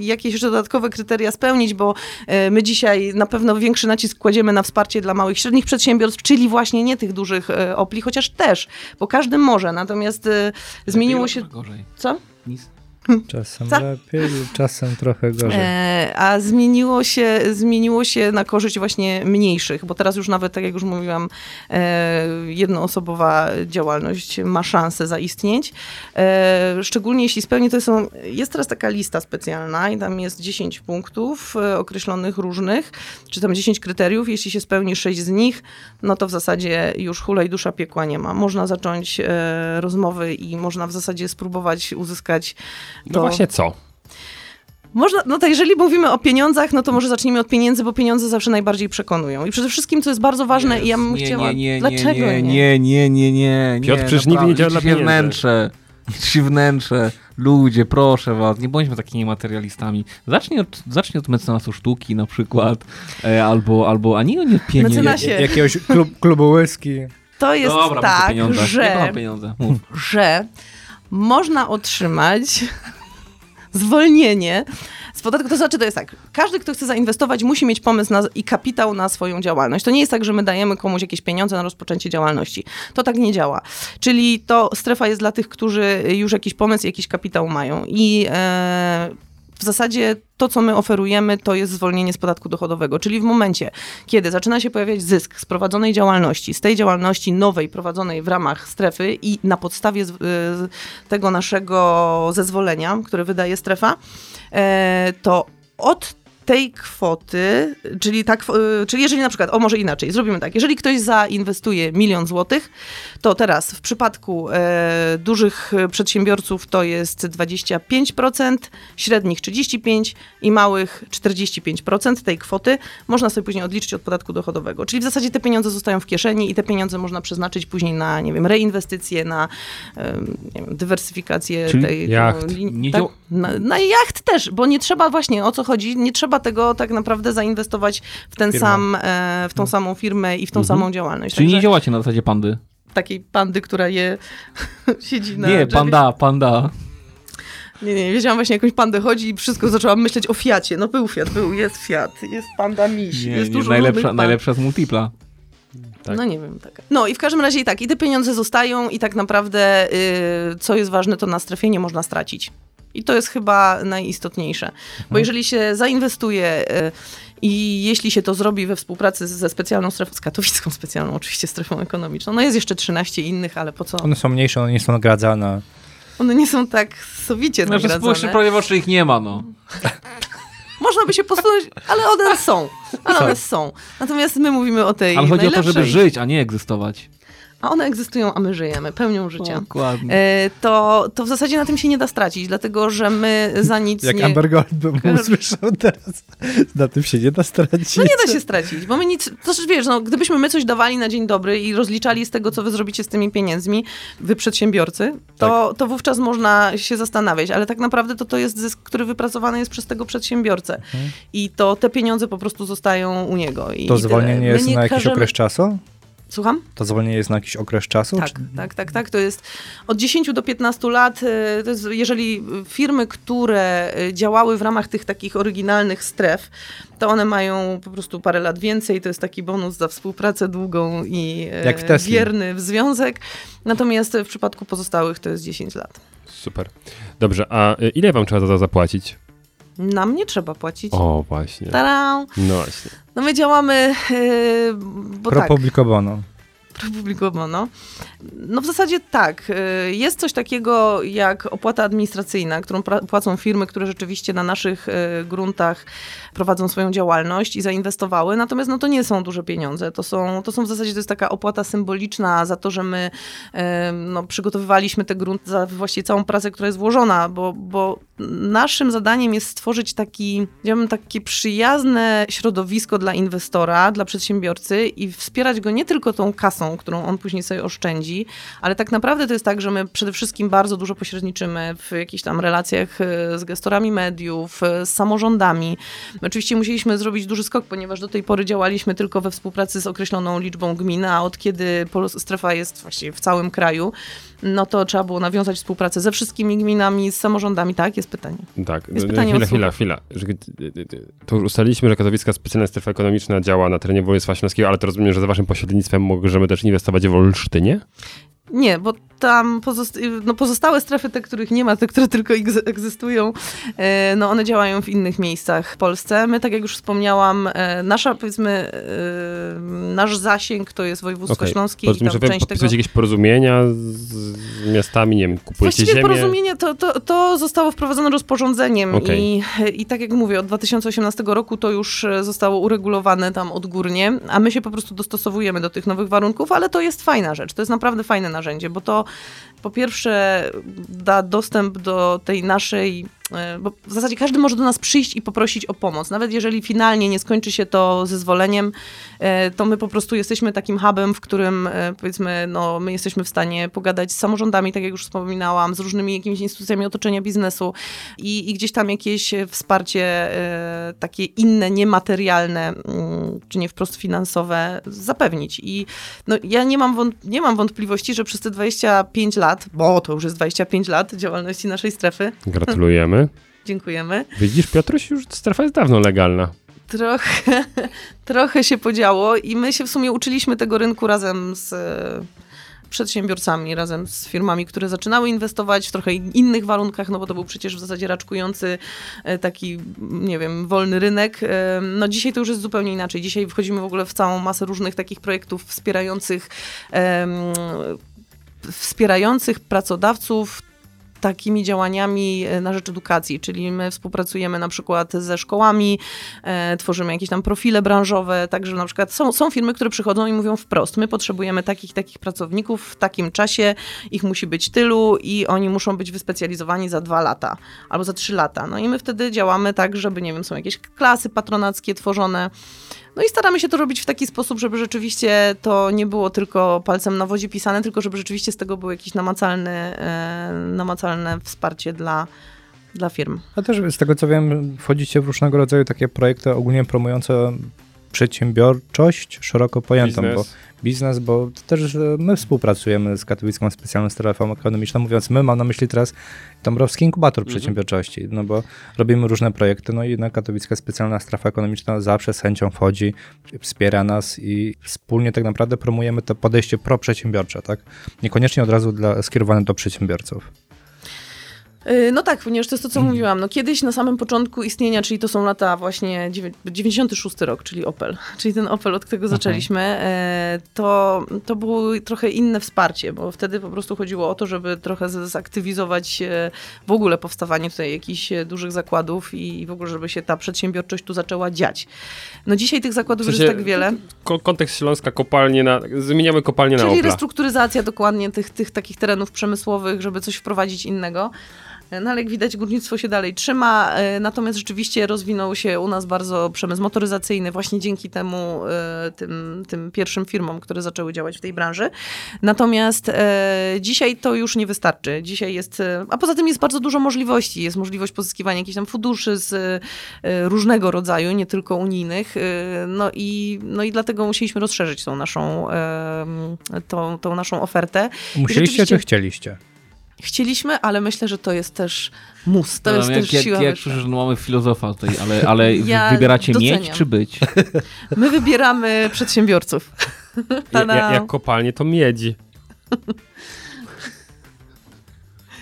E: jakieś jeszcze dodatkowe kryteria spełnić, bo e, my dzisiaj na pewno większy nacisk kładziemy na wsparcie dla małych i średnich przedsiębiorstw, czyli właśnie nie tych dużych e, opli, chociaż też, bo każdy może. Natomiast e, zmieniło się.
C: Gorzej.
E: Co?
C: Nic.
D: Czasem
E: no. Co?
D: lepiej, czasem trochę gorzej.
E: E, a zmieniło się, zmieniło się na korzyść właśnie mniejszych, bo teraz już nawet, tak jak już mówiłam, e, jednoosobowa działalność ma szansę zaistnieć. E, szczególnie jeśli spełni, to są, jest teraz taka lista specjalna i tam jest 10 punktów e, określonych różnych, czy tam 10 kryteriów. Jeśli się spełni 6 z nich, no to w zasadzie już hulaj dusza piekła nie ma. Można zacząć e, rozmowy i można w zasadzie spróbować uzyskać
B: No
E: to.
B: właśnie co?
E: Można, no to jeżeli mówimy o pieniądzach, no to może zacznijmy od pieniędzy, bo pieniądze zawsze najbardziej przekonują. I przede wszystkim, co jest bardzo ważne, i ja bym
C: nie,
E: chciała.
C: Nie, nie,
E: dlaczego
C: nie, nie, nie, nie, nie, nie.
B: Piotr,
E: no,
B: przecież nigdy
C: naprawdę.
B: nie działa dla
C: Liczy się
B: pieniędzy.
C: wnętrze. Liczy się wnętrze. Ludzie, proszę was, nie bądźmy takimi materialistami. Zacznij od, zacznij od mecenasu sztuki na przykład, e, albo, albo, a nie, nie od pieniędzy.
E: Mecenasie.
D: Jak- Jakiegoś klub, klubu whisky.
E: To jest
C: Dobra, mów o
E: tak,
C: pieniądzach. Nie
E: że,
C: mam pieniądze. Mów.
E: że można otrzymać zwolnienie z podatku. To znaczy, to jest tak, każdy, kto chce zainwestować, musi mieć pomysł na, i kapitał na swoją działalność. To nie jest tak, że my dajemy komuś jakieś pieniądze na rozpoczęcie działalności. To tak nie działa. Czyli to strefa jest dla tych, którzy już jakiś pomysł, jakiś kapitał mają. I e, w zasadzie to, co my oferujemy, to jest zwolnienie z podatku dochodowego. Czyli w momencie, kiedy zaczyna się pojawiać zysk z prowadzonej działalności, z tej działalności nowej prowadzonej w ramach strefy i na podstawie z, y, tego naszego zezwolenia, które wydaje strefa, e, to od tej kwoty, czyli, tak, czyli jeżeli na przykład, o może inaczej, zrobimy tak, jeżeli ktoś zainwestuje milion złotych, to teraz w przypadku e, dużych przedsiębiorców to jest 25%, średnich 35% i małych 45% tej kwoty można sobie później odliczyć od podatku dochodowego. Czyli w zasadzie te pieniądze zostają w kieszeni i te pieniądze można przeznaczyć później na, nie wiem, reinwestycje, na em, nie wiem, dywersyfikację
B: Czyli
E: tej
B: jacht.
E: lin-
C: Nie
E: tak,
C: działa-
E: na, na jacht też, bo nie trzeba właśnie, o co chodzi, nie trzeba tego tak naprawdę zainwestować w ten
D: Firmę.
E: sam, e, w tą samą firmę i w tą samą działalność.
C: Mhm. Czyli nie
E: Także
C: działacie na zasadzie pandy.
E: takiej pandy, która je siedzi na
C: nie,
E: drzewie.
C: panda, panda.
E: Nie, nie, wiedziałam właśnie, jakąś pandę chodzi i wszystko zaczęłam myśleć o Fiacie. No był Fiat, był, jest Fiat, jest panda miś, jest dużo różnych
C: najlepsza,
E: pan.
C: najlepsza z multipla.
B: Tak.
E: No nie wiem, tak. No i w każdym razie i tak, i te pieniądze zostają i tak naprawdę, y, co jest ważne, to na strefie nie można stracić. I to jest chyba najistotniejsze.
C: Mhm.
E: Bo jeżeli się zainwestuje y, i jeśli się to zrobi we współpracy z- ze specjalną strefą, z katowicką specjalną oczywiście strefą ekonomiczną, no jest jeszcze 13 innych, ale po co?
D: One są mniejsze, one nie są nagradzane.
E: One nie są tak sowicie
C: Znaczy, spójrzcie,
E: nagradzane.
C: prawie ich nie ma, no.
E: Można by się posunąć, ale one są. Ale one są. Natomiast my mówimy o tej
C: Tak. Ale chodzi o to, żeby
E: najlepszej.
C: żyć, a nie egzystować.
E: A one egzystują, a my żyjemy pełnią życia.
C: Dokładnie.
E: E, to, to w zasadzie na tym się nie da stracić, dlatego że my za nic
D: Jak
E: nie...
D: Amber Gold bym usłyszał teraz. Na tym się nie da stracić.
E: No nie da się stracić, bo my nic, to znaczy, wiesz, no, gdybyśmy my coś dawali na dzień dobry i rozliczali z tego, co wy zrobicie z tymi pieniędzmi, wy przedsiębiorcy, to,
D: Tak.
E: to wówczas można się zastanawiać, ale tak naprawdę to to jest zysk, który wypracowany jest przez tego przedsiębiorcę i to te pieniądze po prostu zostają u niego. I
D: Mhm. To
E: i tyle.
D: zwolnienie
E: My
D: jest
E: nie
D: na jakiś
E: każemy-
D: okres czasu?
E: Słucham?
D: To zwolnienie jest na jakiś okres czasu?
E: Tak, tak, tak, tak. To jest od 10 do 15 lat. y, To jest, jeżeli firmy, które y, działały w ramach tych takich oryginalnych stref, to one mają po prostu parę lat więcej. To jest taki bonus za współpracę długą i y,
D: Jak w Tesli.
E: wierny w związek. Natomiast y, w przypadku pozostałych to jest 10 lat.
B: Super. Dobrze, a y, ile wam trzeba za to zapłacić?
E: Nam nie trzeba płacić.
B: O, właśnie.
E: Tak. Tarau.
B: No właśnie.
E: No my działamy, y, bo
D: Pro
E: tak.
D: publico bono.
E: opublikowano. No w zasadzie tak. y, Jest coś takiego jak opłata administracyjna, którą pra- płacą firmy, które rzeczywiście na naszych y, gruntach prowadzą swoją działalność i zainwestowały. Natomiast no to nie są duże pieniądze. To są, to są w zasadzie to jest taka opłata symboliczna za to, że my y, no, przygotowywaliśmy te grunty za właściwie całą pracę, która jest włożona, bo, bo naszym zadaniem jest stworzyć taki, ja bym takie przyjazne środowisko dla inwestora, dla przedsiębiorcy i wspierać go nie tylko tą kasą, którą on później sobie oszczędzi, ale tak naprawdę to jest tak, że my przede wszystkim bardzo dużo pośredniczymy w jakichś tam relacjach e, z gestorami mediów, e, z samorządami. My oczywiście musieliśmy zrobić duży skok, ponieważ do tej pory działaliśmy tylko we współpracy z określoną liczbą gmin, a od kiedy Pols- strefa jest właściwie w całym kraju, no to trzeba było nawiązać współpracę ze wszystkimi gminami, z samorządami. Tak, jest pytanie.
B: Tak,
E: Jest
B: no,
E: pytanie
B: chwila,
E: o słuch.
B: chwila, chwila. Że- To już ustaliliśmy, że katowicka specjalna strefa ekonomiczna działa na terenie województwa śląskiego, ale to rozumiem, że za waszym pośrednictwem możemy też inwestować w Olsztynie?
E: Nie, bo tam pozost- no pozostałe strefy, te, których nie ma, te, które tylko egz- egzystują, e, no one działają w innych miejscach w Polsce. My, tak jak już wspomniałam, e, nasza, powiedzmy, e, nasz zasięg to jest województwo
B: Okej,
E: śląskie i
B: Rozumiem, że
E: tam
B: wy
E: część
B: podpisujecie
E: tego...
B: jakieś porozumienia z z miastami, nie wiem, kupujecie
E: Właściwie
B: ziemię?
E: porozumienie to, to, to zostało wprowadzone rozporządzeniem
B: Okej.
E: i, i tak jak mówię, od 2018 roku to już e, zostało uregulowane tam odgórnie, a my się po prostu dostosowujemy do tych nowych warunków, ale to jest fajna rzecz, to jest naprawdę fajne narzędzie, bo to po pierwsze da dostęp do tej naszej e, bo w zasadzie każdy może do nas przyjść i poprosić o pomoc. Nawet jeżeli finalnie nie skończy się to zezwoleniem, e, to my po prostu jesteśmy takim hubem, w którym e, powiedzmy, no, my jesteśmy w stanie pogadać z samorządami, tak jak już wspominałam, z różnymi jakimiś instytucjami otoczenia biznesu i, i gdzieś tam jakieś wsparcie e, takie inne, niematerialne, mm, czy nie wprost finansowe zapewnić. I no, ja nie mam, wąt- nie mam wątpliwości, że przez te 25 lat, bo to już jest 25 lat działalności naszej strefy,
B: Gratulujemy.
E: dziękujemy,
B: Widzisz, Piotruś, już strefa jest dawno legalna.
E: trochę, trochę się podziało i my się w sumie uczyliśmy tego rynku razem z e, przedsiębiorcami, razem z firmami, które zaczynały inwestować w trochę in- innych warunkach, no bo to był przecież w zasadzie raczkujący e, taki, nie wiem, wolny rynek. E, No dzisiaj to już jest zupełnie inaczej. Dzisiaj wchodzimy w ogóle w całą masę różnych takich projektów wspierających em, wspierających pracodawców takimi działaniami e, na rzecz edukacji, czyli my współpracujemy na przykład ze szkołami, e, tworzymy jakieś tam profile branżowe, także na przykład są, są firmy, które przychodzą i mówią wprost, my potrzebujemy takich, takich pracowników w takim czasie, ich musi być tylu i oni muszą być wyspecjalizowani za dwa lata albo za trzy lata. No i my wtedy działamy tak, żeby, nie wiem, są jakieś klasy patronackie tworzone, no i staramy się to robić w taki sposób, żeby rzeczywiście to nie było tylko palcem na wozie pisane, tylko żeby rzeczywiście z tego było jakieś namacalne, e, namacalne wsparcie dla, dla firm.
D: A też z tego co wiem, wchodzicie w różnego rodzaju takie projekty ogólnie promujące przedsiębiorczość szeroko pojętą, bo
B: Biznes.
D: biznes, bo to też e, my współpracujemy z Katowicką Specjalną Strefą Ekonomiczną, mówiąc my, mam na myśli teraz Dąbrowski Inkubator Przedsiębiorczości, no bo robimy różne projekty, no i na Katowicka Specjalna Strefa Ekonomiczna zawsze z chęcią wchodzi, wspiera nas i wspólnie tak naprawdę promujemy to podejście proprzedsiębiorcze, tak? Niekoniecznie od razu dla, skierowane do przedsiębiorców.
E: Y, No tak, ponieważ to jest to,
B: Mhm.
E: co mówiłam. No kiedyś na samym początku istnienia, czyli to są lata właśnie dziewię- 96 rok, czyli Opel, czyli ten Opel, od którego zaczęliśmy, e, to, to było trochę inne wsparcie, bo wtedy po prostu chodziło o to, żeby trochę z- zaktywizować e, w ogóle powstawanie tutaj jakichś e, dużych zakładów i i w ogóle, żeby się ta przedsiębiorczość tu zaczęła dziać. No dzisiaj tych zakładów
B: W sensie-
E: już jest tak wiele.
B: Ko- kontekst Śląska, kopalnie na... Zmieniamy kopalnię na
E: Czyli
B: Opla.
E: restrukturyzacja dokładnie tych, tych takich terenów przemysłowych, żeby coś wprowadzić innego. No ale jak widać, górnictwo się dalej trzyma, e, natomiast rzeczywiście rozwinął się u nas bardzo przemysł motoryzacyjny, właśnie dzięki temu, e, tym, tym pierwszym firmom, które zaczęły działać w tej branży. Natomiast e, dzisiaj to już nie wystarczy. Dzisiaj jest, e, a poza tym jest bardzo dużo możliwości. Jest możliwość pozyskiwania jakichś tam funduszy z e, różnego rodzaju, nie tylko unijnych. e, No i, no i dlatego musieliśmy rozszerzyć tą naszą, e, tą, tą naszą ofertę. I
D: Musieliście
E: rzeczywiście
D: czy chcieliście?
E: Chcieliśmy, ale myślę, że to jest też mus, to jest
C: jak,
E: też
C: jak,
E: siła
C: jak
E: wyższa.
C: słyszysz, że no mamy filozofa tutaj, ale, ale
E: Ja
C: wybieracie mieć
E: doceniam.
C: czy być?
E: My wybieramy przedsiębiorców.
B: Ja, ja,
E: Ta-dam.
B: jak kopalnie to miedzi.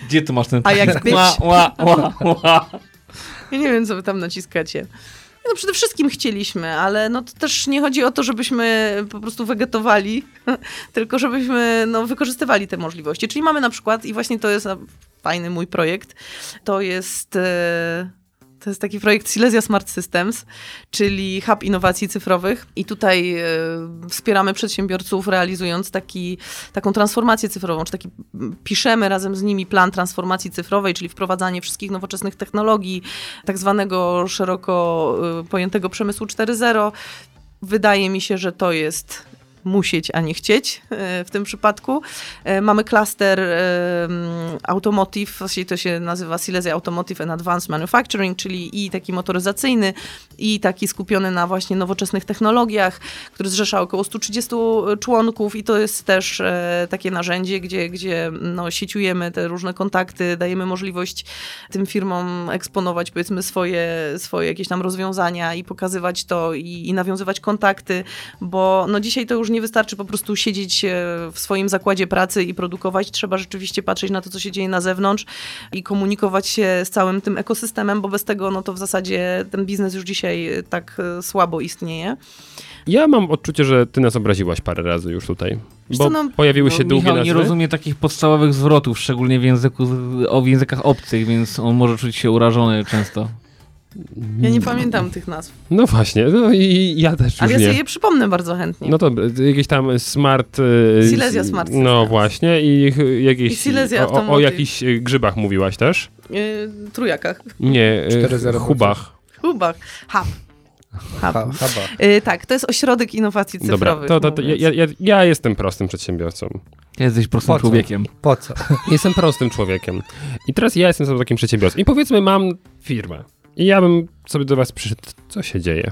C: Gdzie tu masz ten
E: A jak być?
C: Ła, ła, ła, ła.
E: Ja nie wiem, co wy tam naciskacie. No przede wszystkim chcieliśmy, ale no to też nie chodzi o to, żebyśmy po prostu wegetowali, tylko żebyśmy no, wykorzystywali te możliwości. Czyli mamy na przykład, i właśnie to jest no, fajny mój projekt, to jest... e, To jest taki projekt Silesia Smart Systems, czyli hub innowacji cyfrowych. I tutaj e, wspieramy przedsiębiorców realizując taki, taką transformację cyfrową, czy taki m, piszemy razem z nimi plan transformacji cyfrowej, czyli wprowadzanie wszystkich nowoczesnych technologii, tak zwanego szeroko y, pojętego przemysłu 4.0. Wydaje mi się, że to jest musieć, a nie chcieć e, w tym przypadku. E, Mamy klaster em, automotive, właściwie to się nazywa Silesia Automotive and Advanced Manufacturing, czyli i taki motoryzacyjny, i taki skupiony na właśnie nowoczesnych technologiach, który zrzesza około 130 członków i to jest też e, takie narzędzie, gdzie, gdzie no, sieciujemy te różne kontakty, tak, dajemy możliwość tym firmom eksponować powiedzmy swoje, swoje jakieś tam rozwiązania i pokazywać to i, i nawiązywać kontakty, bo no dzisiaj to już nie wystarczy po prostu siedzieć e, w swoim zakładzie pracy i produkować, trzeba rzeczywiście patrzeć na to, co się dzieje na zewnątrz i komunikować się z całym tym ekosystemem, bo bez tego no to w zasadzie ten biznes już dzisiaj e, tak e, słabo istnieje.
B: Ja mam odczucie, że ty nas obraziłaś parę razy już tutaj.
E: Wiesz
B: Bo
E: co, no-
B: pojawiły się
C: No,
B: długie
C: Michał
B: nazwy.
C: nie rozumie takich podstawowych zwrotów, szczególnie w, języku, o, w językach obcych, więc on może czuć się urażony często.
E: Ja nie pamiętam tych nazw,
B: No właśnie, no i ja też
E: ale ja
B: już
E: sobie
B: nie.
E: je przypomnę bardzo chętnie.
B: No to jakieś tam smart... e,
E: Silesia Smart
B: No
E: Systems.
B: właśnie i ch-
E: I
B: jakieś...
E: Silesia
B: o, o, o
E: Automotive.
B: jakichś e, grzybach mówiłaś też?
E: Yy, trójakach,
B: Nie, e,
D: 4-0
B: hubach.
E: hubach, hub. Hub.
D: Ha, haba.
E: Y, tak, to jest ośrodek innowacji cyfrowych.
B: Dobra, to, to, to,
E: mówiąc.
B: ja, ja, ja jestem prostym przedsiębiorcą.
C: Jesteś prostym
D: Po co?
C: człowiekiem.
D: Po co?
B: Jestem prostym człowiekiem. I teraz ja jestem sobie takim przedsiębiorcą. I powiedzmy, mam firmę. I ja bym sobie do was przyszedł, co się dzieje.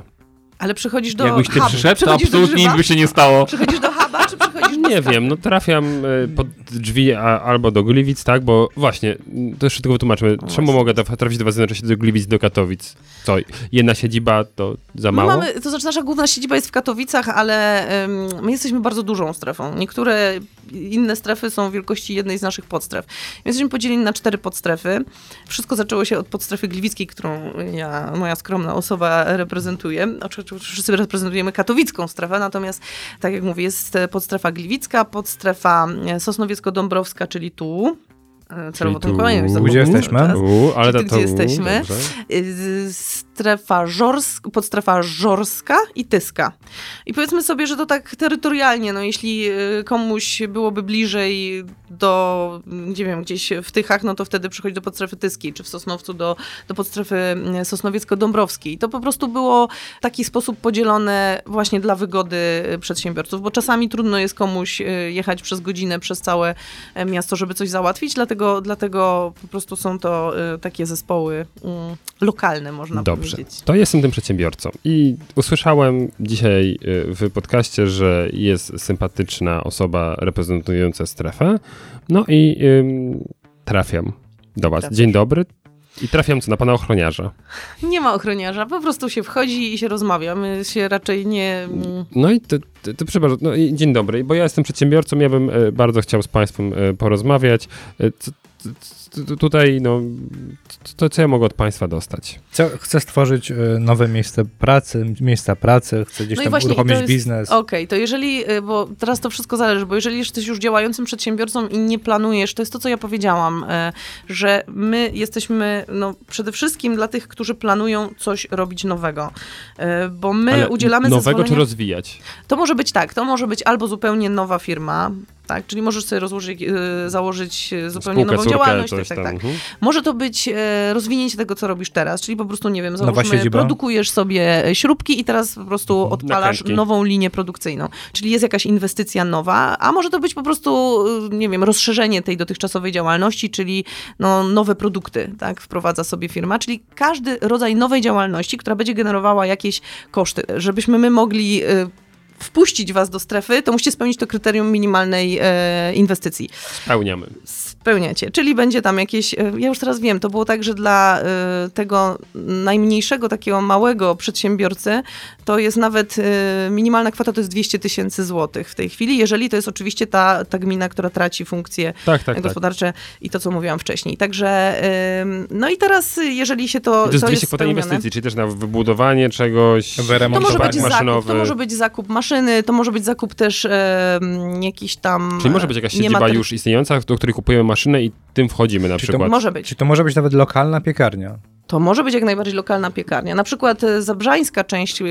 E: Ale przychodzisz do
C: Jakbyś ty
E: hubu.
C: przyszedł, to
E: Przychodzisz do
C: absolutnie nic
E: grzyba?
C: by się nie stało.
E: Przychodzisz do huba, czy przychodzisz do...
B: Nie wiem, no trafiam e, pod drzwi a, albo do Gliwic, tak? Bo właśnie, m, to jeszcze tylko
E: No
B: wytłumaczmy, czemu mogę traf- trafić do was jednocześnie do Gliwic, do Katowic? Co, jedna siedziba to za
E: My
B: mało?
E: mamy, to znaczy nasza główna siedziba jest w Katowicach, ale ym, my jesteśmy bardzo dużą strefą. Niektóre inne strefy są wielkości jednej z naszych podstref. My jesteśmy podzieleni na cztery podstrefy. Wszystko zaczęło się od podstrefy gliwickiej, którą ja, moja skromna osoba reprezentuje. Oczywiście wszyscy reprezentujemy katowicką strefę, natomiast tak jak mówię, jest e, podstrefa gliwicka, podstrefa e, sosnowiecko-dąbrowska, czyli tu, e, celowo
B: Czyli
E: tym
B: tu-
E: kolejnym
B: gdzie
E: zakupu cały
D: jesteśmy?
E: czas.
B: U, ale
E: Czyli
B: to,
E: gdzie jesteśmy?
B: Dobrze.
E: Y, strefa żorsk, podstrefa żorska i tyska. I powiedzmy sobie, że to tak terytorialnie, no jeśli y, komuś byłoby bliżej do, nie wiem, gdzieś w Tychach, no to wtedy przychodzi do podstrefy tyskiej, czy w Sosnowcu do, do podstrefy y, sosnowiecko-dąbrowskiej. To po prostu było w taki sposób podzielone właśnie dla wygody y, przedsiębiorców, bo czasami trudno jest komuś y, jechać przez godzinę, przez całe e, miasto, żeby coś załatwić, dlatego, dlatego po prostu są to y, takie zespoły mm, lokalne, można
B: Dobrze.
E: powiedzieć.
B: To jestem tym przedsiębiorcą. I usłyszałem dzisiaj y, w podcaście, że jest sympatyczna osoba reprezentująca strefę. No i ym, trafiam do was.
E: Trafiasz.
B: Dzień dobry. I trafiam co na pana ochroniarza.
E: Nie ma ochroniarza, po prostu się wchodzi i się rozmawia. My się raczej nie... mm,
B: No i ty, ty, ty przepraszam, no i dzień dobry, bo ja jestem przedsiębiorcą, ja bym e, bardzo chciał z państwem e, porozmawiać. E, c- c- c- tu- tutaj, no, c- to co ja mogę od państwa dostać?
D: Co, chcę stworzyć e, nowe miejsce pracy, miejsca pracy, chcę gdzieś
E: No i
D: tam
E: właśnie i to
D: uruchomić
E: jest-
D: biznes.
E: Okej, to jeżeli, y, bo teraz to wszystko zależy, bo jeżeli jesteś już działającym przedsiębiorcą i nie planujesz, to jest to, co ja powiedziałam, y, że my jesteśmy no, przede wszystkim dla tych, którzy planują coś robić nowego, Y, bo my
B: Ale
E: udzielamy
B: nowego czy
E: zezwolenia...
B: rozwijać?
E: To może być tak, to może być albo zupełnie nowa firma, tak, czyli możesz sobie rozłożyć, e, założyć e, zupełnie
B: Spółkę,
E: nową
B: córkę,
E: działalność,
B: coś
E: tak, tak,
B: tam,
E: tak.
B: mhm.
E: Może to być e, rozwinięcie tego, co robisz teraz, czyli po prostu, nie wiem,
D: Nowa
E: załóżmy,
D: siedziba. Mhm.
E: produkujesz sobie e, śrubki i teraz po prostu odpalasz
B: Nakrętki.
E: nową linię produkcyjną, czyli jest jakaś inwestycja nowa, a może to być po prostu, e, nie wiem, rozszerzenie tej dotychczasowej działalności, czyli no, nowe produkty, tak, wprowadza sobie firma, czyli każdy rodzaj nowej działalności, która będzie generowała jakieś koszty, żebyśmy my mogli e, wpuścić was do strefy, to musicie spełnić to kryterium minimalnej e, inwestycji
B: Spełniamy.
E: spełniacie. Czyli będzie tam jakieś, e, ja już teraz wiem, to było tak, że dla e, tego najmniejszego, takiego małego przedsiębiorcy, to jest nawet e, minimalna kwota to jest 200 tysięcy złotych w tej chwili, jeżeli to jest oczywiście ta, ta gmina, która traci funkcję
B: Tak, tak, tak.
E: gospodarcze i to, co mówiłam wcześniej. Także, em, no i teraz, y, jeżeli się to,
B: I to jest 200 kwota
E: spełnione-
B: inwestycji, czyli też na wybudowanie czegoś,
D: Wyremontowanie.
E: to może,
B: park
E: być zakup,
B: maszynowy.
E: to może być zakup maszyny, to może być zakup też em, jakiś tam...
B: Czyli może być jakaś siedziba
E: niemater-
B: już istniejąca, do której kupujemy maszynę i tym wchodzimy na
D: Czyli to
B: przykład.
E: Może być.
D: Czy to może być nawet lokalna piekarnia?
E: To może być jak najbardziej lokalna piekarnia. Na przykład e, zabrzańska część yy,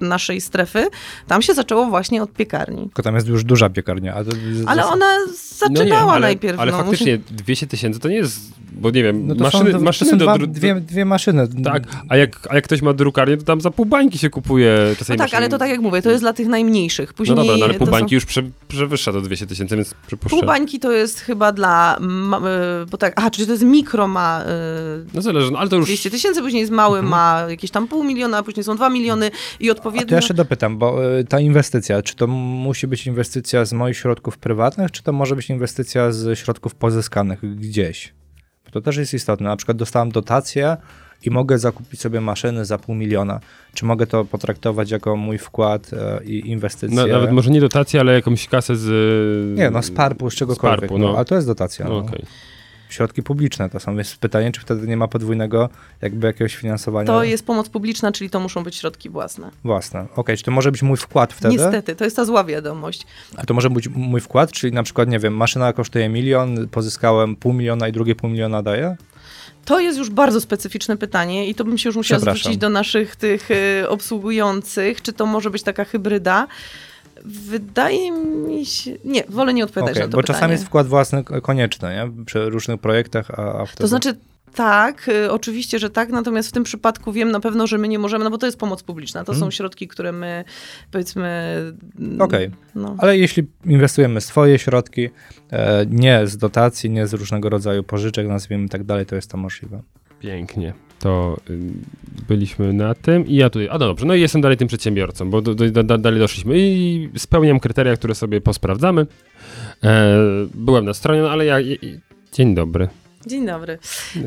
E: naszej strefy, tam się zaczęło właśnie od piekarni.
D: Tylko tam jest już duża piekarnia. A to,
E: Ale
D: zas-
E: ona
B: No nie,
E: zaczynała
B: ale,
E: najpierw.
B: Ale
E: no,
B: faktycznie 200 tysięcy to nie jest, bo nie wiem,
D: No to
B: maszyny,
D: są, to,
B: maszyny
D: to są
B: do,
D: dwa,
B: dru-
D: dwie, dwie maszyny.
B: Tak, a jak, a jak ktoś ma drukarnię, to tam za pół bańki się kupuje.
E: No
B: Czasami
E: tak,
B: maszyny-
E: ale to tak jak mówię, to jest dla tych najmniejszych.
B: No
E: Później
B: dobra, no ale pół
E: to są-
B: bańki już prze, przewyższa to 200 tysięcy, więc przypuszczam.
E: Pół bańki to jest chyba dla, ma, y, bo tak, aha, czyli to jest mikro ma y,
B: No zależy, no ale to już... Mhm.
E: 200 tysięcy, później jest mały ma jakieś tam pół miliona, później są dwa miliony i
D: A to
E: odpowiednio...
D: ja jeszcze dopytam, bo y, ta inwestycja, czy to musi być inwestycja z moich środków prywatnych, czy to może być inwestycja z środków pozyskanych gdzieś? Bo to też jest istotne. Na przykład dostałem dotację i mogę zakupić sobie maszyny za pół miliona. Czy mogę to potraktować jako mój wkład y, i inwestycję?
B: na, No, nawet może nie dotację, ale jakąś kasę z...
D: Nie, no z parpu, z czegokolwiek.
B: Z parpu, no.
D: no. A to jest dotacja.
B: No,
D: No,
B: okej.
D: Środki publiczne to są, więc pytanie, czy wtedy nie ma podwójnego jakby jakiegoś finansowania
E: To jest pomoc publiczna, czyli to muszą być środki własne.
D: własne. Okej, czy to może być mój wkład wtedy?
E: Niestety, to jest ta zła wiadomość.
D: A to może być mój wkład, czyli na przykład, nie wiem, maszyna kosztuje milion, pozyskałem pół miliona i drugie pół miliona daję?
E: To jest już bardzo specyficzne pytanie i to bym się już musiała
D: Przepraszam.
E: zwrócić do naszych tych e, obsługujących, czy to może być taka hybryda. Wydaje mi się... Nie, wolę nie odpowiadać
D: Okej,
E: na to
D: bo
E: pytanie.
D: czasami jest wkład własny ko- konieczny, nie? Przy różnych projektach, a, a wtedy...
E: To znaczy tak, y, oczywiście, że tak, natomiast w tym przypadku wiem na pewno, że my nie możemy, no bo to jest pomoc publiczna,
D: Mhm.
E: to są środki, które my powiedzmy... mm,
D: Okej,
E: No.
D: ale jeśli inwestujemy swoje środki, e, nie z dotacji, nie z różnego rodzaju pożyczek, nazwijmy i tak dalej, to jest to możliwe.
B: Pięknie. To ym, byliśmy na tym i ja tutaj. A no dobrze, no i jestem dalej tym przedsiębiorcą, bo do, do, da, dalej doszliśmy i spełniam kryteria, które sobie posprawdzamy. E, byłem na stronie, no ale ja. i- i- Dzień dobry.
E: Dzień dobry. Y,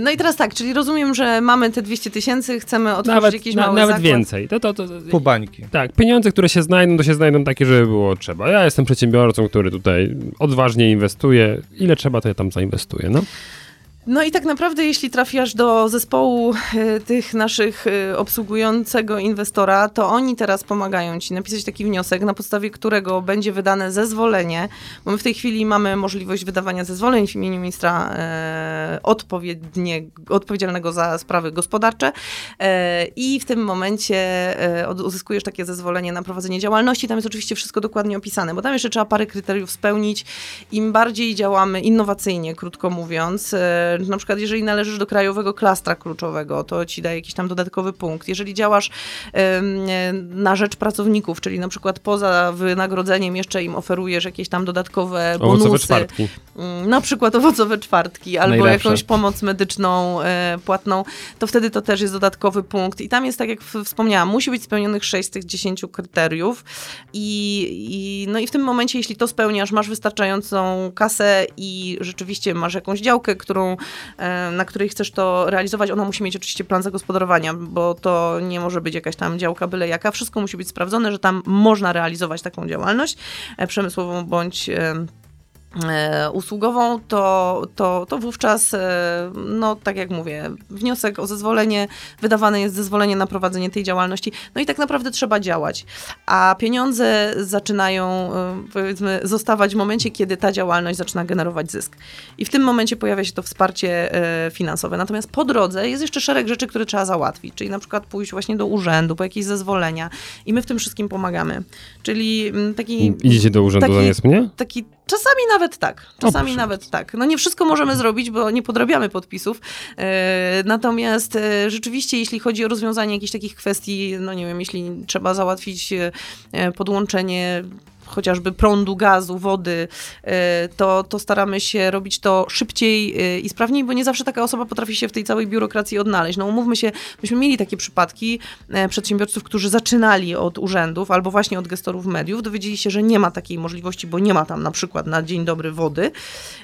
E: No i teraz tak, czyli rozumiem, że mamy te 200 tysięcy, chcemy otworzyć jakiś
B: na-
E: mały
B: nawet
E: zakład.
B: więcej. To, to, to,
D: Pół bańki.
B: tak, pieniądze, które się znajdą, to się znajdą takie, żeby było trzeba. Ja jestem przedsiębiorcą, który tutaj odważnie inwestuje. Ile trzeba, to ja tam zainwestuję. No.
E: No i tak naprawdę, jeśli trafiasz do zespołu e, tych naszych e, obsługującego inwestora, to oni teraz pomagają ci napisać taki wniosek, na podstawie którego będzie wydane zezwolenie, bo my w tej chwili mamy możliwość wydawania zezwoleń w imieniu ministra e, odpowiednie, odpowiedzialnego za sprawy gospodarcze e, i w tym momencie e, od- uzyskujesz takie zezwolenie na prowadzenie działalności. Tam jest oczywiście wszystko dokładnie opisane, bo tam jeszcze trzeba parę kryteriów spełnić. Im bardziej działamy innowacyjnie, krótko mówiąc, e, na przykład jeżeli należysz do krajowego klastra kluczowego, to ci daje jakiś tam dodatkowy punkt. Jeżeli działasz em, e, na rzecz pracowników, czyli na przykład poza wynagrodzeniem jeszcze im oferujesz jakieś tam dodatkowe bonusy.
B: Owocowe czwartki.
E: Mm, na przykład owocowe czwartki albo
C: Najlepsze.
E: jakąś pomoc medyczną e, płatną, to wtedy to też jest dodatkowy punkt. I tam jest, tak jak w- wspomniałam, musi być spełnionych 6 z tych 10 kryteriów. I, i, no I w tym momencie, jeśli to spełniasz, masz wystarczającą kasę i rzeczywiście masz jakąś działkę, którą, e, na której chcesz to realizować, ona musi mieć oczywiście plan zagospodarowania, bo to nie może być jakaś tam działka byle jaka. Wszystko musi być sprawdzone, że tam można realizować taką działalność e, przemysłową bądź... E, e, usługową, to, to, to wówczas, e, no tak jak mówię, wniosek o zezwolenie, wydawane jest zezwolenie na prowadzenie tej działalności, no i tak naprawdę trzeba działać. A pieniądze zaczynają, e, powiedzmy, zostawać w momencie, kiedy ta działalność zaczyna generować zysk. I w tym momencie pojawia się to wsparcie e, finansowe. Natomiast po drodze jest jeszcze szereg rzeczy, które trzeba załatwić, czyli na przykład pójść właśnie do urzędu, po jakieś zezwolenia i my w tym wszystkim pomagamy. Czyli mm, taki...
B: Idziecie do urzędu
E: taki-
B: zamiast mnie?
E: Taki, czasami nawet tak, czasami
B: proszę
E: nawet tak. No nie wszystko możemy zrobić, bo nie podrabiamy podpisów. E, natomiast e, rzeczywiście, jeśli chodzi o rozwiązanie jakichś takich kwestii, no nie wiem, jeśli trzeba załatwić e, e, podłączenie chociażby prądu, gazu, wody, e, to, to staramy się robić to szybciej e, i sprawniej, bo nie zawsze taka osoba potrafi się w tej całej biurokracji odnaleźć. No umówmy się, myśmy mieli takie przypadki e, przedsiębiorców, którzy zaczynali od urzędów albo właśnie od gestorów mediów, dowiedzieli się, że nie ma takiej możliwości, bo nie ma tam na przykład na dzień dobry wody.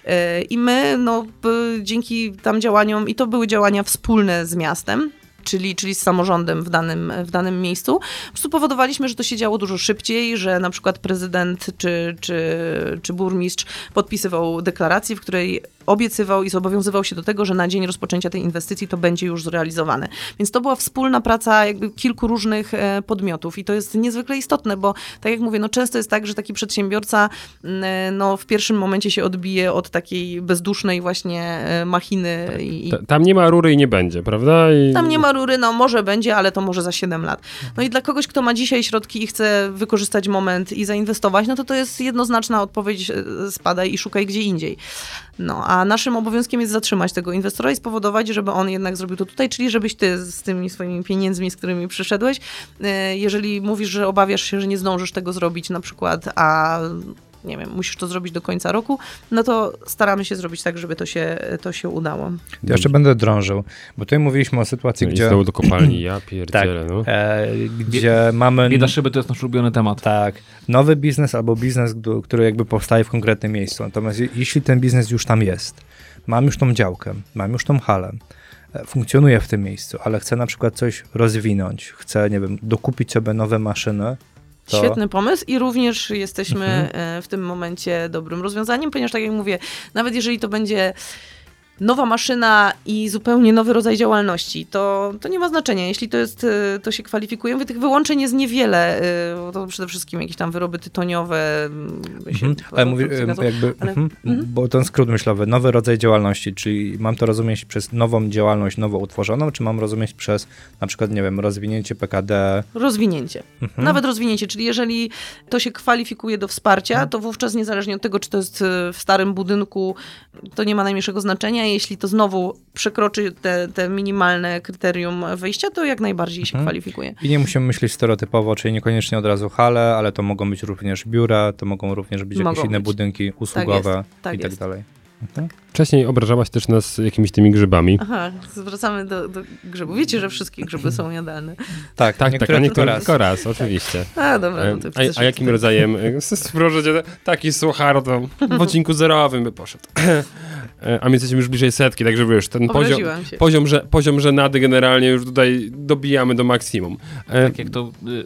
E: E, I my, no, p- dzięki tam działaniom, i to były działania wspólne z miastem. Czyli, czyli z samorządem w danym, w danym miejscu. Po prostu powodowaliśmy, że to się działo dużo szybciej, że na przykład prezydent czy, czy, czy burmistrz podpisywał deklarację, w której obiecywał i zobowiązywał się do tego, że na dzień rozpoczęcia tej inwestycji to będzie już zrealizowane. Więc to była wspólna praca jakby kilku różnych e, podmiotów i to jest niezwykle istotne, bo tak jak mówię, no często jest tak, że taki przedsiębiorca mm, e, no, w pierwszym momencie się odbije od takiej bezdusznej właśnie e, machiny i, i
B: Ta- Tam nie ma rury i nie będzie, prawda? I...
E: tam nie ma rury, no może będzie, ale to może za 7 lat. No i dla kogoś, kto ma dzisiaj środki i chce wykorzystać moment i zainwestować, no to to jest jednoznaczna odpowiedź, e, spadaj i szukaj gdzie indziej. No, a naszym obowiązkiem jest zatrzymać tego inwestora i spowodować, żeby on jednak zrobił to tutaj, czyli żebyś ty z tymi swoimi pieniędzmi, z którymi przyszedłeś, e, jeżeli mówisz, że obawiasz się, że nie zdążysz tego zrobić na przykład, a nie wiem, musisz to zrobić do końca roku, no to staramy się zrobić tak, żeby to się, to się udało.
D: Ja jeszcze będę drążył, bo tutaj mówiliśmy o sytuacji,
B: No I
D: gdzie,
B: znowu do kopalni,
E: Tak.
B: ja pierdzielę, no.
D: e, gdzie mamy
C: Bieda szyby to jest nasz ulubiony temat.
D: tak, nowy biznes albo biznes, gdu- który jakby powstaje w konkretnym miejscu. Natomiast je- jeśli ten biznes już tam jest, mam już tą działkę, mam już tą halę, e, funkcjonuje w tym miejscu, ale chcę na przykład coś rozwinąć, chcę, nie wiem, dokupić sobie nowe maszyny, to Mhm.
E: Świetny pomysł i również jesteśmy e, w tym momencie dobrym rozwiązaniem, ponieważ tak jak mówię, nawet jeżeli to będzie nowa maszyna i zupełnie nowy rodzaj działalności, to, to nie ma znaczenia. Jeśli to jest, e, to się kwalifikuje, mówię, tych wyłączeń jest niewiele, e, bo to przede wszystkim jakieś tam wyroby tytoniowe. m, się-
D: Mhm. Ale mówię,
E: produkcja
D: e,
E: gazu.
D: jakby,
E: ale-
D: mhm, bo ten skrót myślowy, nowy rodzaj działalności, czyli mam to rozumieć przez nową działalność, nowo utworzoną, czy mam rozumieć przez na przykład, nie wiem, rozwinięcie PKD,
E: Rozwinięcie.
B: Mhm.
E: Nawet rozwinięcie, czyli jeżeli to się kwalifikuje do
B: Mhm.
E: wsparcia, to wówczas niezależnie od tego, czy to jest e, w starym budynku, to nie ma najmniejszego znaczenia. Jeśli to znowu przekroczy te, te minimalne kryterium wejścia, to jak najbardziej
B: Mhm.
E: się kwalifikuje.
D: I nie musimy myśleć stereotypowo, czyli niekoniecznie od razu hale, ale to mogą być również biura, to mogą również być jakieś
E: Mogą
D: inne
E: być.
D: budynki usługowe
E: jest, tak
D: i tak
E: jest.
D: dalej.
B: Wcześniej obrażałaś też nas jakimiś tymi grzybami.
E: Aha, zwracamy do, do grzybu. Wiecie, że wszystkie grzyby są jadalne.
D: Tak,
B: Tak, tak, a niektóre
D: tylko raz.
B: tylko raz, oczywiście.
E: A, dobra. No to
B: E, A, a jakim rodzajem? e, s- Proszę cię, taki suchar to w odcinku zerowym by poszedł. E, A my jesteśmy już bliżej setki, także wiesz, ten poziom,
E: Obraziłam się.
B: poziom, że, poziom żenady generalnie już tutaj dobijamy do maksimum. E,
C: Tak jak to y,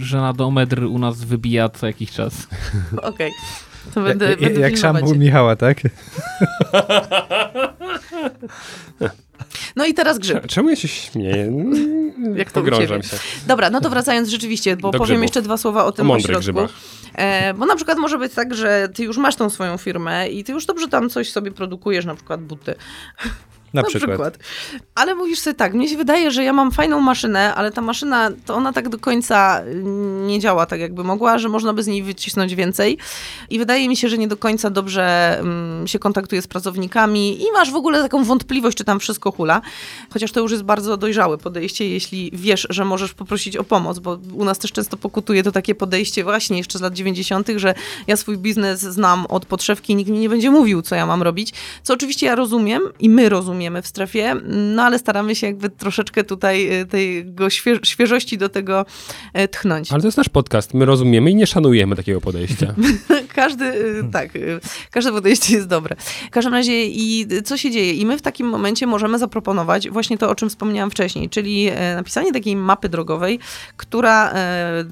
C: żenadometr u nas wybija co jakiś czas.
E: Okej. To będę,
D: jak
E: będę
D: jak
E: filmować.
D: szampon Michała, tak?
E: No i teraz grzyb.
B: Czemu ja się śmieję? Mm,
E: Jak to u
B: pogrążam
E: ciebie.
B: się.
E: Dobra, no to wracając rzeczywiście, bo
B: Do
E: powiem
B: grzybów.
E: jeszcze dwa słowa o
B: O
E: tym
B: mądrych
E: ośrodku.
B: grzybach.
E: E, bo na przykład może być tak, że ty już masz tą swoją firmę i ty już dobrze tam coś sobie produkujesz, na przykład buty.
D: Na przykład.
E: Ale mówisz sobie tak, mnie się wydaje, że ja mam fajną maszynę, ale ta maszyna, to ona tak do końca y, nie działa tak, jakby mogła, że można by z niej wycisnąć więcej. I wydaje mi się, że nie do końca dobrze mm, się kontaktuje z pracownikami i masz w ogóle taką wątpliwość, czy tam wszystko hula. Chociaż to już jest bardzo dojrzałe podejście, jeśli wiesz, że możesz poprosić o pomoc, bo u nas też często pokutuje to takie podejście właśnie jeszcze z lat 90., że ja swój biznes znam od podszewki, nikt mi nie będzie mówił, co ja mam robić. Co oczywiście ja rozumiem i my rozumiemy w strefie, no ale staramy się jakby troszeczkę tutaj y, tego świe- świeżości do tego y, tchnąć.
B: Ale to jest nasz podcast. My rozumiemy i nie szanujemy takiego podejścia.
E: Każdy, y, tak, y, każde podejście jest dobre. W każdym razie i y, co się dzieje? I my w takim momencie możemy zaproponować właśnie to, o czym wspomniałam wcześniej, czyli e, napisanie takiej mapy drogowej, która e,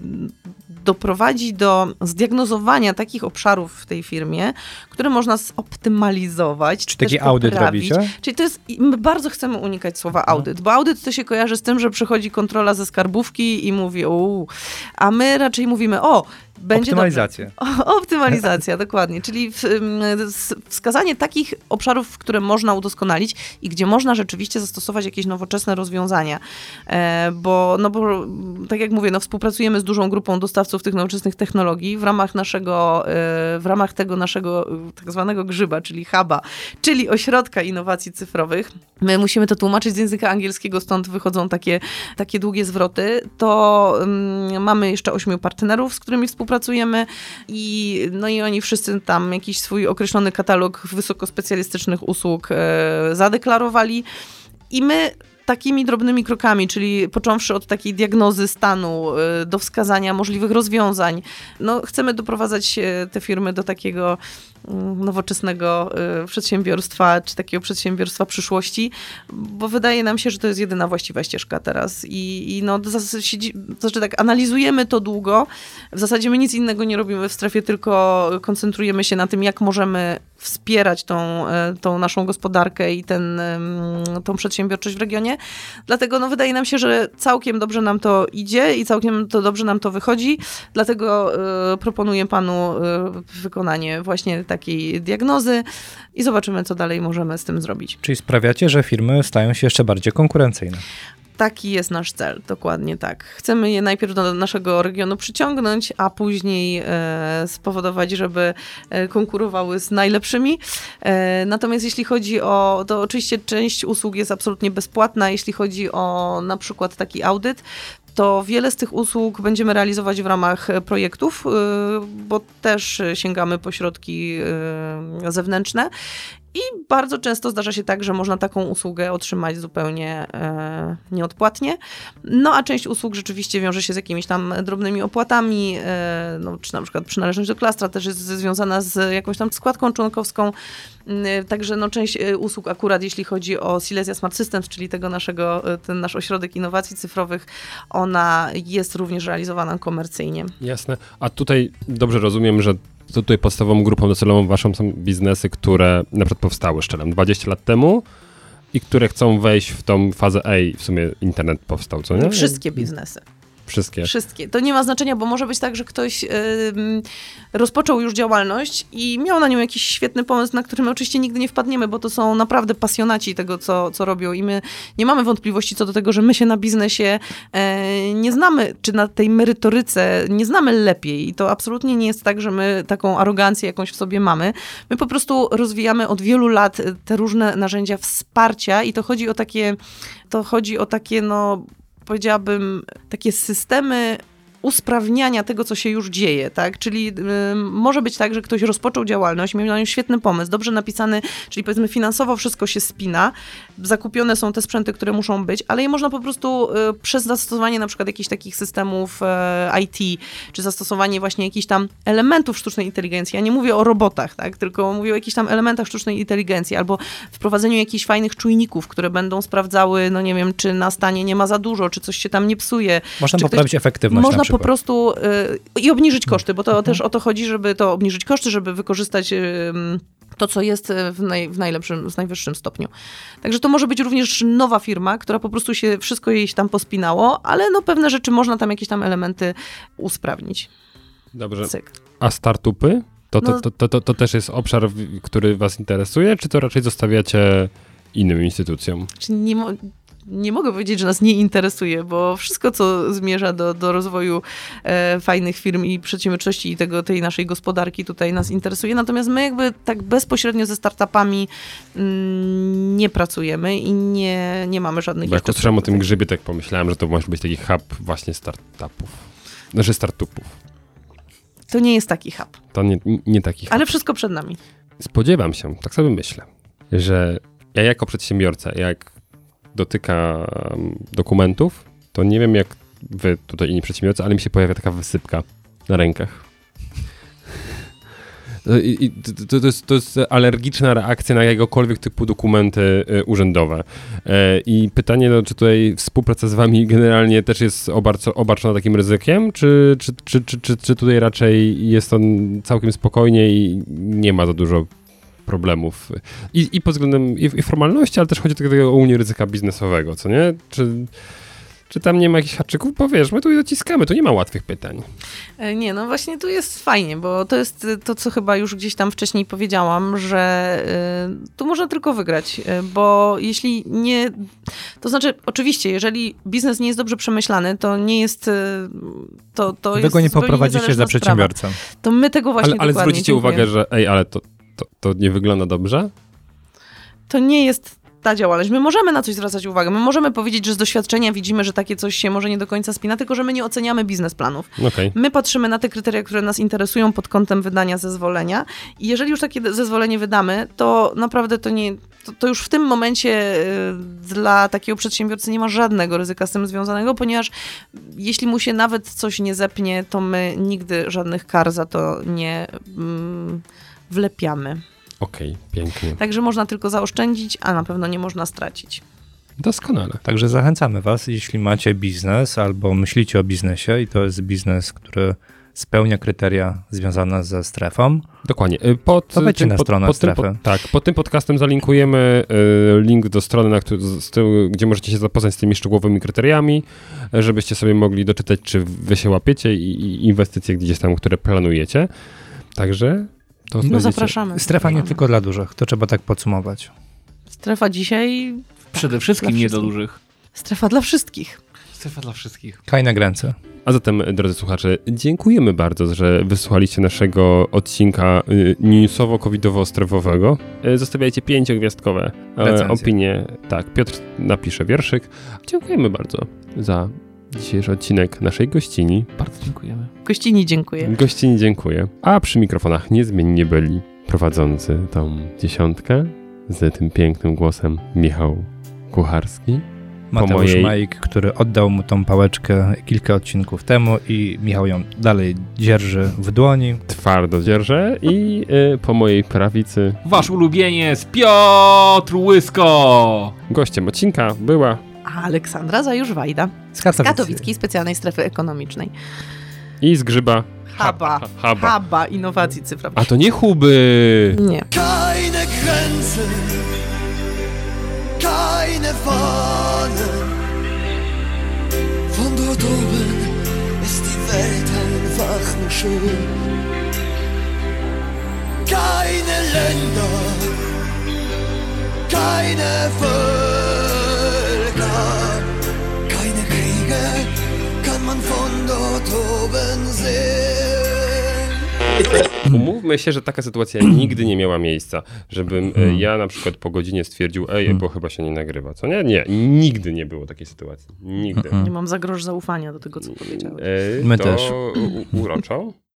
E: doprowadzi do zdiagnozowania takich obszarów w tej firmie, które można zoptymalizować. Czy
D: Taki
E: też
D: audyt
E: poprawić.
D: robicie? Mhm.
E: Czyli to jest, i my bardzo chcemy unikać słowa audyt, bo audyt to się kojarzy z tym, że przychodzi kontrola ze skarbówki i mówi uuu, a my raczej mówimy o, będzie dobrze.
D: Optymalizację.
E: O, optymalizacja, dokładnie. Czyli w, ym, s- wskazanie takich obszarów, które można udoskonalić i gdzie można rzeczywiście zastosować jakieś nowoczesne rozwiązania. E, bo, no bo, mm, tak jak mówię, no, współpracujemy z dużą grupą dostawców tych nowoczesnych technologii w ramach naszego, e, w ramach tego naszego y, tak zwanego grzyba, czyli huba, czyli ośrodka innowacji cyfrowych. My musimy to tłumaczyć z języka angielskiego, stąd wychodzą takie, takie długie zwroty. To ym, mm, mamy jeszcze ośmiu partnerów, z którymi współpracujemy i, no i oni wszyscy tam jakiś swój określony katalog wysokospecjalistycznych usług e, zadeklarowali. I my takimi drobnymi krokami, czyli począwszy od takiej diagnozy stanu e, do wskazania możliwych rozwiązań, no chcemy doprowadzać e, te firmy do takiego mm, nowoczesnego e, przedsiębiorstwa, czy takiego przedsiębiorstwa przyszłości, bo wydaje nam się, że to jest jedyna właściwa ścieżka teraz i, i no zas- siedzi- to znaczy tak analizujemy to długo, w zasadzie my nic innego nie robimy w strefie, tylko koncentrujemy się na tym, jak możemy wspierać tą, e, tą naszą gospodarkę i ten, em, tą przedsiębiorczość w regionie. Dlatego no, wydaje nam się, że całkiem dobrze nam to idzie i całkiem to dobrze nam to wychodzi. Dlatego e, proponuję panu e, wykonanie właśnie takiej diagnozy i zobaczymy, co dalej możemy z tym zrobić.
D: Czyli sprawiacie, że firmy stają się jeszcze bardziej konkurencyjne.
E: Taki jest nasz cel, dokładnie tak. Chcemy je najpierw do naszego regionu przyciągnąć, a później e, spowodować, żeby e, konkurowały z najlepszymi. E, natomiast jeśli chodzi o, to oczywiście część usług jest absolutnie bezpłatna, jeśli chodzi o na przykład taki audyt. To wiele z tych usług będziemy realizować w ramach e, projektów, e, bo też e, sięgamy po środki e, zewnętrzne. I bardzo często zdarza się tak, że można taką usługę otrzymać zupełnie e, nieodpłatnie. No a część usług rzeczywiście wiąże się z jakimiś tam drobnymi opłatami, e, no, czy na przykład przynależność do klastra też jest związana z jakąś tam składką członkowską. Mm, Także no, część e, usług akurat jeśli chodzi o Silesia Smart Systems, czyli tego naszego, e, ten nasz ośrodek innowacji cyfrowych, ona jest również realizowana komercyjnie.
B: Jasne. A tutaj dobrze rozumiem, że to tutaj podstawową grupą docelową waszą są biznesy, które na przykład powstały szczelem 20 lat temu i które chcą wejść w tą fazę Ej, w sumie internet powstał, co nie?
E: No, Wszystkie biznesy.
B: Wszystkie.
E: Wszystkie. To nie ma znaczenia, bo może być tak, że ktoś ym, rozpoczął już działalność i miał na nią jakiś świetny pomysł, na który my oczywiście nigdy nie wpadniemy, bo to są naprawdę pasjonaci tego, co, co robią i my nie mamy wątpliwości co do tego, że my się na biznesie e, nie znamy, czy na tej merytoryce nie znamy lepiej i to absolutnie nie jest tak, że my taką arogancję jakąś w sobie mamy. My po prostu rozwijamy od wielu lat e, te różne narzędzia wsparcia i to chodzi o takie, to chodzi o takie, no powiedziałabym, takie systemy usprawniania tego, co się już dzieje, tak? Czyli ym, może być tak, że ktoś rozpoczął działalność, miał na nią świetny pomysł, dobrze napisany, czyli powiedzmy finansowo wszystko się spina, zakupione są te sprzęty, które muszą być, ale je można po prostu y, przez zastosowanie na przykład jakichś takich systemów e, IT, czy zastosowanie właśnie jakichś tam elementów sztucznej inteligencji, ja nie mówię o robotach, tak? Tylko mówię o jakichś tam elementach sztucznej inteligencji, albo wprowadzeniu jakichś fajnych czujników, które będą sprawdzały, no nie wiem, czy na stanie nie ma za dużo, czy coś się tam nie psuje,
D: Można
E: Czy ktoś-
D: poprawić efektywność
E: można
D: na
E: po
D: przykład. Mhm.
E: prostu y, i obniżyć koszty, bo to też o to chodzi, żeby to obniżyć koszty, żeby wykorzystać. Y, mm, to, co jest e, w, naj, w najlepszym, w najwyższym stopniu. Także to może być również nowa firma, która po prostu się, wszystko jej się tam pospinało, ale no pewne rzeczy można tam jakieś tam elementy usprawnić.
B: Dobrze.
E: Cyk.
B: A startupy? To, to,
E: No-
B: to, to, to, to też jest obszar, w- który was interesuje, czy to raczej zostawiacie innym instytucjom?
E: Znaczy nie, mo- nie mogę powiedzieć, że nas nie interesuje, bo wszystko, co zmierza do, do rozwoju e, fajnych firm i przedsiębiorczości i tego, tej naszej gospodarki tutaj nas interesuje. Natomiast my jakby tak bezpośrednio ze startupami mm, nie pracujemy i nie, nie mamy żadnych
B: Bo jak
E: jeszcze
B: usłyszałem o tym grzybie, tak pomyślałem, że to może być taki hub właśnie startupów. Znaczy startupów.
E: To nie jest taki hub,
B: To nie, nie taki hub.
E: ale wszystko przed nami.
B: Spodziewam się, tak sobie myślę, że ja jako przedsiębiorca, jak dotykam dokumentów, to nie wiem jak wy tutaj inni przedsiębiorcy, ale mi się pojawia taka wysypka na rękach. I, i to- to, to, jest, to jest alergiczna reakcja na jakiegokolwiek typu dokumenty y, urzędowe. E, I pytanie, no, czy tutaj współpraca z wami generalnie też jest obarco, obarczona takim ryzykiem, czy, czy, czy, czy, czy, czy tutaj raczej jest on całkiem spokojnie i nie ma za dużo problemów i, i pod względem i, i formalności, ale też chodzi tylko o unię ryzyka biznesowego, co nie? Czy, czy tam nie ma jakichś haczyków? Bo wiesz, my tu dociskamy, tu nie ma łatwych pytań.
E: E, Nie, no właśnie tu jest fajnie, bo to jest e, to, co chyba już gdzieś tam wcześniej powiedziałam, że e, tu można tylko wygrać, e, bo jeśli nie. To znaczy, oczywiście, jeżeli biznes nie jest dobrze przemyślany, to nie jest. e, To, to
D: Wy
E: jest
D: go nie
E: zupełnie
D: poprowadzicie za
E: niezależna
D: przedsiębiorcę.
E: Sprawa. To my tego właśnie
B: Ale, ale
E: dokładnie,
B: zwrócicie
E: dziękuję.
B: uwagę, że ej, ale to, to, to nie wygląda dobrze?
E: to nie jest ta działalność. My możemy na coś zwracać uwagę, my możemy powiedzieć, że z doświadczenia widzimy, że takie coś się może nie do końca spina, tylko że my nie oceniamy biznesplanów.
B: No Okej.
E: My patrzymy na te kryteria, które nas interesują pod kątem wydania zezwolenia. I jeżeli już takie zezwolenie wydamy, to naprawdę to nie. To, to już w tym momencie y, dla takiego przedsiębiorcy nie ma żadnego ryzyka z tym związanego, ponieważ jeśli mu się nawet coś nie zepnie, to my nigdy żadnych kar za to nie mm, wlepiamy.
B: Okej, pięknie.
E: Także można tylko zaoszczędzić, a na pewno nie można stracić.
D: No,
B: Doskonale.
D: Także zachęcamy Was, jeśli macie biznes albo myślicie o biznesie i to jest biznes, który spełnia kryteria związane ze strefą.
B: Dokładnie. Y, Pod,
D: To wejdźcie na stronę
B: tym,
D: strefy.
B: tak, pod tym podcastem zalinkujemy y, link do strony, na któ- z tyłu, gdzie możecie się zapoznać z tymi szczegółowymi kryteriami, y, żebyście sobie mogli doczytać, czy wy się łapiecie i, i inwestycje gdzieś tam, które planujecie. Także to
E: No
B: znajdziecie.
E: zapraszamy.
D: Strefa nie
E: Zapraszamy.
D: tylko dla dużych, to trzeba tak podsumować.
E: Strefa dzisiaj,
C: Przede wszystkim
E: Dla
C: nie dla
E: wszystkich.
C: dużych.
E: strefa dla wszystkich.
C: Strefa dla wszystkich.
D: Kajne gręce.
B: A zatem, drodzy słuchacze, dziękujemy bardzo, że wysłuchaliście naszego odcinka y, newsowo-covidowo-strefowego. Y, Zostawiajcie pięciogwiazdkowe e,
D: Recenzje.
B: opinie. Tak, Piotr napisze wierszyk. Dziękujemy bardzo za dzisiejszy odcinek naszej gościni.
C: Bardzo dziękujemy.
E: Gościni dziękuję.
B: Gościni dziękuję. A przy mikrofonach niezmiennie byli prowadzący tą dziesiątkę z tym pięknym głosem Michał Kucharski.
D: Mateusz
B: mojej-
D: Majk, który oddał mu tą pałeczkę kilka odcinków temu i Michał ją dalej dzierży w dłoni.
B: Twardo dzierżę i y, po mojej prawicy
C: Wasz ulubieniec Piotr Łysko!
B: gościem odcinka była
E: A Aleksandra Zajurzwajda
D: Z
E: z
D: Katowic.
E: Katowickiej Specjalnej Strefy Ekonomicznej.
B: I z grzyba.
E: Haba.
B: Haba.
E: Haba innowacji cyfrowych.
B: A to nie huby!
E: Nie.
F: Keine Grenzen, keine Fahnen. Von dort oben ist die Welt einfach nur schön. Keine Länder, keine Völker, keine Kriege kann man von dort oben sehen.
B: Umówmy się, że taka sytuacja nigdy nie miała miejsca, żebym e,
D: Mhm.
B: ja na przykład po godzinie stwierdził, ej, bo chyba się nie nagrywa, co nie? Nie, nigdy nie było takiej sytuacji. Nigdy.
E: Nie mam zagroż zaufania do tego, co powiedziałeś.
B: E,
D: Mhm. My
B: to
D: też.
B: u- uroczo.